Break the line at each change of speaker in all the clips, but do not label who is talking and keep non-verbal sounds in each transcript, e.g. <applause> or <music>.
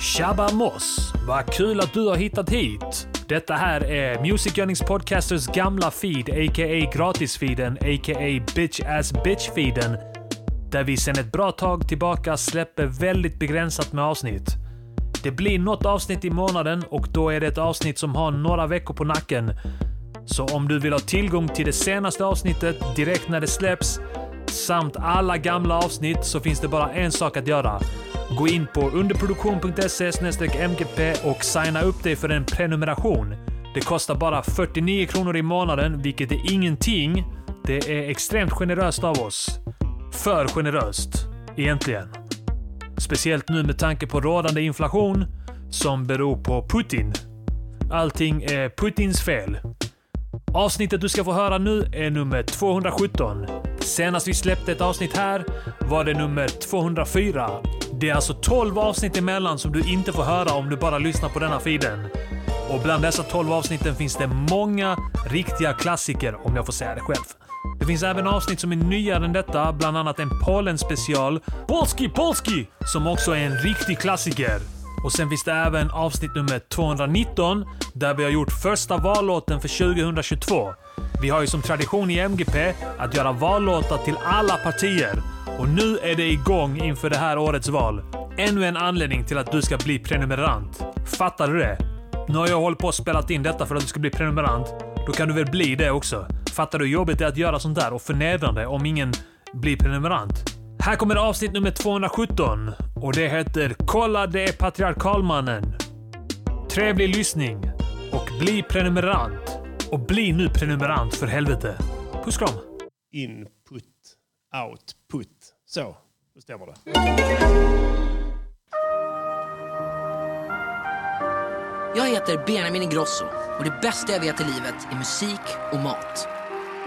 Shabba Moss, vad kul att du har hittat hit! Detta här är Music Earnings Podcasters gamla feed, a.k.a. gratisfeeden, a.k.a. bitch ass bitch-feeden, där vi sedan ett bra tag tillbaka släpper väldigt begränsat med avsnitt. Det blir något avsnitt i månaden och då är det ett avsnitt som har några veckor på nacken. Så om du vill ha tillgång till det senaste avsnittet direkt när det släpps samt alla gamla avsnitt så finns det bara en sak att göra. Gå in på underproduktion.se mgp och signa upp dig för en prenumeration. Det kostar bara 49 kronor i månaden, vilket är ingenting. Det är extremt generöst av oss. För generöst, egentligen. Speciellt nu med tanke på rådande inflation som beror på Putin. Allting är Putins fel. Avsnittet du ska få höra nu är nummer 217. Senast vi släppte ett avsnitt här var det nummer 204. Det är alltså 12 avsnitt emellan som du inte får höra om du bara lyssnar på denna feeden. Och bland dessa 12 avsnitten finns det många riktiga klassiker, om jag får säga det själv. Det finns även avsnitt som är nyare än detta, bland annat en Polen-special, Polski Polski, som också är en riktig klassiker. Och sen finns det även avsnitt nummer 219, där vi har gjort första vallåten för 2022. Vi har ju som tradition i MGP att göra vallåtar till alla partier. Och nu är det igång inför det här årets val. Ännu en anledning till att du ska bli prenumerant. Fattar du det? Nu har jag hållit på och spelat in detta för att du ska bli prenumerant. Då kan du väl bli det också? Fattar du hur jobbigt det är att göra sånt där och förnedrande om ingen blir prenumerant? Här kommer avsnitt nummer 217 och det heter “Kolla det är patriarkalmannen”. Trevlig lyssning och bli prenumerant. Och bli nu prenumerant för helvete. Puss kram.
Input, output. Så, då stämmer det.
Jag heter Benjamin Ingrosso och det bästa jag vet i livet är musik och mat.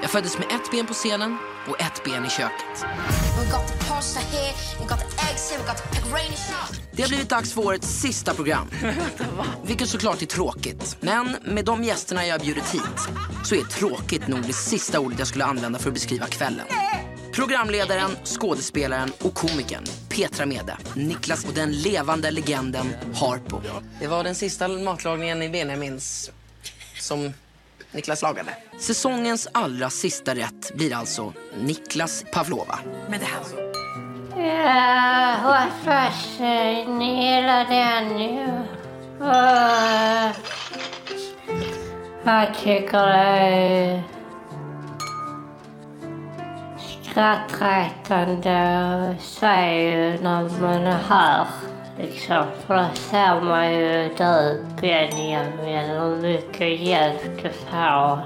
Jag föddes med ett ben på scenen och ett ben i köket.
We got the pasta here, we got the eggs here, we got the pepperoni sauce.
Det har blivit dags för årets sista program. Vilket såklart är tråkigt. Men med de gästerna jag har bjudit hit så är tråkigt nog det sista ordet jag skulle använda för att beskriva kvällen. Programledaren, skådespelaren och komikern Petra Mede, Niklas och den levande legenden Harpo. Det var den sista matlagningen i Benjamins som Niklas lagade. Säsongens allra sista rätt blir alltså Niklas pavlova.
Jag hoppas eh, ni gillar den ju. Eh, Jag tycker det är skrattretande att se ju när man är här. Liksom, för då ser man ju du Benjamin hur mycket hjälp du får.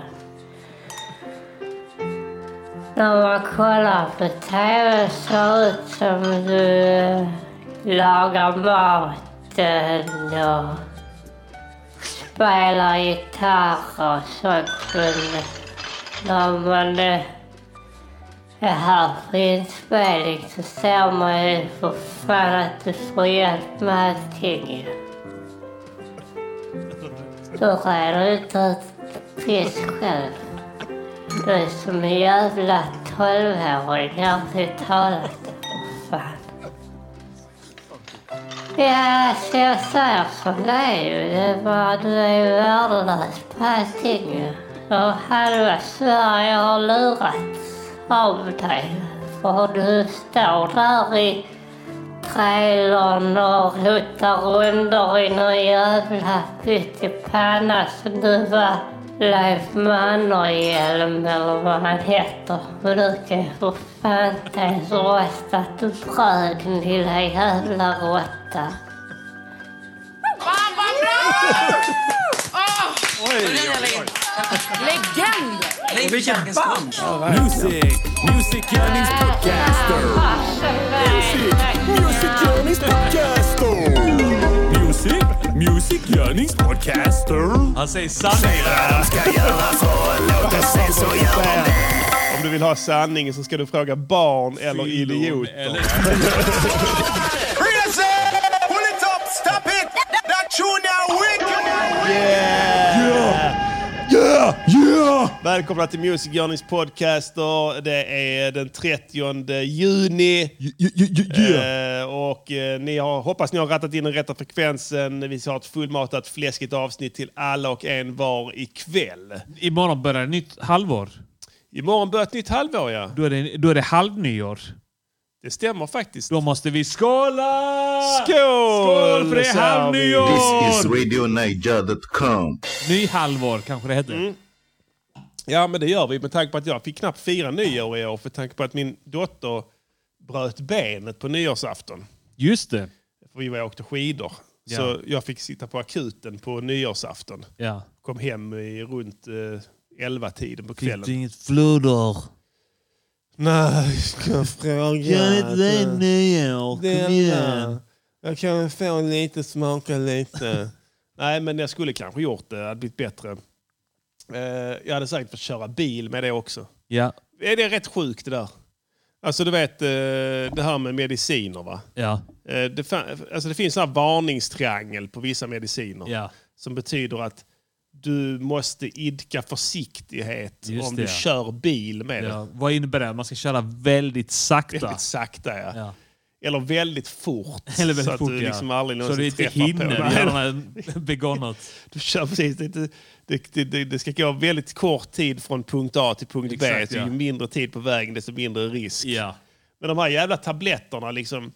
När man kollar på TV ser det ut som du eh, lagar maten och spelar gitarr och sånt. Men när man eh, är här på inspelning så ser man ju för fan att du får hjälp med allting. ju. Du reder ut ett piss själv. Du är som en jävla tolvåring, ärligt talat. Fan. Ja, så jag säger som det är ju. Det är bara, du är ju värdelös på allting ju. Och halva Sverige har lurats av dig. För du står där i trailern och hotar under i någon jävla pyttipanna som du var Leif Mannerhjelm eller vad han heter. Men du kan ju för fan inte ens rösta till bröd din lilla jävla råtta.
Fan vad bra! Åh, Legend!
Vilken band!
Music, Music Earnings Podcaster. Music Earnings Podcaster. Music, Music Earnings Podcaster.
Han säger sanning.
Om du vill ha sanningen så ska du fråga barn eller idioter. <laughs>
Yeah, yeah!
Välkomna till Music Journeys podcaster. Det är den 30 juni. Eh, och eh, ni har, hoppas ni har rattat in den rätta frekvensen. Vi har ett fullmatat fläskigt avsnitt till alla och en var ikväll.
Imorgon börjar ett nytt halvår.
Imorgon börjar ett nytt halvår, ja.
Då är det, då är det halvnyår.
Det stämmer faktiskt.
Då måste vi skåla!
Skål!
Skål för det är
sa vi.
halvnyår!
This is RadioNiger.com.
Ny halvår kanske det heter.
Mm. Ja, men det gör vi med tanke på att jag fick knappt fira nyår i år för tanke på att min dotter bröt benet på nyårsafton.
Just det.
För vi var och åkte skidor.
Ja.
Så jag fick sitta på akuten på nyårsafton.
Ja.
Kom hem i runt eh, 11-tiden på kvällen.
inget floder.
Nej, jag
<laughs>
frågar
nyår.
Jag kan få lite, smaka lite. eh, Nej, men jag skulle kanske gjort det. Det hade blivit bättre. Eh, jag hade säkert fått köra bil med det också.
Ja.
Är det rätt sjukt det där? Alltså du vet eh, det här med mediciner va?
Ja.
Eh, Det, fa- alltså, det finns en varningstriangel på vissa mediciner
Ja.
som betyder att du måste idka försiktighet
Just
om
det,
du
ja.
kör bil med
ja. Vad innebär det? Man ska köra väldigt
det.
sakta.
Väldigt sakta ja.
Ja.
Eller väldigt fort.
<laughs> Eller väldigt
så att
fort,
du
ja.
liksom aldrig
Så du
någonsin
inte
träffar
hinner
på. Nej,
göra
<laughs>
begonnat.
Du kör precis. Det, det, det, det, det ska gå väldigt kort tid från punkt A till punkt B.
Exakt,
Så
ja.
Ju mindre tid på vägen desto mindre risk.
Ja.
Men de här jävla tabletterna liksom,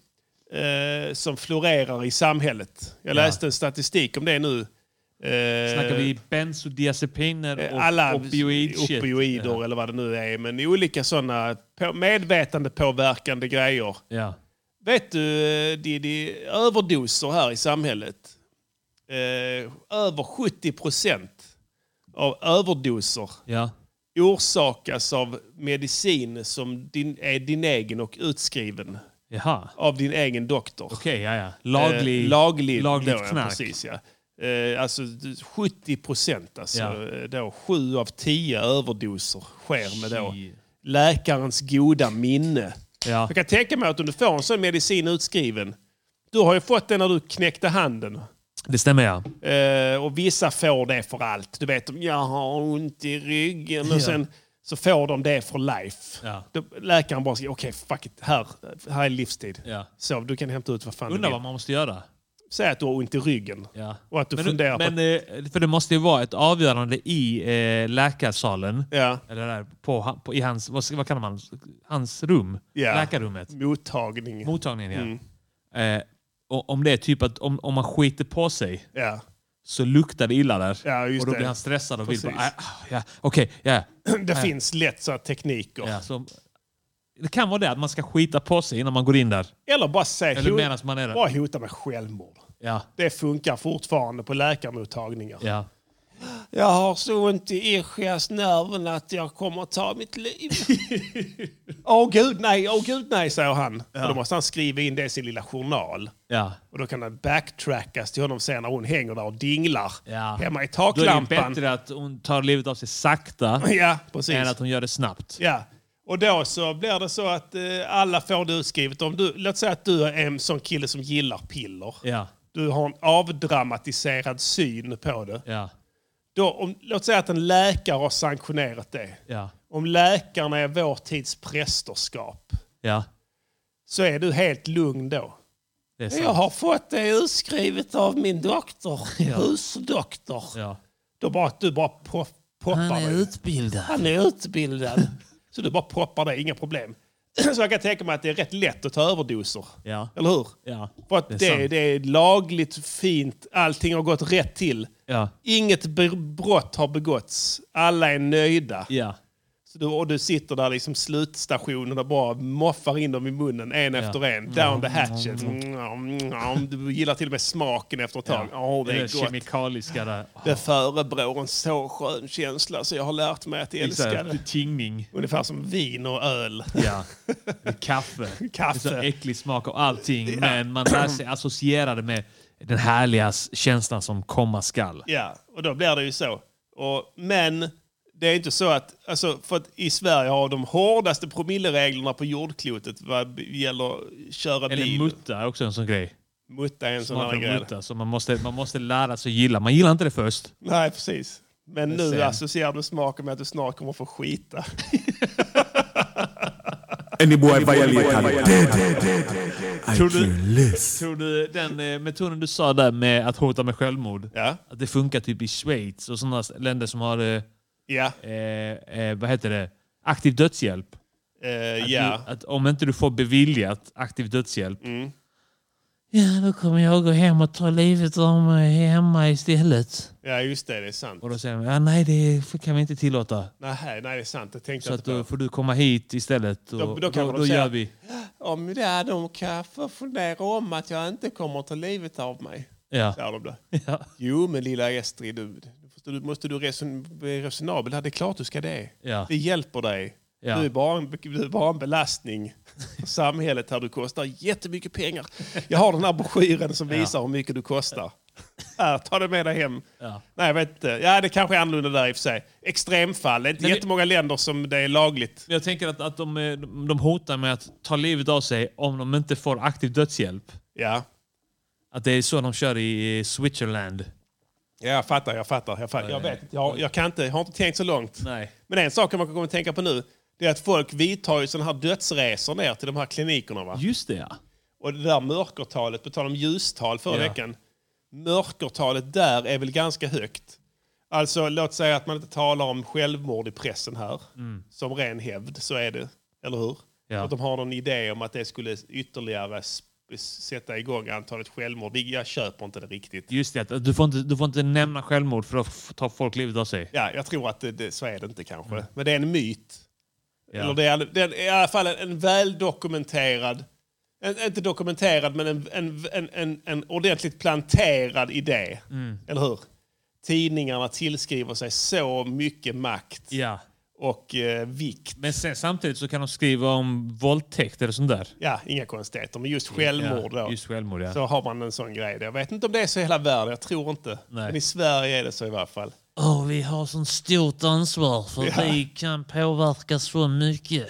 eh, som florerar i samhället. Jag läste en statistik om det nu. Eh,
Snackar vi bensodiazepiner
eh,
och
alla
opioid-shit?
opioider eller vad det nu är. Men olika sådana på, medvetande påverkande grejer.
Ja.
Vet du, eh, det det är överdoser här i samhället. Eh, över 70 procent av överdoser
Ja.
orsakas av medicin som din, är din egen och utskriven
Jaha.
av din egen doktor.
Okej, ja, ja. Laglig,
Eh, laglig,
lagligt
då, Ja,
knark.
precis, ja. Eh, alltså du- 70 procent. Alltså,
Ja.
eh, då, sju av tio överdoser sker med då
Shit.
läkarens goda minne.
Ja.
Jag kan tänka mig att om du får en sån medicin utskriven. Du har ju fått den när du knäckte handen.
Det stämmer, ja.
Eh, och vissa får det för allt. Du vet, jag har ont i ryggen. Och sen så får de det för life.
Ja.
Då, läkaren bara säger, okej, fuck it. Här, här är livstid.
Ja.
Så du kan hämta ut vad fan
Undrar
du
vad
vill.
man måste göra.
Säg att du har ont i ryggen.
Ja.
Och att du
men,
funderar på...
men, eh, För det måste ju vara ett avgörande i eh, läkarsalen.
ja,
Eller där, på, ha- på, i hans, vad, ska- vad kallar man Hans rum.
Ja.
Läkarrummet.
mottagning. Mm.
Mottagningen, ja. Eh, och om det är typ att om, om man skiter på sig
ja.
så luktar det illa där.
Ja, just
och då
det.
blir han stressad och
Precis.
vill bara... "Ah, ah, ja, Okej, eh, ja.
<clears throat> Det finns lätt så här tekniker.
ja. Så, det kan vara det att man ska skita på sig innan man går in där.
Eller bara säg...
Eller
hot-
medan man är där.
Bara hota med självmord.
Ja,
Det funkar fortfarande på läkarmottagningar.
ja.
Jag har så ont i ischiasnerven att jag kommer ta mitt liv. Åh gud nej, åh gud nej, säger han. Och då måste han skriva in det i sin lilla journal.
ja.
Och då kan det backtrackas till honom sen när hon hänger där och dinglar
Ja.
hemma i
Då är det ju
taklampan.
bättre att hon tar livet av sig sakta
<laughs> Ja, precis.
än att hon gör det snabbt.
Ja. Och då så blir det så att eh, alla får det utskrivet. Om du, låt säga att du är en sån kille som gillar piller.
Ja,
Du har en avdramatiserad syn på det.
ja,
Då, om, låt säga att en läkare har sanktionerat det.
ja,
Om läkarna är vår tids prästerskap
ja.
så är du helt lugn då.
Det är
Jag
sant.
har fått det utskrivet av
<laughs>
min doktor, husdoktor.
Ja.
Då bara, du bara po- poppar det.
utbildad.
Han är utbildad. <laughs> så du bara poppar det, inga problem. <clears throat> så jag kan tänka mig att det är rätt lätt att ta överdoser.
Ja.
Eller hur?
Ja,
För att
det är
det, det,
sant.
är lagligt, fint, allting har gått rätt till.
Ja,
Inget br- brott har begåtts. Alla är nöjda.
ja,
Så du, och du sitter där liksom slutstationen och bara moffar in dem i munnen en efter en. Down the hatchet. Mm, mm, Du gillar till och med smaken efter ett tag.
ja.
Åh, det är gott.
kemikaliska där.
Det förebrår en så skön känsla så jag har lärt mig att
Det
älska
är
det.
tingning.
Ungefär som vin och öl.
Ja. Det
<laughs>
är kaffe.
Kaffe.
Det är så äcklig smak av allting. Men man lär sig associera det med den härliga s- känslan som komma skall.
Ja, och då blir det ju så. Och, men det är inte så att, alltså, för att i Sverige har de hårdaste promillereglerna på jordklotet vad gäller köra
Eller
bil.
mutta är också en sån grej.
mutta är en sån här
Smaken
grej.
mutta. Så man måste, man måste lära sig gilla. Man gillar inte det först.
Nej, precis. Men
Men
nu
sen-
associerar du smaken med att du snart kommer
<laughs>
få skita.
Any boy violate I'm dead. I
Tror du-
can less.
Tror du den eh, metoden du sa där med att hota med självmord,
Ja.
att det funkar typ i Schweiz och sådana länder som har, eh,
Ja.
eh, vad heter det, aktiv dödshjälp?
Eh,
Att,
ja. Mm.
du, att om inte du får beviljat aktiv dödshjälp, ja då kommer jag gå hem och ta livet av mig hemma istället.
ja, just det. Det är sant.
Och då säger de, ja, nej det kan vi inte tillåta.
Nej, nej, det är sant. Det tänkte
Så
jag
att
inte
då
på.
får du komma hit istället. Och,
Då-
då,
då
då,
kan
då,
de säga-
gör vi.
Om det är de kan få fundera om att jag inte kommer att ta livet av mig.
Ja.
Säger de då.
<laughs> Ja.
Jo, men lilla Estrid, du, du förstår, du, måste du reson, bli resonabel här. Det är klart du ska det.
Ja.
Vi hjälper dig.
Ja.
Du, är bara en, du är bara en belastning för samhället här. Du kostar jättemycket pengar. Jag har den här broschyren som visar hur mycket du kostar. Här, ta den med dig hem.
Ja.
Nej, jag vet inte. Ja, det kanske är annorlunda där i och för sig. Extremfall. Det är inte
Men det-
jättemånga länder som det är lagligt.
Men Jag tänker att, att de, eh, de de hotar med att ta livet av sig om de inte får aktiv dödshjälp.
Ja,
Att det är så de kör i eh, Switzerland.
ja jag fattar. Jag fattar. Jag, fattar. jag vet inte. Jag, jag, kan inte, jag har inte tänkt så långt.
Nej.
Men en sak man kan komma att tänka på nu, det är att folk vidtar ju sådana här dödsresor ner till de här klinikerna. Va?
Just det ja.
Och det där mörkertalet, på tal om ljustal förra
Ja.
veckan, mörkertalet där är väl ganska högt. Alltså låt säga att man inte talar om självmord i pressen här, som ren hävd, så är det, eller hur?
Mm. Ja.
Att de har någon idé om att det skulle ytterligare sp- sätta igång antalet självmord. Jag köper inte det riktigt.
Just det, att- att du får inte, du får inte nämna självmord för att f- ta folk livet av sig.
Ja, jag tror att det, det, så är det inte kanske. Men det är en myt.
Mm. Ja.
Eller det är, det är i alla fall en, en väldokumenterad, en, inte dokumenterad, men en, en, en, en, en ordentligt planterad idé.
Mm.
Eller hur? Tidningarna tillskriver sig så mycket makt
Ja.
och eh, vikt.
Men sen, samtidigt så kan de skriva om våldtäkt eller sånt där.
Ja, inga konstigheter. Men just självmord
Ja,
då.
just självmord ja.
Så har man en sån grej. Jag vet inte om det är så i hela världen, jag tror inte.
Nej.
Men i Sverige är det så i varje fall.
Åh, vi har sånt stort ansvar för vi kan påverka så mycket.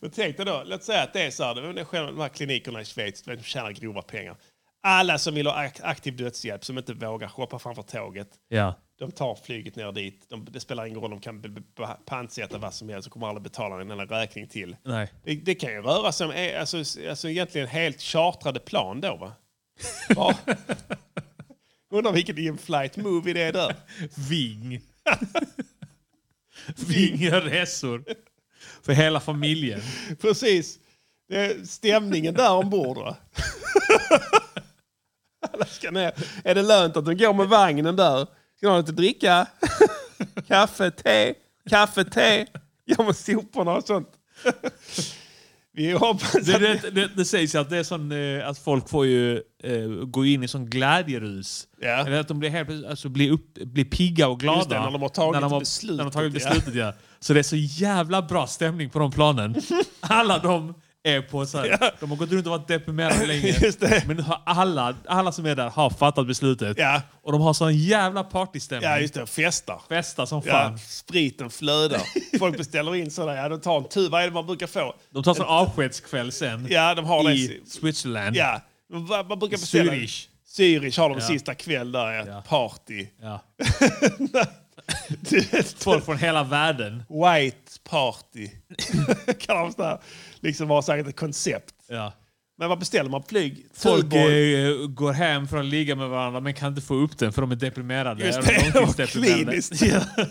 Men tänk dig då, låt säga att det är så här, det är själva de här klinikerna i Schweiz de tjänar grova pengar. Alla som vill ha ak- aktiv dödshjälp, som inte vågar shoppa framför tåget,
Ja.
de tar flyget ner dit. De, det spelar ingen roll, de kan be- be- be- pantsätta vad som helst och kommer aldrig betala en enda räkning till.
Nej.
Det, det kan ju röra sig om eh, alltså, s- alltså, egentligen helt chartrade plan då va?
<laughs>
va? Undrar vilken in-flight movie det är där.
<laughs> Ving. Vingeresor. För hela familjen.
Precis. Det är stämningen där ombord. va? Alla ska ner. Är det lönt att de går med vagnen där? Ska de ha lite dricka? Kaffe, te? Kaffe, te? Går med soporna och sånt. Vi hoppas att...
Det, det, det, det sägs ju att, det är sån, eh, att folk får ju eh, gå in i sån glädjerus.
Ja.
Eller att de blir, helt, plötsligt- alltså, blir, upp, blir pigga och glada.
Just det, när de har tagit
när de har,
beslutet,
När de har tagit
ja.
beslutet ja. Så det är så jävla bra stämning på de
<laughs>
planen. Alla de är på så här, De har gått runt och varit deprimerade länge.
<laughs> Just det.
Men nu har alla, alla som är där har fattat beslutet.
Ja.
Och de har sån jävla partystämning.
Ja, just det. Festar.
Festa som fan.
Ja, spriten flödar. Folk beställer in sådana. Ja, de tar en tur. Vad är det man brukar få?
De tar sån avskedskväll sen
Ja, de har
i
det.
Switzerland.
Ja, Eh, vad, vad brukar beställa?
Zürich.
Zürich har de sista kväll där. Ja.
Ja.
Party. <laughs>
Ja.
Du vet,
Folk från hela världen.
White party. <laughs> kan de så här, liksom vara säkert ett koncept.
Ja.
Men vad beställer man? Flyg?
Folk
Tuborg?
eh, går hem för att ligga med varandra men kan inte få upp den för de är deprimerade.
Just
Är
det,
de
de var
långtidsdeprimerade?
kliniskt. <laughs>
Ja.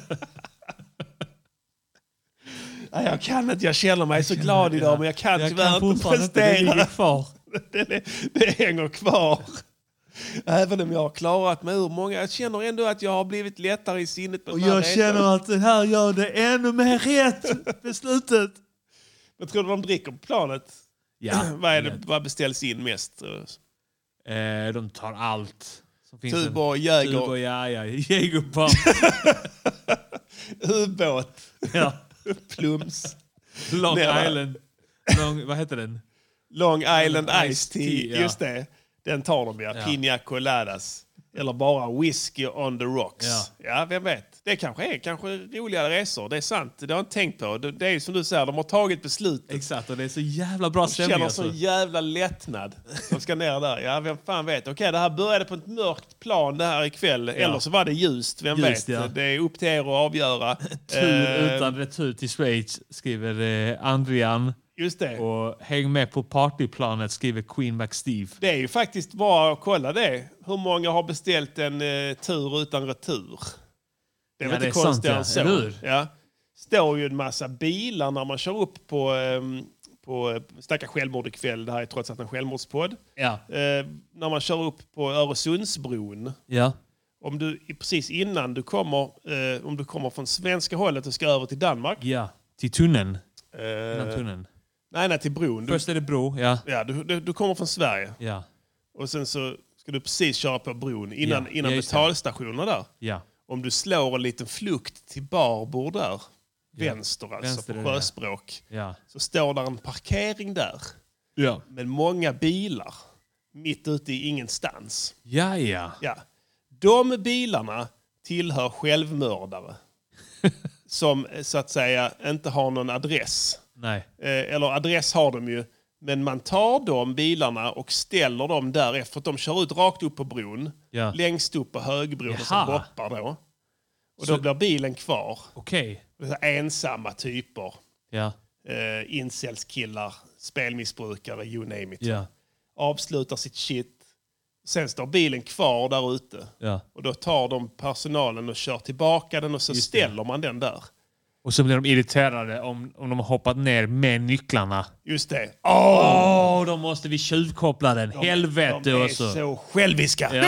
Nej, jag kan inte, jag känner mig så glad idag men jag kan
Jag
tyvärr
kan
inte
fortfarande inte, det ligger
prestera.
kvar.
<laughs> Det, det, det hänger kvar. Även om jag har klarat mig ur många. Jag känner ändå att jag har blivit lättare i sinnet. på
Och
den här
jag
resan.
känner att det här gör det ännu mer rätt, beslutet.
Men tror du de dricker på planet?
Ja.
<clears throat> vad, är det, vad <laughs> beställs in mest?
Eh, de tar allt. som finns.
Tuborg, Jäger,
Tuborg, ja, ja. Jägerbomb.
<laughs> ubåt,
ja.
plums,
Long
Nera.
Island. Long, vad heter den?
Long Island Ice
Ice
Tea.
Tea, ja.
Just det, den tar de ja. Pina coladas. Eller bara whisky on the rocks.
Ja.
Ja, vem vet. Det kanske är kanske roligare resor. Det är sant. Det har jag inte tänkt på. Det, det är som du säger, de har tagit beslutet.
Exakt, och det är så jävla bra
Jag
stämning.
känner
Alltså.
sån jävla lättnad. De ska ner där. Ja, vem fan vet. Okej, det här började på ett mörkt plan det här ikväll. Eller så var det ljust. Vem
Ljust,
vet.
ja.
Det är upp till er att avgöra.
<laughs> Tur
Eh,
utan retur till Schweiz, skriver eh, Andrian.
Just det.
Och häng med på partyplanet, skriver Queen McSteve.
Det är ju faktiskt bara att kolla det. Hur många har beställt en eh, tur utan retur? Det är
Ja,
väl
det är
inte konstigare än
sant, ja. Eller
så.
hur?
Ja. står ju en massa bilar när man kör upp på, ehm, på eh, Snacka självmord ikväll. Det här är trots allt en självmordspodd.
Ja.
Eh, när man kör upp på Öresundsbron.
Ja.
Om du precis innan du kommer, eh, om du kommer från svenska hållet och ska över till Danmark.
ja. Till tunneln. Innan
Eh,
tunneln.
nej, nej, till bron. Du,
Först är det bro, ja.
ja, du, du, du kommer från Sverige.
Ja.
Och sen så ska du precis köra på bron innan,
Ja,
innan
ja, just det.
betalstationerna där.
ja.
Om du slår en liten flukt till Barbour där, vänster alltså
Vänster är
på
det, ja.
sjöspråk,
Ja.
så står där en parkering där
Ja.
med många bilar mitt ute i ingenstans.
Ja, ja.
Ja. De bilarna
<laughs>
tillhör självmördare som eh, så att säga inte har någon adress.
Nej.
Eh, eller adress har de ju. Men man tar de bilarna och ställer dem där efter att de kör ut rakt upp på bron.
Ja.
Längst upp på högbron och
Jaha.
sen hoppar då. Och
Så-
då blir bilen kvar.
Okej.
Det är så här Ensamma typer.
Ja.
Eh, Incelskillar, spelmissbrukare, you name it.
Ja.
Avslutar sitt shit. Sen står bilen kvar där ute.
Ja.
Och då tar de personalen och kör tillbaka den och så
Just det.
ställer man den där.
Och så blir de irriterade om, om de har hoppat ner med nycklarna.
Just det.
Åh, då måste vi tjuvkoppla den. Helvete alltså.
de är
också.
så själviska.
Då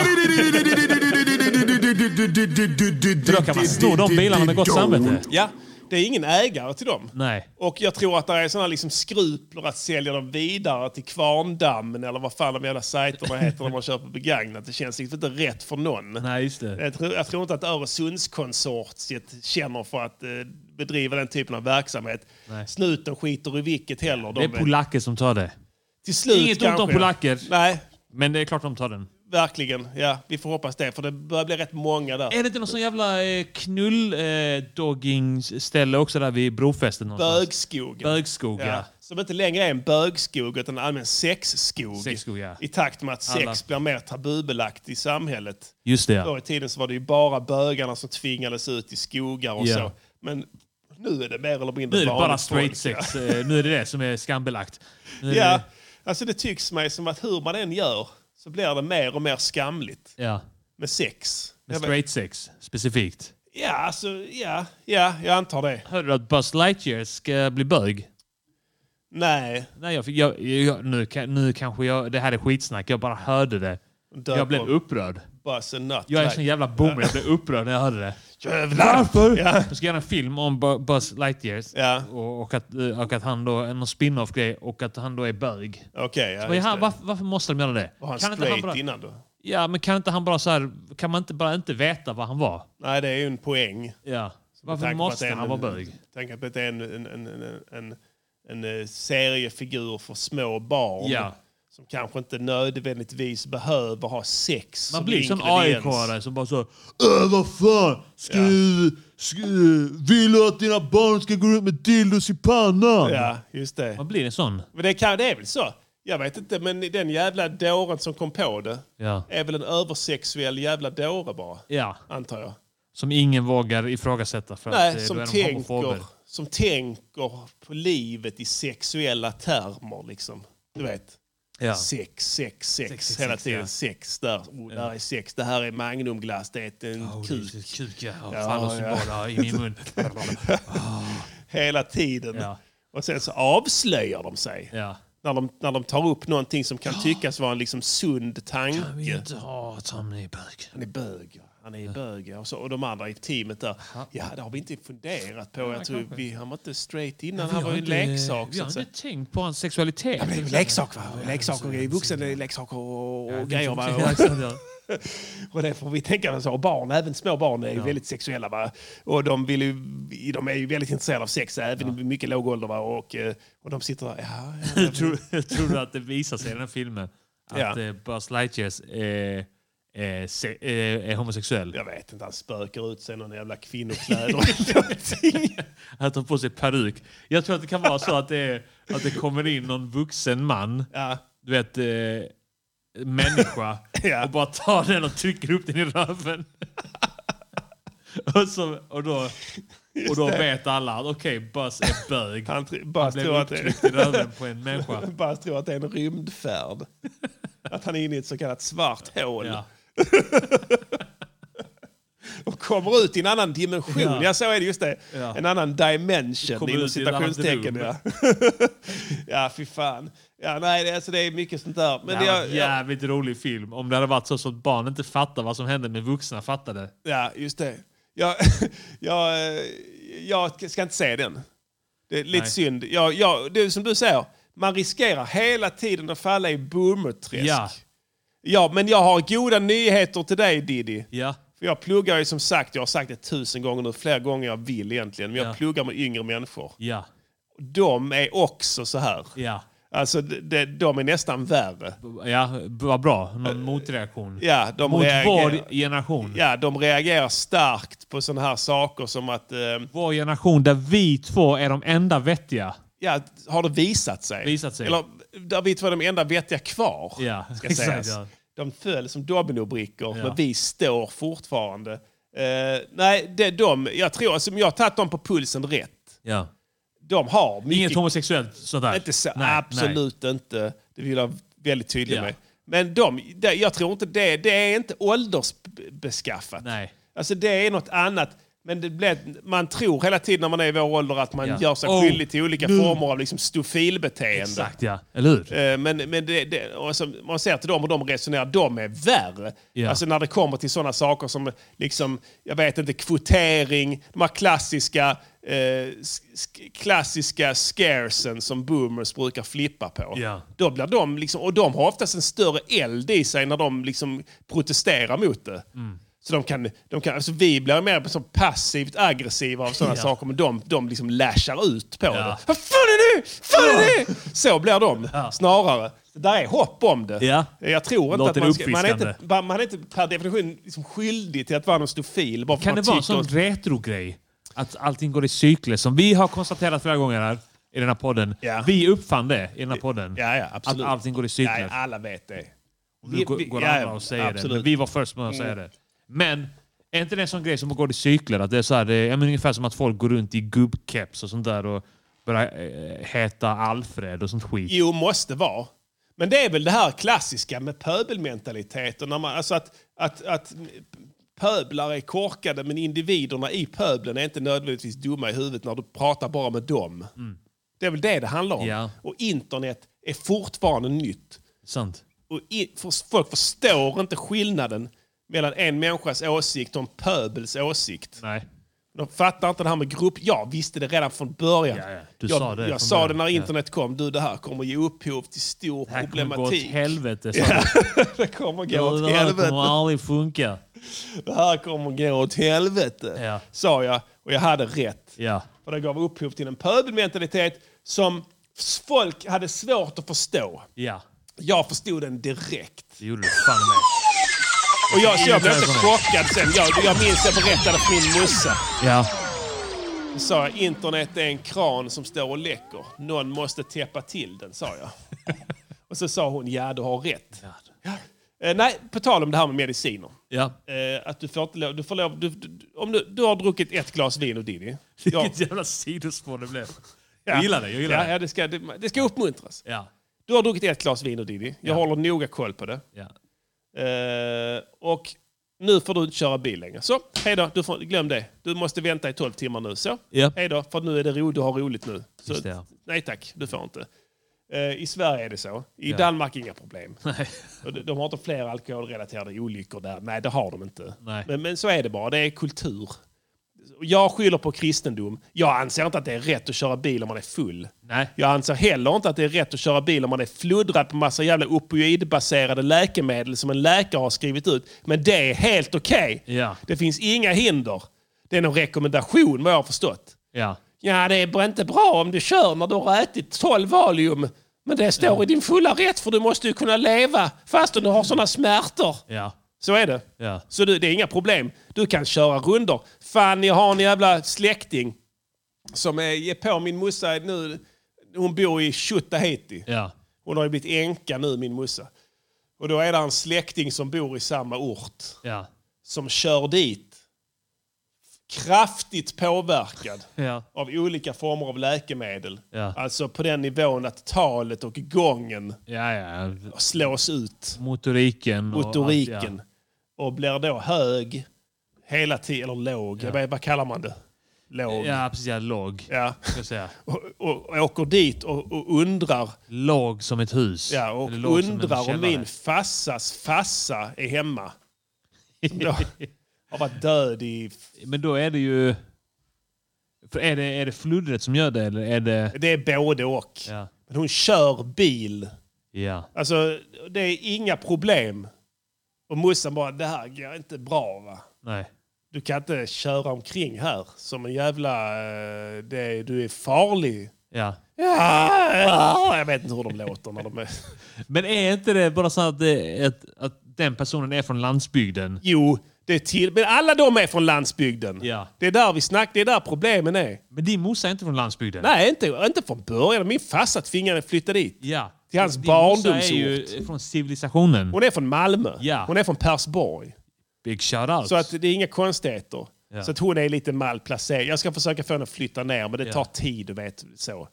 kan man sno de bilarna med gott samvete.
Ja, det är ingen ägare till dem.
Nej.
Och jag tror att det är sådana liksom skrupler att sälja dem vidare till Kvarndammen eller vad fan de jävla sajterna heter när man köper begagnat. Det känns liksom inte rätt för någon.
Nej, just det.
Jag, tror, jag tror inte att Öresundskonsortiet känner för att eh, bedriva den typen av verksamhet.
Nej.
Snuten skiter i vilket heller.
Det
De
är polacker som tar det.
till slut
Inget ont om
kanske.
polacker.
Nej,
Men det är klart de tar den.
verkligen. Ja, vi får hoppas det. För det börjar bli rätt många där.
Är det inte någon sån jävla eh, knull-dogging-ställe också där vid brofästen någonstans?
Bögskogen.
Bögskog, ja.
Ja. Som inte längre är en bögskog utan en allmän sexskog.
Sexskog, ja.
I takt med att sex
Alla-
blir mer tabubelagt i samhället.
Just det, ja.
Förr i tiden så var det ju bara bögarna som tvingades ut i skogar och
Ja.
så. Men nu är det mer eller mindre
Nu är det bara
vanligt
straight
folk, ja.
sex. Eh, Nu är det det som är skambelagt. Nu är
Ja, alltså det tycks mig som att hur man än gör så blir det mer och mer skamligt
Det, ja.
med sex.
Med
Jag vet-
straight sex, specifikt.
Ja, alltså, ja, ja, jag antar det.
Hörde du att Buzz Lightyear ska bli bög?
Nej,
Nej, jag, fick- jag, jag, nu, ka- nu kanske jag... Det här är skitsnack. Jag bara hörde det.
Döp
Jag blev
om.
upprörd.
Buzz and Nut.
Jag är en
Nej.
sån jävla boomer.
<laughs>
Jag blev upprörd när jag hörde det.
Jävlar! Ja.
De ska göra en film om Bu- Buzz Lightyear
Ja.
och, och, att, och att han då... En spin-off grej och att han då är bög.
Okej, ja,
Vad är
just
han,
det.
varför, varför måste de göra det?
Var han
Kan inte
straight
han bara,
innan då?
ja, men kan inte han bara så här, Kan man inte bara inte veta vad han var?
Nej, det är ju en poäng.
Ja.
Med
Varför
tanke på att
måste
det är
han
en-
vara bög?
Tänk att det är en, en, en, en, en, en eh, seriefigur för små barn
Ja.
som kanske inte nödvändigtvis behöver ha sex
Man blir som
ingrediens.
AIK-are som bara så äh, vad fan, ska, du- ska, vill du att dina barn ska gå runt med dildos i pannan?
Ja, just det.
Man blir en sån.
Men det, kan, det är väl så? Jag vet inte, men den jävla dåren som kom på det
Ja.
är väl en översexuell jävla dåre bara,
ja.
antar jag.
Som ingen vågar ifrågasätta för att
Nej,
eh,
som
då är de
tänker,
homofober.
som tänker på livet i sexuella termer, liksom. Du vet.
Ja.
Sex, sex, sex,
Sex, sex,
hela
sex,
tiden
ja.
sex där. Oh, där är sex, det här är magnumglass, det är en
Oh,
kuk.
Jesus, kuk ja. Oh,
Ja,
Fallossymbol ja. i min mun.
<laughs> Hela tiden.
Ja.
Och sen så avslöjar de sig.
ja.
När, de, när de tar upp någonting
<gasps>
som kan tyckas vara en liksom sund
Jag vill
tanke.
inte ha att han är bög.
Han är bög. ja. Han är bög. ja. Och, så, och de andra i teamet där. Ja, det har vi inte funderat på. Jag tror vi, han var inte straight innan. Han
Vi
var
har
ju en
inte-
leksak.
Vi
så
har
att säga.
inte tänkt på hans sexualitet.
Ja, men det är väl leksak va? Leksaker i vuxen är leksaker och, och grejer. Va? Och, <laughs>
Ja,
och det får vi tänka oss. Och barn, även små barn, är ju väldigt sexuella. Va? Och de, vill ju, de är ju väldigt intresserade av sex, även i mycket låg ålder. Va? Och, eh, och de sitter där. Ja, ja,
tror, tror du att det visar sig i den här filmen att
Ja.
eh, Buzz Lightyear eh, eh, se, eh, är homosexuell.
Jag vet inte, han spöker ut sig i någon jävla
<laughs>
kvinnokläder. eller någonting.
Han tar på sig peruk. Jag tror att det kan vara så att det, är, att det kommer in någon vuxen man,
ja.
du vet, eh, människa,
<laughs> Ja.
och bara tar den och trycker upp den i röven. <laughs> och, så, och då, och då vet alla att okej, Buzz är bög.
Han tr- bara
blev
tror att det
upptryckt i röven på en
<laughs>
människa.
bara tror att det är en rymdfärd. Att han är inne i ett så kallat svart hål
Ja.
<laughs> och kommer ut i en annan dimension. Ja,
Ja.
så är det. just det.
Ja.
En annan dimension,
Kommer
inom
ut i ett annat
citationstecken. Ja. <laughs> ja, fy fan. Ja, nej, det, alltså, det är mycket sånt där. Men
Det
det,
hade varit
jag,
en
jag,
jävligt rolig film om det hade varit så så att barn inte fattar vad som hände men vuxna fattade.
ja, <laughs> just det. Jag, jag, eh, jag ska inte se den. Det är lite
Nej.
synd. Jag, jag, det är som du säger, man riskerar hela tiden att falla i boomerträsk.
Ja,
Ja, men jag har goda nyheter till dig Diddy.
ja,
För jag pluggar ju som sagt, jag har sagt det tusen gånger nu, fler gånger jag vill egentligen, men jag
Ja.
pluggar med yngre människor.
ja,
De är också så här.
ja.
Alltså, de, de, de är nästan värre.
Ja, vad bra. Någon motreaktion.
Ja, de
Mot
reagerar.
vår generation.
Ja, de reagerar starkt på sådana här saker som att, eh,
Vår generation där vi två är de enda vettiga.
ja, har det visat sig?
Visat sig.
Eller, där vi två är de enda vettiga kvar.
Ja, <laughs>
ska
exakt,
sägas.
ja.
De föll som dominobrickor,
Ja.
men vi står fortfarande. Eh, nej, det är de, jag tror, alltså, om jag har tagit dem på pulsen rätt.
Ja.
De har mycket
Inget homosexuellt sånt där.
Inte så,
Nej,
absolut inte. Det vill jag vara väldigt tydlig
Ja.
med. Men de, det, jag tror inte det, det är inte åldersbeskaffat.
Nej.
Alltså det är något annat. Men det blir, man tror hela tiden när man är i vår ålder att man
Ja.
gör sig
Oh,
skyldig till olika
nu.
former av liksom stofilbeteende.
Nej. Exakt ja, eller hur?
Eh, Men, men det, det, och alltså, man ser till dem och de resonerar, de är värre.
Ja.
Alltså när det kommer till sådana saker som, liksom, jag vet inte, kvotering, de här klassiska, eh, sk- sk- klassiska scaresen som boomers brukar flippa på.
Ja.
Då blir de liksom, och de har oftast en större eld i sig när de liksom protesterar mot det. Så de kan, de kan, alltså vi blir mer så passivt aggressiva av sådana
Ja.
saker, men de, de liksom lashar ut på det.
Ja.
Vad fan är det? Fan är det? Så blir de snarare. Så Där är hopp om det.
Ja.
Jag tror inte
Låter
att man, ska, man, är inte,
uppfriskande.
man är inte per definition liksom skyldig till att vara någon stofil. Bara för
Kan
att
det
man
vara en
tycker
sån retrogrej? Att allting går i cykler som vi har konstaterat flera gånger här i den här podden.
Ja.
Vi uppfann det i den här podden.
Ja, ja, absolut.
Att allting går i
Ja,
cykler.
ja, alla vet det.
Nu går, går
ja,
andra och säger det.
absolut. Mm.
Men vi var först med att säga det. Men är inte det en sån grej som går i cykler? Att det är så här, det är, ja, men ungefär som att folk går runt i gubbkeps och sånt där och börjar eh, heta Alfred och sånt skit.
Jo, måste vara. Men det är väl det här klassiska med pöbelmentaliteten. När man, alltså att, att, att pöblar är korkade men individerna i pöbeln är inte nödvändigtvis dumma i huvudet när du pratar bara med dem. Det är väl det det handlar om.
Mm. Ja.
Och internet är fortfarande nytt.
Sant.
Och i, för, folk förstår inte skillnaden mellan en människas åsikt och en pöbels åsikt.
Nej.
De fattar inte det här med grupp. Jag visste det redan från början.
Ja, ja. Du
jag
sa det
jag
från
sa det
början.
när
Ja.
internet kom. Du, det här kommer ge upphov till stor
Det här kommer gå åt
problematik.
helvete. sa
Ja,
du.
det kommer gå
Ja,
åt
Det här
helvete.
kommer aldrig funka.
<laughs> Det här kommer gå åt helvete.
Ja.
Sa jag. Och jag hade rätt.
Ja.
För det gav upphov till en pöbelmentalitet som s- folk hade svårt att förstå.
Ja.
Jag förstod den direkt.
Det gjorde du fan med.
Och jag, så jag blev
Inget
inte
överraskning.
chockad sen. Jag, jag minns jag berättade för min morsa.
Ja.
Då sa jag, internet är en kran som står och läcker. Någon måste täppa till den, sa
<laughs>
jag. och så sa hon, ja du har rätt. Eh, nej, på tal om det här med mediciner.
Ja.
Eh, att du får inte lov, du får lov, du, du, om du, du har druckit ett glas vin och Diddy. Ja.
<laughs> Vilket jävla sidospår det blev. Jag gillar det. Jag gillar
ja,
det.
ja, det, ska, det, det ska uppmuntras.
Ja.
Du har druckit ett glas vin och Diddy. Jag håller noga koll på det.
Ja.
Eh, och nu får du inte köra bil längre. Så, hej då. Du får, glöm det. Du måste vänta i 12 timmar nu. Så,
Ja.
hej då. För nu är det ro, du har roligt nu. Så,
Just det, ja.
Nej tack, du får inte. Eh, I Sverige är det så. I
Ja.
Danmark inga problem.
<laughs> Nej.
Och de, de har inte fler alkoholrelaterade olyckor där. Nej, det har de inte.
Nej.
Men, men så är det bara. Det är kultur. Jag skyller på kristendom. Jag anser inte att det är rätt att köra bil om man är full.
Nej.
Jag anser heller inte att det är rätt att köra bil om man är fluddrad på massa jävla opioidbaserade läkemedel som en läkare har skrivit ut. Men det är helt okej.
Ja.
Det finns inga hinder. Det är en rekommendation vad jag har förstått.
Ja.
Ja, det är inte bra om du kör när du har ätit 12 Valium. Men det står i din fulla rätt för du måste ju kunna leva fast du har sådana smärtor.
Ja.
Så är det.
Ja.
Så du, det är inga problem. Du kan köra runder. Fan, jag har en jävla släkting som är är på min mussa nu. Hon bor i Tjutaheiti.
Ja.
Hon har ju blivit änka nu, min mussa. Och då är det en släkting som bor i samma ort
Ja.
som kör dit. Kraftigt påverkad
Ja.
av olika former av läkemedel.
Ja.
Alltså på den nivån att talet och gången
Ja, ja.
slås ut.
Motoriken. och allt,
Motoriken.
ja.
Och blir då hög hela tiden, eller låg. Jag vet, vad kallar man det? Låg.
Ja, precis. Ja, låg.
Ja.
Ska jag säga.
Och, och, och åker dit och, och undrar.
Låg som ett hus.
Ja, och
Eller låg som en
undrar om
källare.
min fassas fassa
<laughs>
är hemma. Som då har varit död i...
Men då är det ju... För är, det, är det fluddret som gör det, eller är det...
Det är både och.
Ja.
Men hon kör bil.
Ja.
Alltså, det är inga problem. Och morsan bara, det här går inte bra va?
Nej.
Du kan inte köra omkring här som en jävla... eh, Det, du är farlig.
Ja.
Ja, ja, jag vet inte hur de låter när de är...
Men är inte det bara så att, det, att, att den personen är från landsbygden?
Jo, det är till... Men alla de är från landsbygden.
Ja.
Det är där vi snackar, det är där problemen är.
Men din morsa är inte från landsbygden?
Nej, inte, inte från början. Min farsa tvingade henne att flytta dit.
Ja.
Till hans
Din morsa är
barndomsort.
ju från civilisationen.
Hon är från Malmö.
Ja.
Hon är från Persborg.
Big shout-out.
Så att det är inga konstigheter.
Ja.
Så att hon är lite malplacerad. Jag ska försöka få henne att flytta ner, men det tar tid. Du vet, så.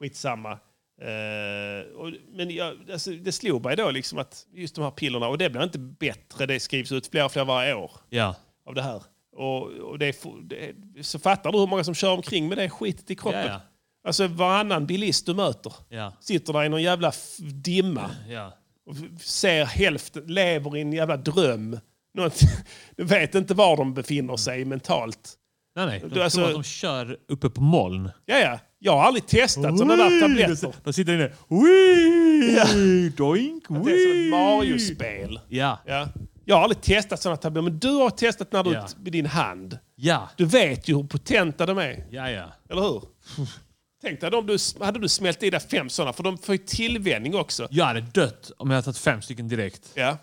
Skitsamma. Eh, och, men jag, alltså, det slog mig då liksom att just de här pillerna, och det blir inte bättre. Det skrivs ut fler och fler varje år
Ja.
av det här. Och, och det är, fo- det är, så fattar du hur många som kör omkring med det skitet i kroppen?
Ja, ja.
Alltså varannan bilist du möter
Ja.
sitter där i någon jävla f- dimma
Ja.
och ser hälften, lever i en jävla dröm. Något, <laughs> du vet inte var de befinner sig mentalt.
Nej, nej. De
Du,
tror
alltså-
att de kör uppe på moln.
Ja, ja. Jag har aldrig testat sådana där tabletter.
De sitter inne. Wii! Doink!
Det är som
Wii!
ett Mario-spel.
Ja.
Ja. Jag har aldrig testat sådana tabletter, men du har testat när du
Ja.
med din hand.
Ja.
Du vet ju hur potenta de är,
Ja, ja.
eller hur? Tänk dig om du, hade du smält i dig fem sådana, för de får ju tillvänjning också.
Jag hade dött om jag hade tagit fem stycken direkt.
Ja.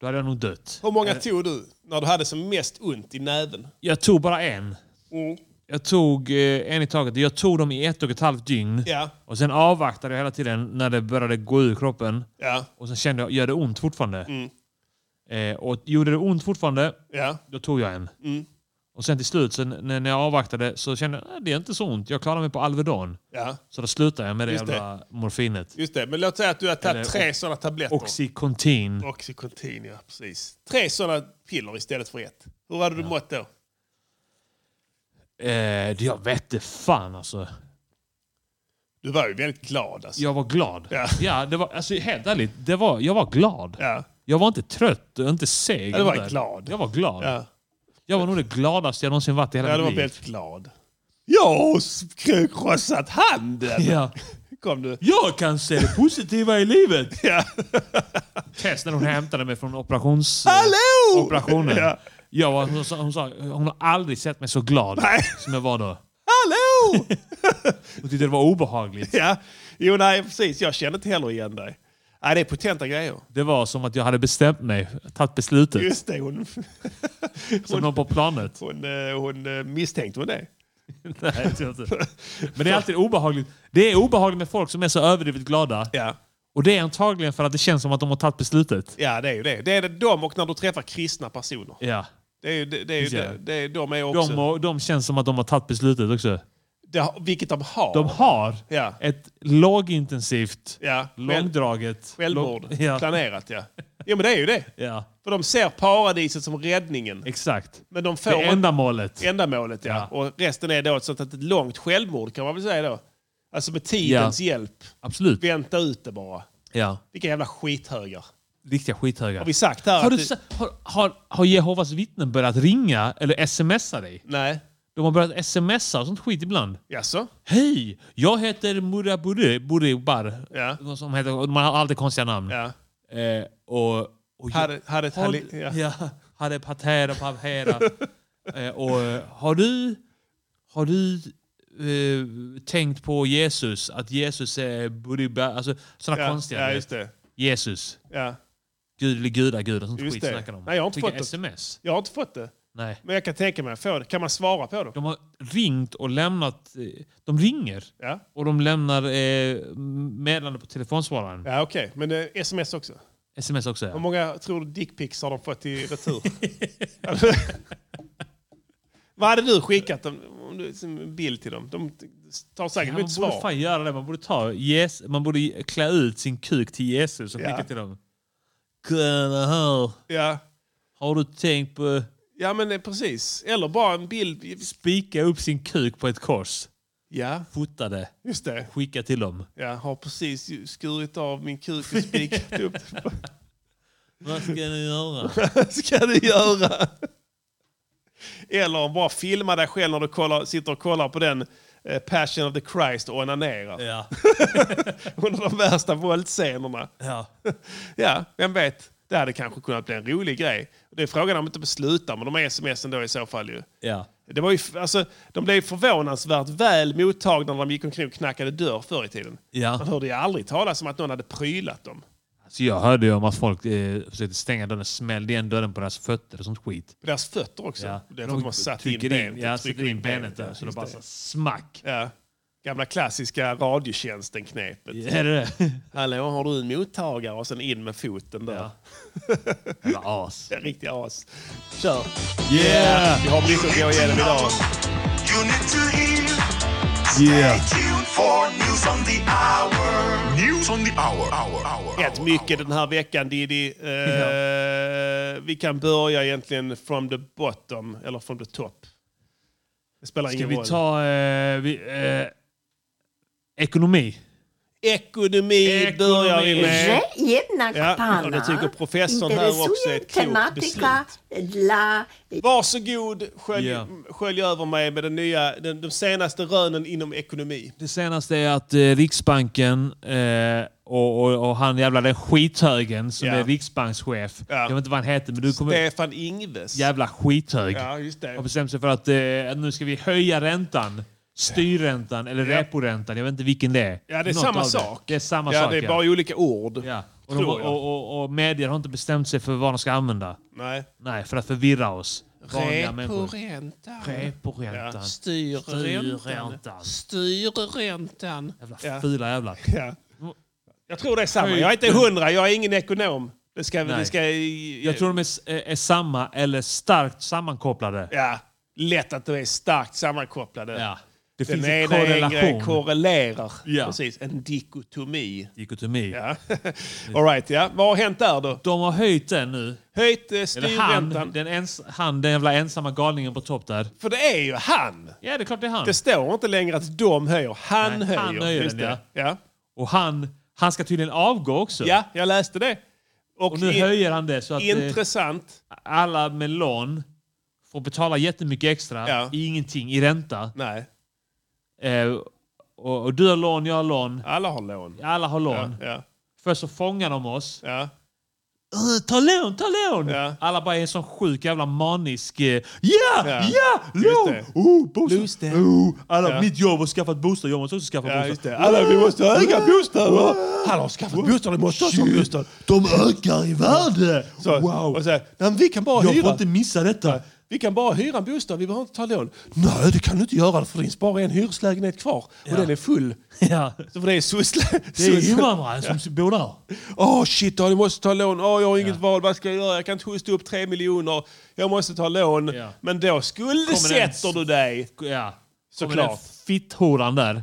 Då hade jag nog dött.
Hur många tog du när du hade som mest ont i näven?
Jag tog bara en. Mm. Jag tog eh, en i taget. Jag tog dem i ett och ett halvt dygn.
Ja.
Och sen avvaktade jag hela tiden när det började gå ur kroppen.
Ja. Mm.
Och sen kände jag, gör det ont fortfarande? Eh, och gjorde det ont fortfarande,
Ja. Mm.
då tog jag en. Och sen till slut, sen, när när jag avvaktade, så kände jag, "Nej, det är inte så ont. Jag klarar mig på Alvedon.
Ja.
Så då slutade jag med det
Just det.
jävla morfinet.
Just det, men låt säga att du har
Eller
tagit tre
ox-
sådana tabletter.
Oxycontin.
Oxycontin, ja precis. Tre sådana piller istället för ett. Hur hade du mått då?
Eh, det- jag vet det fan alltså.
Du var ju väldigt glad alltså.
Jag var glad.
Ja.
det var, alltså, helt ärligt, det var, jag var glad.
Ja.
Jag var inte trött och inte seg.
Ja, du var
Där.
glad.
Jag var glad.
Ja.
Jag var nog det gladaste jag någonsin varit i hela
Ja, du var
mitt liv.
väldigt glad. <laughs> Jag har sk- krossat handen!
Ja.
Kom du.
Jag kan se det positiva i livet!
<laughs> Ja.
Tess när hon hämtade mig från operations...
Hallå!
Operationen.
Ja.
Jag var, hon, sa, hon sa hon har aldrig sett mig så glad
Nej.
som jag var då.
Hallå!
<laughs> Hon tyckte det var obehagligt.
ja. Jo, nej precis. Jag kände inte heller igen dig. Nej, det är potenta grejer.
Det var som att jag hade bestämt mig, tagit beslutet.
Just det, hon... <laughs>
som någon på planet.
Hon, eh, hon eh, misstänkte hon det.
<laughs> Nej, jag tror inte. Men det är alltid obehagligt. Det är obehagligt med folk som är så överdrivet glada.
Ja.
Och det är antagligen för att det känns som att de har tagit beslutet.
<laughs> ja, det är ju det. Det är det, de och när du träffar kristna personer.
Ja.
Det är ju, det, det är ju
Ja.
det, det, är- de är också...
De, och, de känns som att de har tagit beslutet också.
det, har- vilket de har.
De har
Ja.
ett lågintensivt,
Ja.
långdraget...
Självmord.
lång- ja.
Planerat, ja. Jo, men det är ju det.
ja,
För de ser paradiset som räddningen.
exakt.
Men de får
Det är ändamålet.
ändamålet, ja. Och resten är då ett sånt att ett långt självmord kan man väl säga då. Alltså med tidens hjälp.
Absolut.
Vänta ut det bara.
Ja.
Vilka jävla skithögar.
Riktiga skithögar.
Har vi sagt här
Har,
att
du,
det-
sa- har, har, har Jehovas vittnen börjat ringa eller smsa dig?
Nej.
De har börjat smsa och sånt skit ibland.
Jaså?
Hej! Jag heter Murabure Buribar.
Ja.
Vad Som heter, man har alltid konstiga namn.
Ja.
Eh, och, och
Hade- hade ett
har
halli-
du-
ja.
ja. Hade patera
<laughs>
pavera. eh, och eh, har du, har du eh, tänkt på Jesus? Att Jesus är Buribar? Alltså sådana
Ja,
konstiga.
ja
du vet.
just det.
Jesus.
Ja.
Gud eller gudagud och sånt
Just
skit
det.
snackar de om.
Nej, jag har inte
Fick
fått det.
sms.
Jag har inte fått det.
Nej.
Men jag kan tänka mig att få det. Kan man svara på det?
De har ringt och lämnat... eh, De ringer
Ja,
och de lämnar eh, meddelande på telefonsvararen.
ja okej. Men eh, sms också.
Sms också.
Hur
Ja.
många tror du dickpics har de fått
<laughs>
i retur? Vad hade du skickat dem, om du, som en bild till dem? De tar
Ja,
säkert
man
emot
borde
svar.
fan göra det. Man borde, ta yes, man borde klä ut sin kuk till Jesus och
Ja.
skicka till dem. Kolla här.
Ja.
Har du tänkt på
ja, men eh, precis. Eller bara en bild.
spika upp sin kuk på ett kors?
Ja,
Fota det.
just det.
Skicka till dem.
Jag har precis ju skurit av min kuk och spikat upp den.
<laughs> Vad ska ni göra?
<laughs> Vad ska du göra? Eller bara filma dig själv när du kollar, sitter och kollar på den eh, Passion of the Christ och onanerar.
Ja.
<laughs> Under de värsta våldscenerna.
ja.
<laughs> Ja, vem vet. Det hade kanske kunnat bli en rolig grej. Det är frågan om de inte beslutar med de här smsen då i så fall. ju.
ja.
Det var ju, alltså, de blev förvånansvärt väl mottagna när de gick omkring och knackade dörr förr i tiden.
Ja.
Man hörde ju aldrig talas om att någon hade prylat dem.
Alltså jag hörde ju om att folk eh, försökte stänga dörren, smällde igen dörren på deras fötter och sånt skit.
På deras fötter också.
Ja.
Det är för att de har satt in
trycker
benet.
ja,
trycker
sätter in benet där,
ja,
så det
just
bara så smack.
Ja. Gamla klassiska radiotjänsten-knepet.
Är det det?
<laughs> Hallå, har du en mottagare? Och sen in med foten där. <laughs>
Ja. Jävla as.
Det är riktiga as. Kör!
Yeah!
Vi har mycket att gå igenom idag.
You need to hear.
Yeah!
Tune for news on the hour. News on the hour. Hour. Hour.
Rätt mycket den här veckan, Diddy. Eh, Vi kan börja egentligen from the bottom, eller from the top. Det spelar
Ska
ingen
vi
roll.
ta... Eh, vi, eh, ekonomi.
Ekonomi börjar vi med.
Jedna
Ja, och det tycker professorn här också är ett klokt
tematika
beslut.
dla
Varsågod, skölj,
Ja.
skölj över mig med den nya, den, de senaste rönen inom ekonomi.
Det senaste är att eh, Riksbanken eh, och, och, och han jävla den skithögen som
Ja.
är riksbankschef.
Ja.
Jag vet inte vad han heter, men du kommer...
Stefan Ingves.
Jävla skithög.
Ja, just det.
har bestämt sig för att eh, att nu ska vi höja räntan. Styrräntan eller
Ja.
reporäntan. Jag vet inte vilken det är.
Ja, det är
Något
samma
av
sak.
Det. det är samma
Ja,
sak.
det är bara olika ord.
ja. Och, de,
tror
och,
jag.
och, och medier har inte bestämt sig för vad de ska använda.
Nej.
Nej, för att förvirra oss. Vanliga människor.
Reporäntan. Ja.
Reporäntan.
Styrräntan.
Styrräntan.
Styrräntan.
Jävla
Ja.
fula jävlar.
Ja. Jag tror det är samma. Jag är inte hundra, jag är ingen ekonom. Det ska,
Nej.
det ska,
Jag tror de är, s- är samma eller starkt sammankopplade.
Ja, lätt att de är starkt sammankopplade.
Ja. Det
Den
finns en
ena är en grej,
korrelation.
korrelerar.
Ja.
Precis, en dikotomi.
Dikotomi. <laughs>
Ja. All right, ja. Vad har hänt där då?
De har höjt den nu.
Höjt eh,
Eller han,
styrräntan.
den, ens, han, den jävla ensamma galningen på topp där.
För det är ju han.
Ja, det är klart det är han.
Det står inte längre att de höjer. Han
Nej,
höjer.
han höjer
Just
den,
det. Ja.
Och han, han ska tydligen avgå också.
ja, jag läste det. Och,
Och nu
i-
höjer han det så att eh,
Intressant.
alla med lån får betala jättemycket extra
Ja.
i ingenting i ränta.
Nej,
Eh, och, och du har lån, jag har lån.
alla har lån.
Alla har lån.
Ja,
Först så fångar de oss.
ja.
"Åh, Ta lån, ta lån!
Ja.
Alla bara är en sån sjuk jävla manisk... eh, Ja,
Ja.
ja,
Just
lån!
det.
Oh, bostad!
Bostad.
Oh, alla,
Ja.
Mitt jobb har skaffat bostad, jag måste också skaffa
ja,
bostad.
just det. Alla, vi måste öka
Mm.
bostäder! Han har skaffat bostad, det måste också ha bostad.
De ökar i värde!
Så, Och så, här, Nej, men vi kan bara hyra.
missa detta.
Vi kan bara hyra en bostad, vi behöver inte ta lån. Nej, det kan du inte göra, för det finns bara en hyreslägenhet kvar. Och den är <laughs> full.
Ja.
Så för det är soslä...
Det är invandrare som bor där.
Åh shit, ja, du måste ta lån. Åh, jag har inget val. Vad ska jag göra? Jag kan inte hosta upp tre miljoner. Jag måste ta lån.
Ja.
Men då skuldsätter
Kommer den-
du dig.
Ja.
Såklart. Mm.
Kommer den Fitthoran där.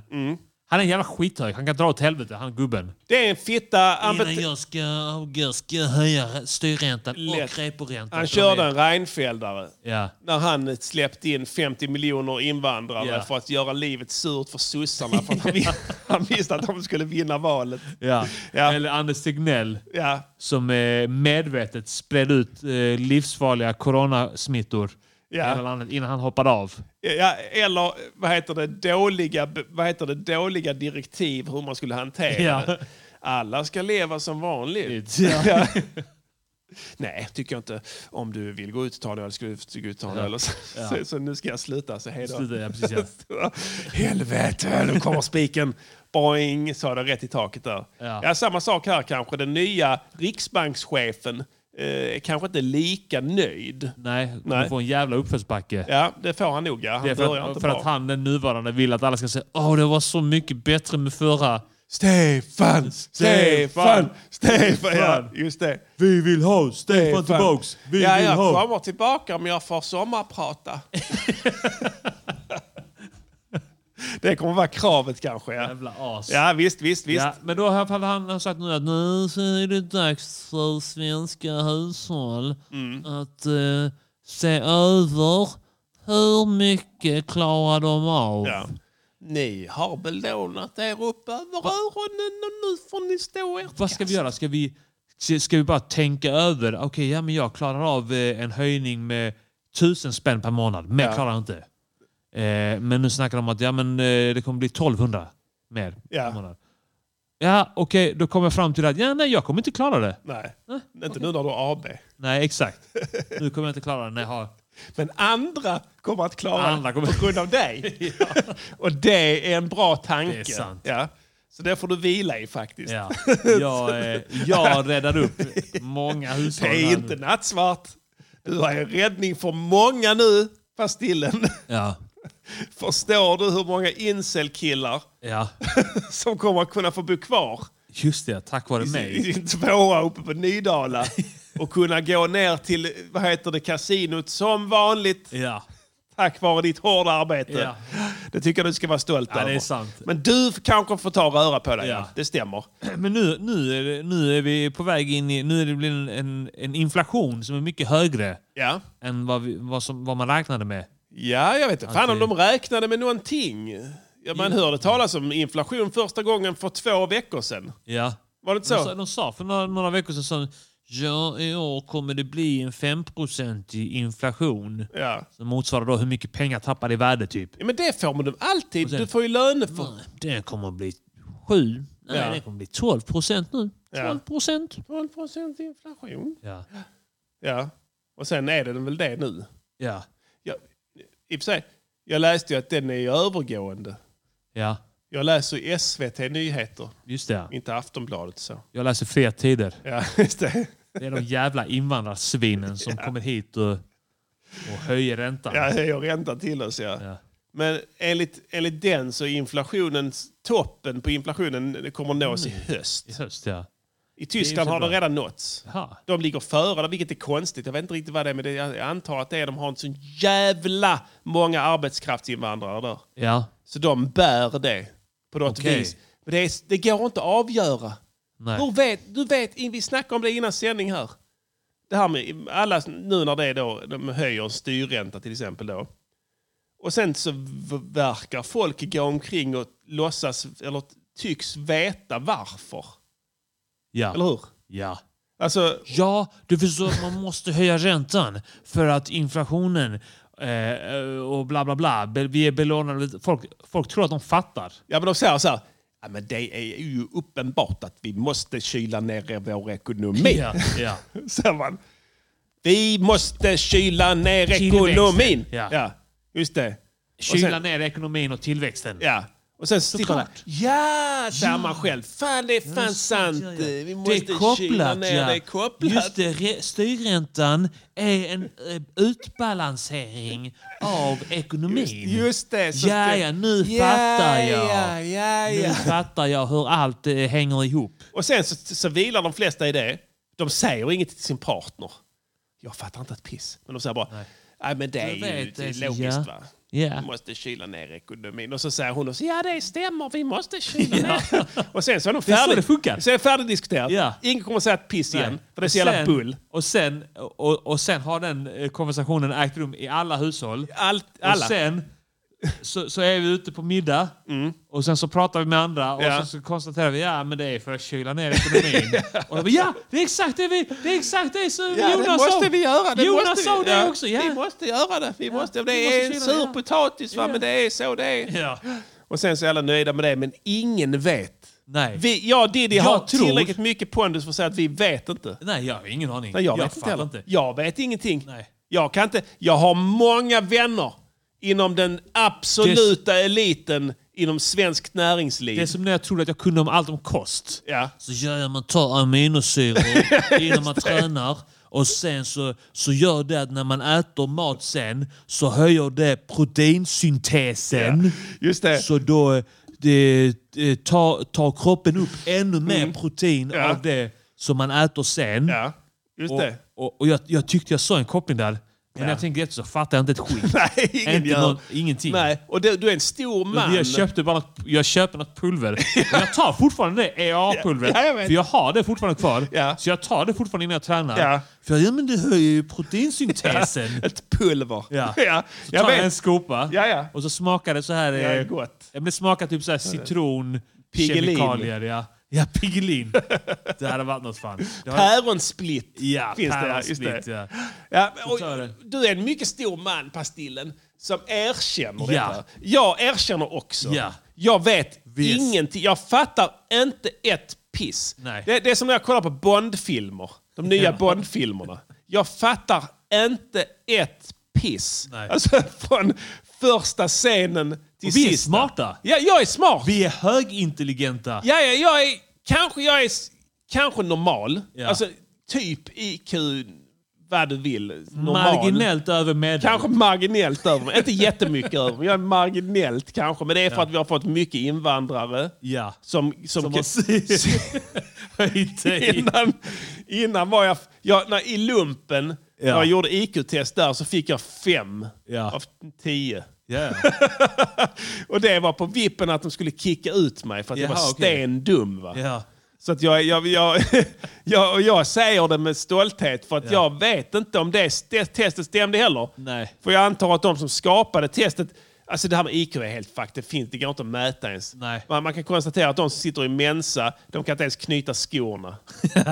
Han är en jävla skithög. Han kan dra åt helvete, han gubben.
Det är en fitta. Han, bet-
jag ska avgå ska jag höja styrräntan
Lätt.
reporäntan.
han
Så de
körde
är-
en Reinfeldare.
Ja.
När han släppte in 50 miljoner invandrare
Ja.
för att göra livet surt
<laughs>
för sossarna. För att han, vi- han visste att de skulle vinna valet.
Ja.
Ja.
Eller Anders Tegnell
Ja,
som eh, medvetet spred ut eh, livsfarliga coronasmittor i
Ja.
hela landet innan han hoppade av.
Ja, eller vad heter det, dåliga, vad heter det, dåliga direktiv hur man skulle hantera
Ja.
det. Alla ska leva som vanligt.
Ja.
<laughs> Ja. Nej, tycker jag inte. Om du vill gå ut och ta en öl ska du gå ut och ta en
Ja.
öl. Och Så,
Ja.
så, så nu ska jag sluta, så hej då.
Sluta, ja, precis, ja.
<laughs> Så, Helvete, nu kommer spiken. Boing, sa det rätt i taket där.
Ja.
Ja. samma sak här kanske. Den nya riksbankschefen eh, är kanske inte lika nöjd.
Nej,
Nej.
du får en jävla uppförsbacke.
Ja, det får han nog. Ja. Han
det är
börjar
för, att,
inte
för
bra.
att han, den nuvarande, vill att alla ska säga åh det var så mycket bättre med förra.
Stefan, Stefan, Stefan! Ja, just det.
Vi vill ha Stefan tillbaks! Vi
ja,
vill
jag
ha!
kommer tillbaka om jag får sommarprata. det kommer vara kravet kanske. Ja,
Jävla as.
ja visst, visst, visst.
Alltså. Ja, men då har han- han har sagt nu att nu så är det dags för svenska hushåll
Mm.
att eh, se över hur mycket klarar de av.
Ja. Ni har belånat er upp över öronen och nu får ni stå ert
Vad ska vi
kast.
göra? Ska vi, ska vi bara tänka över? Okej, ja, men jag klarar av eh, en höjning med tusen spänn per månad. Mer klarar jag inte. Eh, men nu snackar de om att ja, men, eh, det kommer bli 1200 mer
Ja.
per månad. Ja, okej, då kommer jag fram till att ja, nej, jag kommer inte klara det.
Nej, inte nu när du har AB.
Nej, exakt. Nu kommer jag inte klara det. Nej, ha.
Men andra kommer att klara
Andra kommer-
det på grund
<laughs>
av dig. och det är en bra tanke.
Det är sant.
Ja. Så det får du vila i faktiskt. <laughs>
Ja. Jag, eh, jag räddar upp många
Det
hushåll.
är
här
inte
nu.
nattsvart. Du har en räddning för många nu, Pastillen.
Ja.
<laughs> Förstår du hur många incel-killar
ja,
<laughs> som kommer att kunna få bo kvar
just det. Tack vare
i sin- i
mig.
sin <laughs> tvåa uppe
<laughs>
på Nydala och kunna gå ner till vad heter det, kasinot som vanligt
Ja.
tack vare ditt hårda arbete.
Ja.
Det tycker jag du ska vara stolt
Ja, det
över.
är sant.
Men du kanske får ta och röra på dig.
Ja.
Det stämmer.
<clears throat> Men nu, nu, är det, nu är vi på väg in i... Nu är det blir en, en, en inflation som är mycket högre
Ja.
än vad, vi, vad, som, vad man räknade med.
Ja, jag vet inte. Fan
Att
om
det-
de räknade med någonting. Ja, man hörde talas om inflation första gången för två veckor sedan.
Ja.
Var det inte
De, sa,
så?
de sa för några, några veckor sedan sa de, ja, i år kommer det bli en 5-procentig inflation.
Ja.
Som motsvarar då hur mycket pengar tappar i värde typ.
ja, men det får man dem alltid.
sen-
Du får ju löneförhöjning.
Nej, det kommer bli 7. Nej,
Ja.
det kommer bli 12 procent nu.
Ja.
12 procent.
12 procent inflation.
Ja.
Ja, och sen är den väl det nu.
Ja.
Jag, I och för sig, jag läste ju att den är ju övergående.
ja,
Jag läser ju SVT Nyheter,
just det. ja.
inte Aftonbladet. så.
Jag läser fria tider.
Ja, <laughs> just det.
Det är de jävla invandrarsvinen som kommer hit och, och höjer räntan.
Ja, jag räntar till oss, ja.
Ja.
Men enligt, enligt den så är inflationen, toppen på inflationen det kommer nås i
Mm.
höst.
I höst, ja.
I
Det är
Tyskland
ju så
har den
bra.
redan nåtts.
Jaha.
De ligger före, där, vilket är konstigt. Jag vet inte riktigt vad det är, men det, jag antar att det är, de har en så jävla många arbetskraftsinvandrare där.
Ja,
Så de bär det på något
Okej.
vis. Men det, är, det går inte att avgöra.
nej.
Hur vet, du vet, vi snackade om det innan sändning här. Det här med alla, nu när det är då, de höjer en styrränta till exempel då. Och sen så v- verkar folk gå omkring och låtsas, eller tycks veta varför. Eller
Ja.
hur?
ja.
Alltså,
Ja, du förstår att man måste höja räntan för att inflationen eh, och bla bla bla. Be- Vi är belånade. Folk, folk tror att de fattar.
ja men de säger så här. Ja, men det är ju uppenbart att vi måste kyla ner vår ekonomi.
Ja,
<laughs>
ja.
säger man. Vi måste kyla ner
Tillväxten.
ekonomin.
Ja.
just det. Och
Kyla
sen-
ner ekonomin och tillväxten.
Ja. Och sen sitter man
Såklart.
Ja, säger man själv. Fan, det är fan sant.
Ja, ja.
Vi måste
det är kopplat,
ner.
ja.
Det är kopplat.
Just det, re- styrräntan är en eh, utbalansering av ekonomin.
Just- just det. så
ja,
det-
ja, nu
Ja,
fattar jag.
Ja, ja,
Nu
ja.
fattar jag hur allt eh, hänger ihop.
Och sen så, så vilar de flesta i det. De säger inget till sin partner. Jag fattar inte ett piss. Men de säger bara, nej, men det är
Jag
ju
vet,
det är
det är-
logiskt
ja.
va?
Ja.
Vi måste kyla ner ekonomin. Och så säger hon också, ja det stämmer,
<laughs>
vi måste kyla ner. <laughs> Och sen så är de
är så
färdig,
det funkar.
Så är det färdigdiskuterat.
Ja.
Ingen kommer säga ett piss igen, för det är så
Och
jävla
sen-
bull.
Och sen, och, och sen har den eh, konversationen ägt rum i alla hushåll.
Allt,
Och
alla.
sen så, så är vi ute på middag och sen så pratar vi med andra och
Mm. Ja.
sen så konstaterar vi ja men det är för att kyla ner
<laughs>
ekonomin. och de bara, ja, det är exakt det vi, det är exakt det som
Ja,
Jonas
det måste
sa.
vi göra. Det
Jonas
måste
sa
vi.
det
ja.
också. Ja.
Vi måste göra det. Vi måste, det
vi
är
måste
en
kyla,
sur
ja.
potatis, va? men det är så det är.
Ja.
Och sen så är alla nöjda med det, men ingen vet
Nej.
Vi, jag och Diddy
Jag
har
tror-
tillräckligt mycket pondus för att säga att vi vet inte.
Nej, jag har ingen aning.
Nej, jag,
Jag
vet inte
fattar
heller.
inte.
Jag vet ingenting. Jag kan inte. Jag har många vänner inom den absoluta eliten inom svenskt näringsliv.
Det är som när jag trodde att jag kunde om allt om kost.
Ja.
Så gör man tar
<laughs>
aminosyror innan man tränar. Och sen så, så gör det att när man äter mat sen så höjer det proteinsyntesen.
Just det.
Så då eh, det, eh, tar, tar kroppen upp ännu mer protein
Mm. Ja.
av det som man äter sen.
Just
och
det.
och, och jag, jag tyckte jag såg en koppling där. Men
Ja.
när jag tänker efter så fattar jag inte ett skit.
<laughs> Nej, ingen
inte
gör.
någon, ingenting.
Nej, och du, du är en stor man.
Jag köpte bara något, jag köper något pulver.
<laughs>
Och jag tar fortfarande det EA-pulvret.
Ja, jag vet.
för jag har det fortfarande kvar.
Ja.
Så jag tar det fortfarande innan jag tränar.
Ja.
För ja, men det höjer ju proteinsyntesen.
<laughs> Ett pulver.
Ja.
<laughs> ja.
Så
Jag
tar jag en
vet.
skopa
Ja, ja.
och så smakar det så här...
Ja,
eh,
gott.
Ja, men det smakar typ så här citron,
Piggelin.
kemikalier. Ja, ja
<laughs>
Piggelin. det hade varit något fan. Det har-
Päronsplitt
Ja,
finns det. ja, Just
päronsplitt,
det.
ja.
Ja,
Så tar
och
det.
du är en mycket stor man, Pastillen, som erkänner
Ja.
detta. Jag erkänner också.
Ja.
Jag vet
Visst.
ingenting. Jag fattar inte ett piss.
Nej.
Det, det är som när jag kollar på Bondfilmer. De nya
Ja.
Bondfilmerna. Jag fattar inte ett piss.
Nej.
Alltså <laughs> från första scenen till
Och vi är
sista.
smarta.
Ja, jag är smart.
Vi är högintelligenta.
Ja, ja, jag är, kanske jag är s- kanske normal.
Ja.
Alltså typ IQ, vad du vill. Normal.
Marginellt över medel.
Kanske marginellt över mig. Inte jättemycket över mig. Jag är marginellt kanske. Men det är för att vi har fått mycket invandrare.
Ja.
Som, som,
Som har si- <laughs> höjt dig.
innan, innan var jag... jag när, I lumpen, när jag gjorde IQ-test där, så fick jag fem
Ja.
av tio.
Ja.
Och det var på vippen att de skulle kicka ut mig för att jag
Jaha,
var
okej.
stendum. Va?
Ja.
Så att jag, jag, jag, <laughs> jag, och jag säger det med stolthet för att
Ja.
jag vet inte om det st- testet stämde heller.
Nej.
För jag antar att de som skapade testet... Alltså det här med IQ är helt fucked. Det, finns, det går inte att mäta ens.
Nej.
Man, man kan konstatera att de som sitter i Mensa, de kan inte ens
<laughs>
knyta skorna.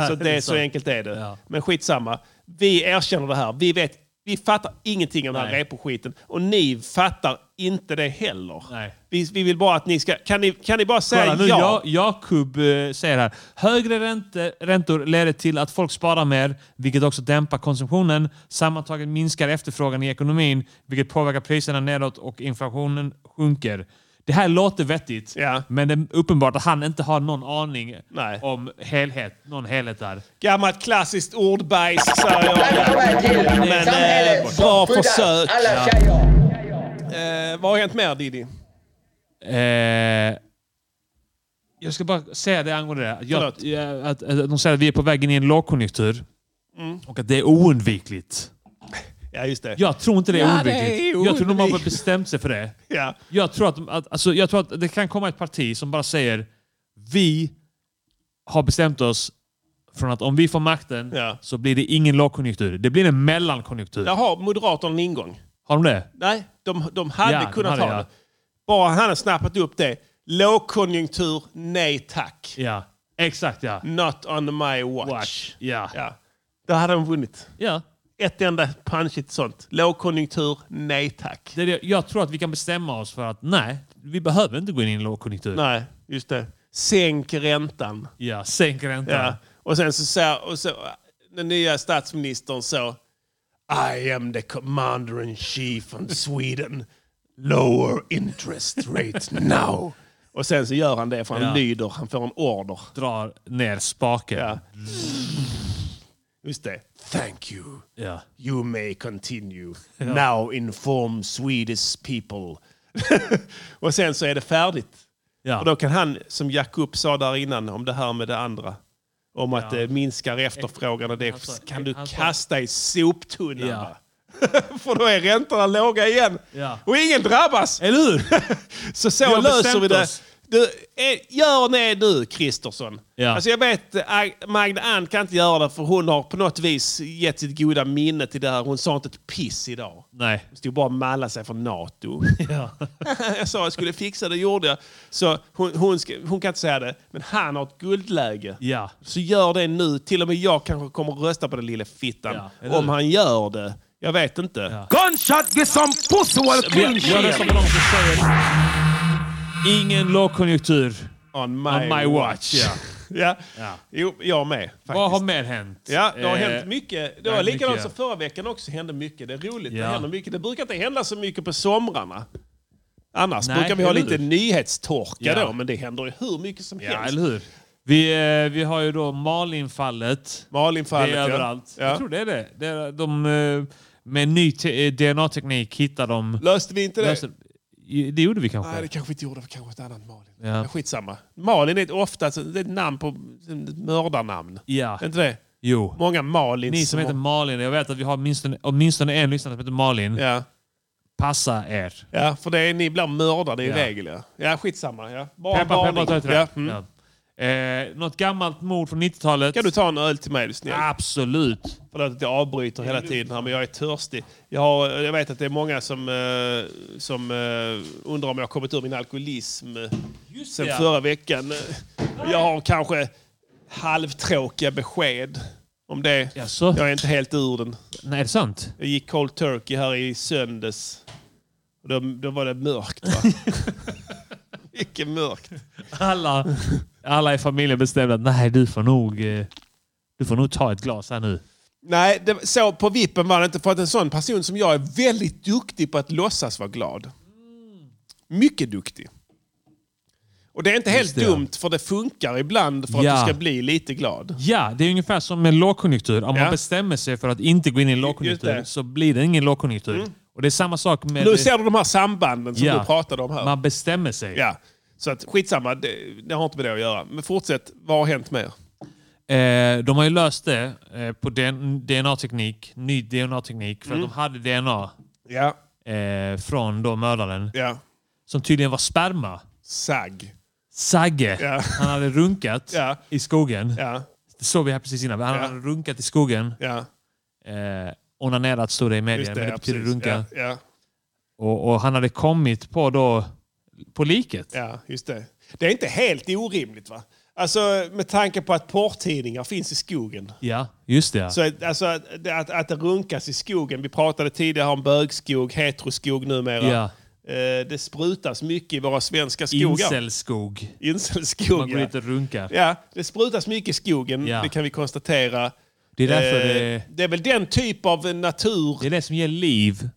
så det,
det är
så
sant.
enkelt är det.
Ja.
Men skitsamma. Vi erkänner det här. Vi vet vi fattar ingenting om den här
Nej.
repo-skiten. Och ni fattar inte det heller.
Nej.
Vi, vi vill bara att ni ska... Kan ni, kan ni bara säga
Kolla, nu,
ja?
ja. Jakob eh, säger här. Högre ränte, räntor leder till att folk sparar mer, vilket också dämpar konsumtionen. Sammantaget minskar efterfrågan i ekonomin, vilket påverkar priserna nedåt och inflationen sjunker. Det här låter vettigt,
Ja.
men det är uppenbart att han inte har någon aning
Nej.
om helhet, någon helhet där.
Gammalt klassiskt ordbajs, säger jag. Men eh, bra försök. Eh, vad har hänt mer, Diddy?
Eh, jag ska bara säga det angående det. Jag,
Förlåt.
jag, att, att de säger att vi är på väg in i en lågkonjunktur
Mm.
och att det är oundvikligt.
Ja, just det.
Jag tror inte det är
Ja, det är
oundvikligt. Jag tror de har
oundvikligt.
bestämt sig för det.
Ja.
Jag tror att, de- att, alltså, jag tror att det kan komma ett parti som bara säger vi har bestämt oss från att om vi får makten
Ja.
så blir det ingen lågkonjunktur. Det blir en mellankonjunktur.
Där har Moderaterna en ingång.
Har de det?
Nej, de, de hade
Ja, de
kunnat
hade,
ha
ja.
det. Bara han har snappat upp det. Lågkonjunktur, nej tack.
Ja. Exakt ja.
Not on my watch.
Watch. Ja. Ja.
Ja. Där hade de vunnit.
ja.
Ett enda punchigt sånt. Lågkonjunktur, nej tack.
Det är det. Jag tror att vi kan bestämma oss för att nej, vi behöver inte gå in i en lågkonjunktur.
Nej, just det. Sänk räntan.
Ja, sänk räntan.
Ja. Och sen så säger och så, den nya statsministern så I am the commander in chief of Sweden. Lower interest rate now. Och sen så gör han det för han
Ja.
lyder, han får en order.
Drar ner spaken.
Ja. Just det. Thank you.
Ja.
You
<laughs>
may continue. Now inform Swedish people. <laughs> och sen så är det färdigt.
Ja.
Och då kan han, som Jakob sa där innan om det här med det andra, om att det minskar efterfrågan och det
Han sa-
kan du
han sa-
kasta i soptunnan.
Alltså, eh, Ja.
va? <laughs> För då är räntorna låga igen.
Ja.
Och ingen drabbas!
Eller hur?
Så så
har
löser
bestämt
vi det.
oss.
Du, eh, gör det du, Kristersson.
Ja.
Alltså jag vet, eh, Ag- Magda Ann kan inte göra det för hon har på något vis gett sitt goda minne till det här. Hon sa inte ett piss idag.
nej.
Hon stod bara och mallade sig för NATO.
<laughs> Ja.
<laughs> jag sa jag skulle fixa det, gjorde jag. Så hon, hon, ska, hon kan inte säga det, men han har ett guldläge.
Ja.
Så gör det nu. Till och med jag kanske kommer rösta på den lille fittan.
Ja, eller
om
hur?
han gör det. Jag vet inte.
Gunshot, get some pussy while
Jag röstar på dem som säger ingen lågkonjunktur.
On my,
On my watch, ja.
ja.
Ja.
Jo, jag med. Faktiskt.
Vad har mer hänt?
Ja, det
Eh,
har hänt mycket. Det
det
var
har
likadant
mycket,
som förra veckan också. hände mycket. Det är roligt.
Ja.
Det händer mycket. Det brukar inte hända så mycket på somrarna. Annars
Nej,
brukar vi ha
eller
lite
hur?
nyhetstorka
Ja.
då, men det händer ju hur mycket som
Ja,
helst.
eller hur? Vi, eh, vi har ju då Malinfallet.
Malinfallet,
Det är
ja.
överallt.
Ja.
Jag tror det är det. det är, de, eh, med ny te- eh, DNA-teknik hittar de...
Löste vi inte det?
löser- I- det gjorde vi kanske.
Nej, det kanske vi inte gjorde. Det var kanske ett annat Malin.
Ja.
Men Skitsamma. Malin är ett, ofta ett det är ett namn på ett mördarnamn.
Ja.
Är inte det?
Jo.
Många Malin
Ni som heter Malin, jag vet att vi har åtminstone, åtminstone en lyssnare som heter Malin.
Ja.
Passa er.
Ja, för det är, ni blir mördade i
Ja.
regel. Ja. ja, skitsamma. Ja. Bara
Peppar, peppar,
varning.
ta ett
ja.
ja.
mm.
ja. eh, Något gammalt mord från 90-talet.
Kan du ta en öl till mig, är du snäll?
Absolut.
Förlåt att jag avbryter hela tiden här, men jag är törstig. Jag, har, jag vet att det är många som, eh, som eh, undrar om jag har kommit ur min alkoholism eh, sen
ja.
förra veckan. Eh, Jag har kanske halvtråkiga besked om det.
Jaså?
Jag är inte helt ur den.
Nej, är det sant?
Jag gick cold turkey här i söndags. Och Då, då var det mörkt. Va?
<laughs>
Mycket mörkt.
Alla, alla i familjen bestämde att nej, du får nog... eh, Du får nog ta ett glas här nu.
Nej, det, så på vippen var det inte. För att en sån person som jag är väldigt duktig på att låtsas vara glad. Mycket duktig. Och det är inte helt
det, ja.
dumt, för det funkar ibland för
Ja.
att du ska bli lite glad.
Ja, det är ungefär som med lågkonjunktur. Om
Ja.
man bestämmer sig för att inte gå in i en
Just det. Mm.
lågkonjunktur så blir det ingen lågkonjunktur. Och det är samma sak med...
Nu ser du de här sambanden som
Ja.
du pratade om här.
Man bestämmer sig.
Ja. Så att, skitsamma, det, det har inte med det att göra. Men fortsätt, vad har hänt mer?
Eh, de har ju löst det eh, på DNA-teknik, ny DNA-teknik, för att de hade DNA
Mm. Ja,
eh, från då mördaren,
ja.
som tydligen var sperma.
Sagg.
Sagge,
Ja.
han hade runkat
Ja.
i skogen.
Ja,
Det såg vi här precis innan. Han
Ja.
hade runkat i skogen.
ja.
Eh, onanerat stod det i media, men det
ja,
betyder
precis.
runka.
Ja, ja.
Och, och han hade kommit på då på liket.
Ja, just det. Det är inte helt orimligt va? Alltså med tanke på att porrtidningar finns i skogen.
Ja, just det. ja.
Så att, alltså, att, att, att det runkas i skogen. Vi pratade tidigare om bögskog, heteroskog numera.
Ja.
Eh, det sprutas mycket i våra svenska skogar.
Incelskog. Man
Incelskog,
går
ja.
dit och runkar.
ja. Det sprutas mycket i skogen,
Ja.
det kan vi konstatera.
Det är därför
Eh,
det,
det är väl den typ av natur...
det är det som ger liv.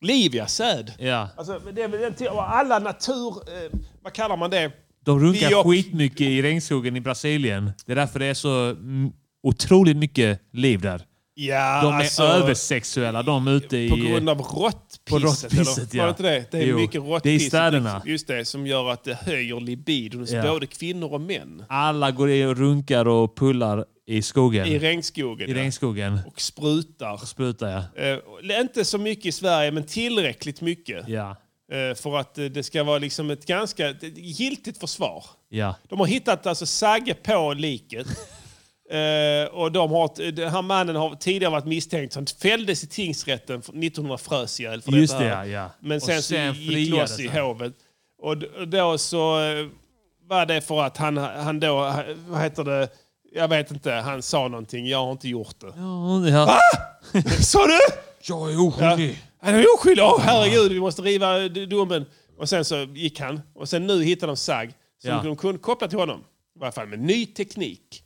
Liv, ja. Säd.
Ja.
Alltså, det är väl den typ av alla natur... Eh, vad kallar man det?
De runkar
Biop-
skitmycket i regnskogen i Brasilien. Det är därför det är så mm, otroligt mycket liv där.
Ja,
De är
alltså-
översexuella de ute i...
På grund av råttpisset?
På råttpisset,
eller?
ja.
Var det inte det? Det är
Jo,
mycket råttpiss.
det är i städerna.
Just det, som gör att det höjer libidon hos
Ja.
både kvinnor och män.
Alla går i och runkar och pullar i skogen.
I regnskogen.
I regnskogen.
Ja. Och sprutar.
Sprutar jag.
Eh, och inte så mycket i Sverige, men tillräckligt mycket.
Ja.
Eh, för att eh, det ska vara liksom ett ganska ett giltigt försvar.
Ja.
De har hittat alltså Sagge på liket.
<laughs>
Eh, och de har, den här mannen har tidigare varit misstänkt. så Han fälldes i tingsrätten för- 1900 frös ihjäl för
Just
detta
det,
här.
ja, ja.
Men
Och
sen,
sen
så gick
friades
loss i
han.
hovet. Och d- och då så eh, var det för att han, han då, han- vad heter det, jag vet inte, han sa någonting. Jag har inte gjort det.
Ja, ja.
<laughs> Sa du?
Jag är
Ja. Han är oskyldig! Åh herregud, vi måste riva d- domen. Och sen så gick han. Och sen nu hittade de Sag som
Ja.
de kunde koppla till honom. I varje fall med ny teknik.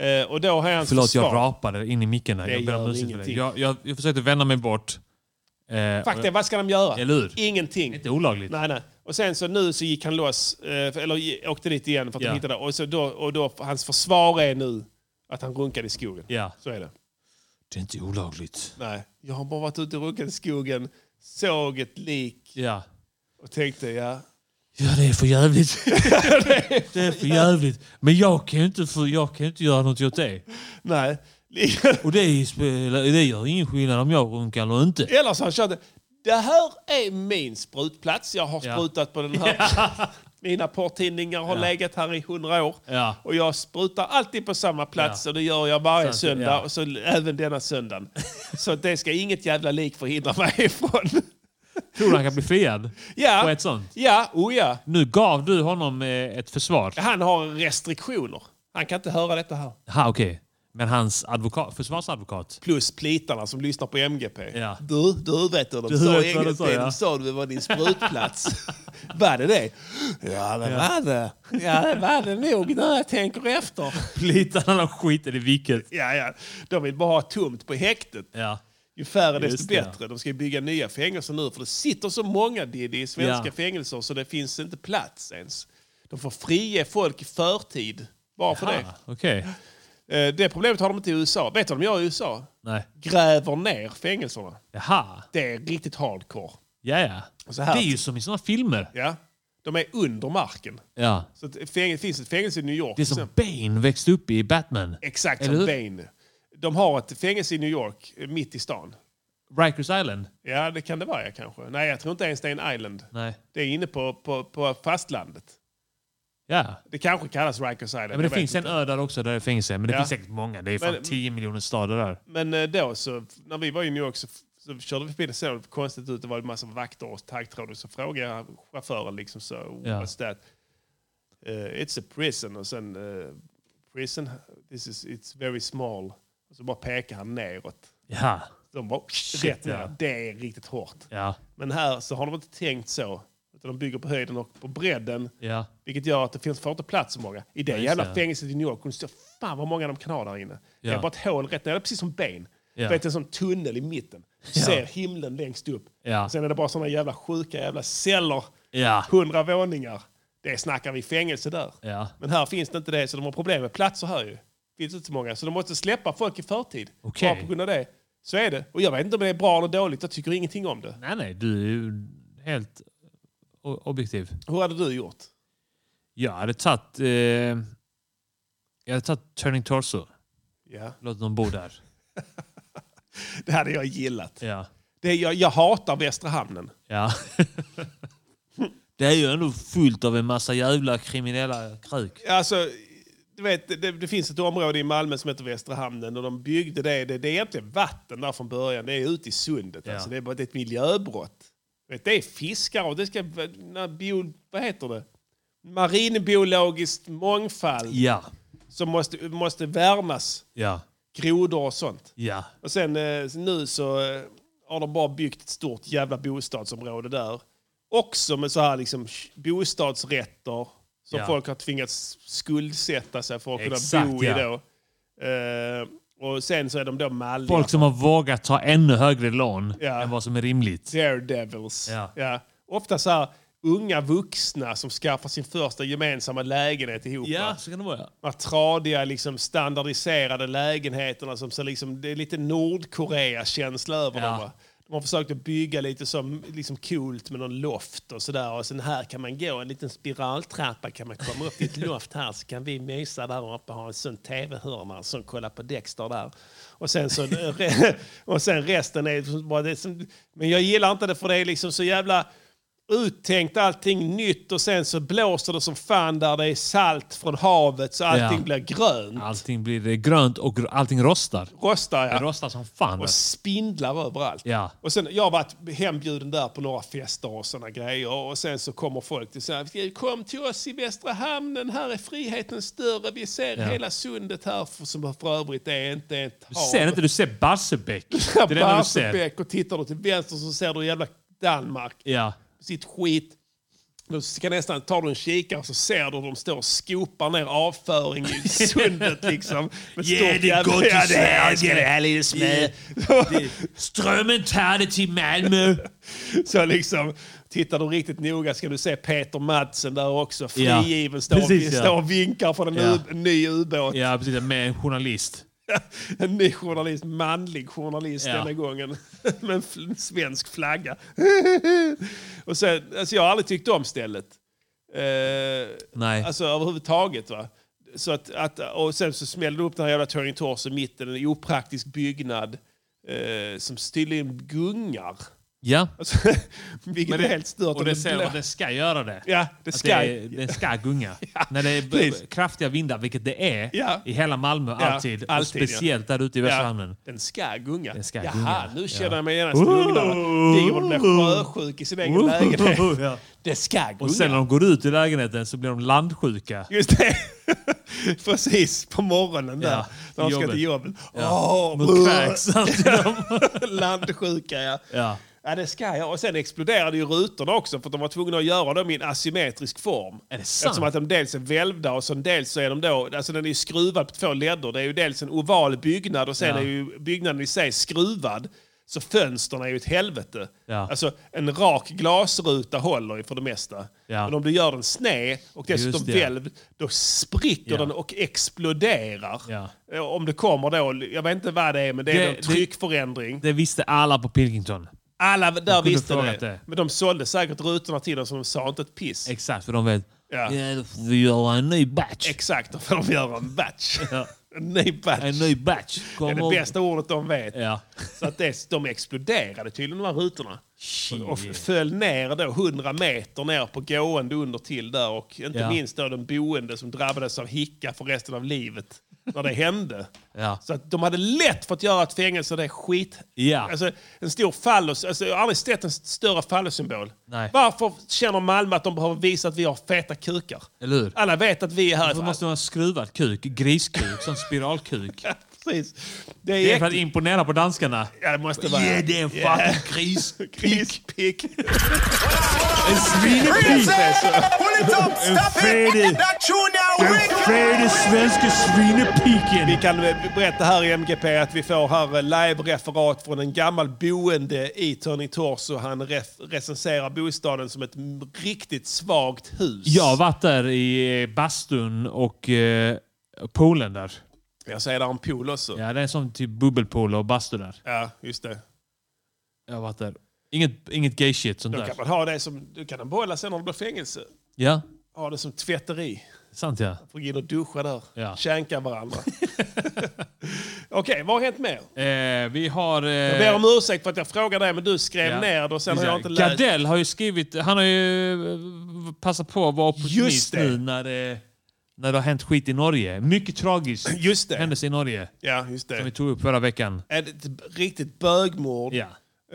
Eh, och då har han
Förlåt,
försvar.
jag rapade in i micken. Där.
Det
Jag ber om
gör
ursäkt för det.
ingenting.
Jag, jag, jag försökte vända mig bort. Eh, och-
Faktum, vad ska de göra?
Eller hur?
Ingenting.
Inte olagligt.
Nej, nej. Och sen så nu så gick han loss, eh, för- eller i- åkte dit igen för att
Ja.
de hittade. Och, så då, och då, hans försvar är nu att han runkade i skogen.
Ja.
Så är det.
Det är inte olagligt.
Nej, jag har bara varit ute och runkat i skogen, såg ett lik
Ja.
och tänkte ja,
Ja, det är för jävligt. <laughs> det är för jävligt. Men jag kan ju inte, för, jag kan ju inte göra något åt det.
nej.
Och det, spelar, det gör ingen skillnad om jag runkar eller inte.
Eller så han körde, det här är min sprutplats. Jag har
Ja.
sprutat på
<laughs>
den här. Mina porrtidningar har legat här i hundra år.
Ja.
Och jag sprutar alltid på samma plats
Ja.
och det gör jag varje
Så att-
söndag.
ja.
Och så även
<laughs>
denna söndagen. så att det ska inget jävla lik förhindra mig ifrån.
Tror du han kan bli friad?
ja.
På ett sånt?
Ja, oh ja.
Nu gav du honom eh, ett försvar.
Han har restriktioner. Han kan inte höra detta här.
Ha, okej. Men hans advokat, försvarsadvokat?
Plus plitarna som lyssnar på MGP.
Ja.
Du, du vet hur de
Du
sa
vet
i
vad de sa,
Engelsmännen
ja. <laughs>
sa det var din sprutplats. var det det? Ja, det var det. Ja, det var det nog när jag tänker efter.
Plitarna de skiter i vilket.
<laughs> Ja, ja. De vill bara ha tomt på häktet.
Ja.
Ju färre desto
Just det, ja.
bättre. De ska ju bygga nya fängelser nu för det sitter så många Diddy i svenska
Ja.
fängelser så det finns inte plats ens. De får frige folk i förtid bara för det.
Ah, Okej.
Eh, Det problemet har de inte i USA. Vet du vad de gör i USA?
Nej.
Gräver ner fängelserna.
Jaha.
Det är riktigt hardcore.
Ja, ja.
Så här.
Det är ju som i såna filmer.
Ja. De är under marken.
Ja.
Så att fäng- det finns ett fängelse i New York.
Det är som Bane växte upp i Batman.
Exakt
Eller
som
hur?
Bane. De har ett fängelse i New York, eh, mitt i stan.
Rikers Island.
Ja, det kan det vara ja, kanske. Nej, jag tror inte ens det är en island.
Nej.
Det är inne på, på, på fastlandet.
Ja.
Det kanske kallas Rikers Island.
Ja, men det
jag vet
finns en
inte.
ö där också där det finns en, men det
Ja.
finns säkert många. Det är
Men-
fan 10 miljoner stader där.
Men eh, då, så, när vi var i New York så, så körde vi förbi det så konstigt ut. Det var en massa vakter och taggtråd. och Så frågade jag chauffören liksom så,
Ja.
what's that? Eh, it's a prison. Och sen, eh, prison, this is, it's very small. Och så bara pekar han neråt.
Ja.
De bara,
Shit,
rätt ner.
ja.
Det är riktigt hårt.
Ja.
Men här så har de inte tänkt så. Utan de bygger på höjden och på bredden.
Ja.
Vilket gör att det finns, får inte plats så många. I det
Ja, just
jävla
det.
fängelset i New York, kunde stå, fan vad många de kan ha där inne. Det är
Ja.
bara ett hål rätt ner, det är precis som Bane.
Ja.
Du vet en sån tunnel i mitten. Du
Ja.
ser himlen längst upp.
Ja.
Sen är det bara såna jävla sjuka jävla celler.
Ja.
Hundra våningar. Det snackar vi fängelse där.
Ja.
Men här finns det inte det, så de har problem med platser här ju. finns inte så många. Så de måste släppa folk i förtid.
Okej.
Bara på grund av det. Så är det. Och jag vet inte om det är bra eller dåligt, jag tycker ingenting om det.
Nej, nej. Du är ju helt o- objektiv.
Hur hade du gjort?
Jag hade tagit... Eh, jag hade tagit Turning Torso.
Ja.
Låt dem bo där.
<laughs> Det hade jag gillat.
Ja.
Det är, jag, jag hatar Västra Hamnen. <laughs>
Ja. det är ju ändå fullt av en massa jävla kriminella krök.
Alltså, du vet, det, det finns ett område i Malmö som heter Västra Hamnen och de byggde det. Det, det är egentligen vatten där från början. Det är ute i sundet.
Ja.
Alltså, det, är bara, det är ett miljöbrott. Du Vet, det är fiskar och det ska... när Bio, vad heter det? Marinbiologiskt mångfald
Ja.
som måste, måste värnas.
Ja.
Grodor och sånt.
Ja.
Och sen eh, nu så eh, har de bara byggt ett stort jävla bostadsområde där. Också med så här liksom sh- bostadsrätter som
Ja.
folk har tvingats skuldsätta sig för att kunna
Exakt,
bo i
ja.
då. Eh, och sen så är de då malliga.
Folk som har vågat ta ännu högre lån
alltså. Ja.
än vad som är rimligt.
Daredevils.
Ja.
Ofta så här unga vuxna som skaffar sin första gemensamma lägenhet ihop. va?
Ja, så kan det vara.
De här tradiga, liksom, standardiserade lägenheterna. Som, så liksom, det är lite Nordkorea-känsla över
Ja.
dem. Va? De har försökt att bygga lite som, liksom coolt med någon loft och sådär. Och sen här kan man gå en liten spiraltrappa kan man komma upp i ett loft här så kan vi mysa där uppe och ha en sån tv-hörna som kollar på Dexter där. Och sen, så, <laughs> och sen resten är bara det som, Men jag gillar inte det för det är liksom så jävla uttänkt allting nytt och sen så blåser det som fan där det är salt från havet så allting
Ja.
blir grönt.
Allting blir eh, grönt och gr- allting rostar.
Rostar
Det
ja.
rostar som fan.
Och spindlar överallt.
Ja.
Och sen, jag har varit hembjuden där på några fester och såna grejer. Och sen så kommer folk till så här, kom till oss i Västra Hamnen, här är friheten större. Vi ser
Ja.
hela sundet här, för, som för övrigt är inte ett
Du
hav.
ser inte, du ser
<laughs>
Barsebäck. Det är det enda du ser.
Barsebäck och tittar du till vänster så ser du jävla Danmark.
Ja.
Sitt skit. Då ska nästan, tar du en kikare så ser du hur de står och skopar ner avföring
<laughs>
i sundet. liksom. Med
Yeah,
stort
det är
jävla-
gott i
Ja, det är-
Sverige, det här
lilla smör.
Strömmen tar det till Malmö.
<laughs> Så liksom, tittar du riktigt noga ska du se Peter Madsen där också.
Ja,
Frigiven, står,
precis, ja.
står och vinkar från en
Ja.
u- en ny ubåt.
Ja, precis. Med en journalist.
En ny journalist, manlig journalist
Ja.
denna gången. <laughs> Med en fl- svensk flagga. <laughs> och sen, alltså jag har aldrig tyckt om stället. Eh,
Nej.
Alltså överhuvudtaget. Va? Så att, att, och sen så smällde det upp den här jävla Turning Torso i mitten, en opraktisk byggnad eh, som tydligen gungar.
Ja.
Alltså, <laughs> vilket är helt stört.
Och
om
det
det
ser
blå-
man, det ska göra det.
Ja, det
Att
ska.
Det, det ska gunga.
<laughs> Ja,
När det är b-
precis.
kraftiga vindar, vilket det är
Ja.
i hela Malmö alltid. och
alltid, ja.
speciellt där ute i Västra hamnen.
Den ska gunga.
Den ska
Jaha,
gunga,
nu
ja.
känner jag mig genast lugn där. Ligger och blir sjösjuk i sin egen lägenhet.
<laughs> Ja.
Det ska gunga.
Och sen när de går ut ur lägenheten så blir de landsjuka.
Just det. <laughs> Precis, på morgonen där.
Ja,
när de ska
jobbet.
till jobbet.
Ja.
<laughs> Åh,
De kräks alltid.
Landsjuka, ja.
Ja.
Ja, det ska jag. Och sen exploderade ju rutorna också för att de var tvungna att göra dem i en asymmetrisk form.
Är det sant?
Eftersom att de dels är välvda och sen dels så är de då... Alltså den är ju skruvad på två ledder. Det är ju dels en oval byggnad och sen
Ja.
är ju byggnaden i sig skruvad. Så fönstren är ju ett helvete.
Ja.
Alltså en rak glasruta håller ju för det mesta.
Ja.
Men om du gör den sned och dessutom
Just det.
välvd, då spricker
Ja.
den och exploderar.
Ja.
Eh, Om det kommer då, jag vet inte vad det är, men det är
Det-
någon
det-
tryckförändring.
Det visste alla på Pilkington.
Alla där
kunde
visste det.
frågat det.
Men de sålde säkert rutorna till dem som de sa inte ett piss.
Exakt, för de vet.
Ja.
Ja, då får vi göra en ny batch.
Exakt, då får de göra
<laughs>
en batch. En ny batch.
En ny batch.
det är
Kommer-
det bästa ordet de vet.
Ja.
<laughs> Så att det, de exploderade tydligen de här rutorna. Och, och föll ner då 100 meter ner på gående under till där. Och inte
Ja.
minst då den boende som drabbades av hicka för resten av livet när det hände.
Ja.
Så att de hade lätt fått göra ett fängelse och det är skit.
Ja.
Alltså, en stor fallos, alltså, jag har aldrig sett en större fallossymbol.
Nej.
Varför känner Malmö att de behöver visa att vi har feta kukar?
Eller hur?
Alla vet att vi är här.
Då måste de ha skruvad kuk, griskuk, sån spiralkuk.
<laughs> Precis. Det är,
Det är för att imponera på danskarna.
Ja, det måste vara...
Ja, det är en
Yeah. <laughs>
fucking gris.
Grispick.
En svinepick! En fede, den fede svenska
Vi
svinepiken!
kan eh, berätta här i MGP att vi får här eh, live-referat från en gammal boende i Tony Torso. Han ref- recenserar bostaden som ett m- riktigt svagt hus.
Jag har varit där i eh, bastun och eh, poolen där.
Jag säger där en pool också. Ja,
Ja, det är som typ bubbelpool och bastu där.
just det.
Jag har varit där. Inget, inget gay shit sånt
Då
där.
kan man ha det som... Du kan den behålla sen när det blir fängelse.
Ja,
Ha det som tvätteri.
sant ja.
Får gå in och duscha där.
Ja. <laughs>
Känka varandra. Okej, vad har hänt mer?
Eh, vi har... Eh,
Jag ber om ursäkt för att jag frågade dig, men du skrev
ja.
ner det och sen har jag inte läst.
Gardell har ju skrivit... Han har ju eh, passat på att vara
Just
opportunist
det.
nu när det, när det har hänt skit i Norge. Mycket tragiskt
<clears throat> Just det.
händelse i Norge
Ja, just det.
som vi tog upp förra veckan.
Ett riktigt bögmord.
Ja.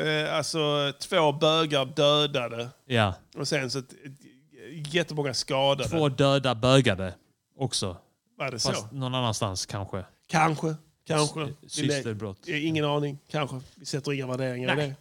Eh, alltså två bögar dödade
ja.
och sen så ett, ett, jättemånga skadade.
Två döda bögade också.
Var det så?
Fast någon annans kanske.
Kanske. Kanske.
S-
Vi lä-
systerbrott.
Eh, Ingen aning. Kanske. Vi sätter inga värderingar i det.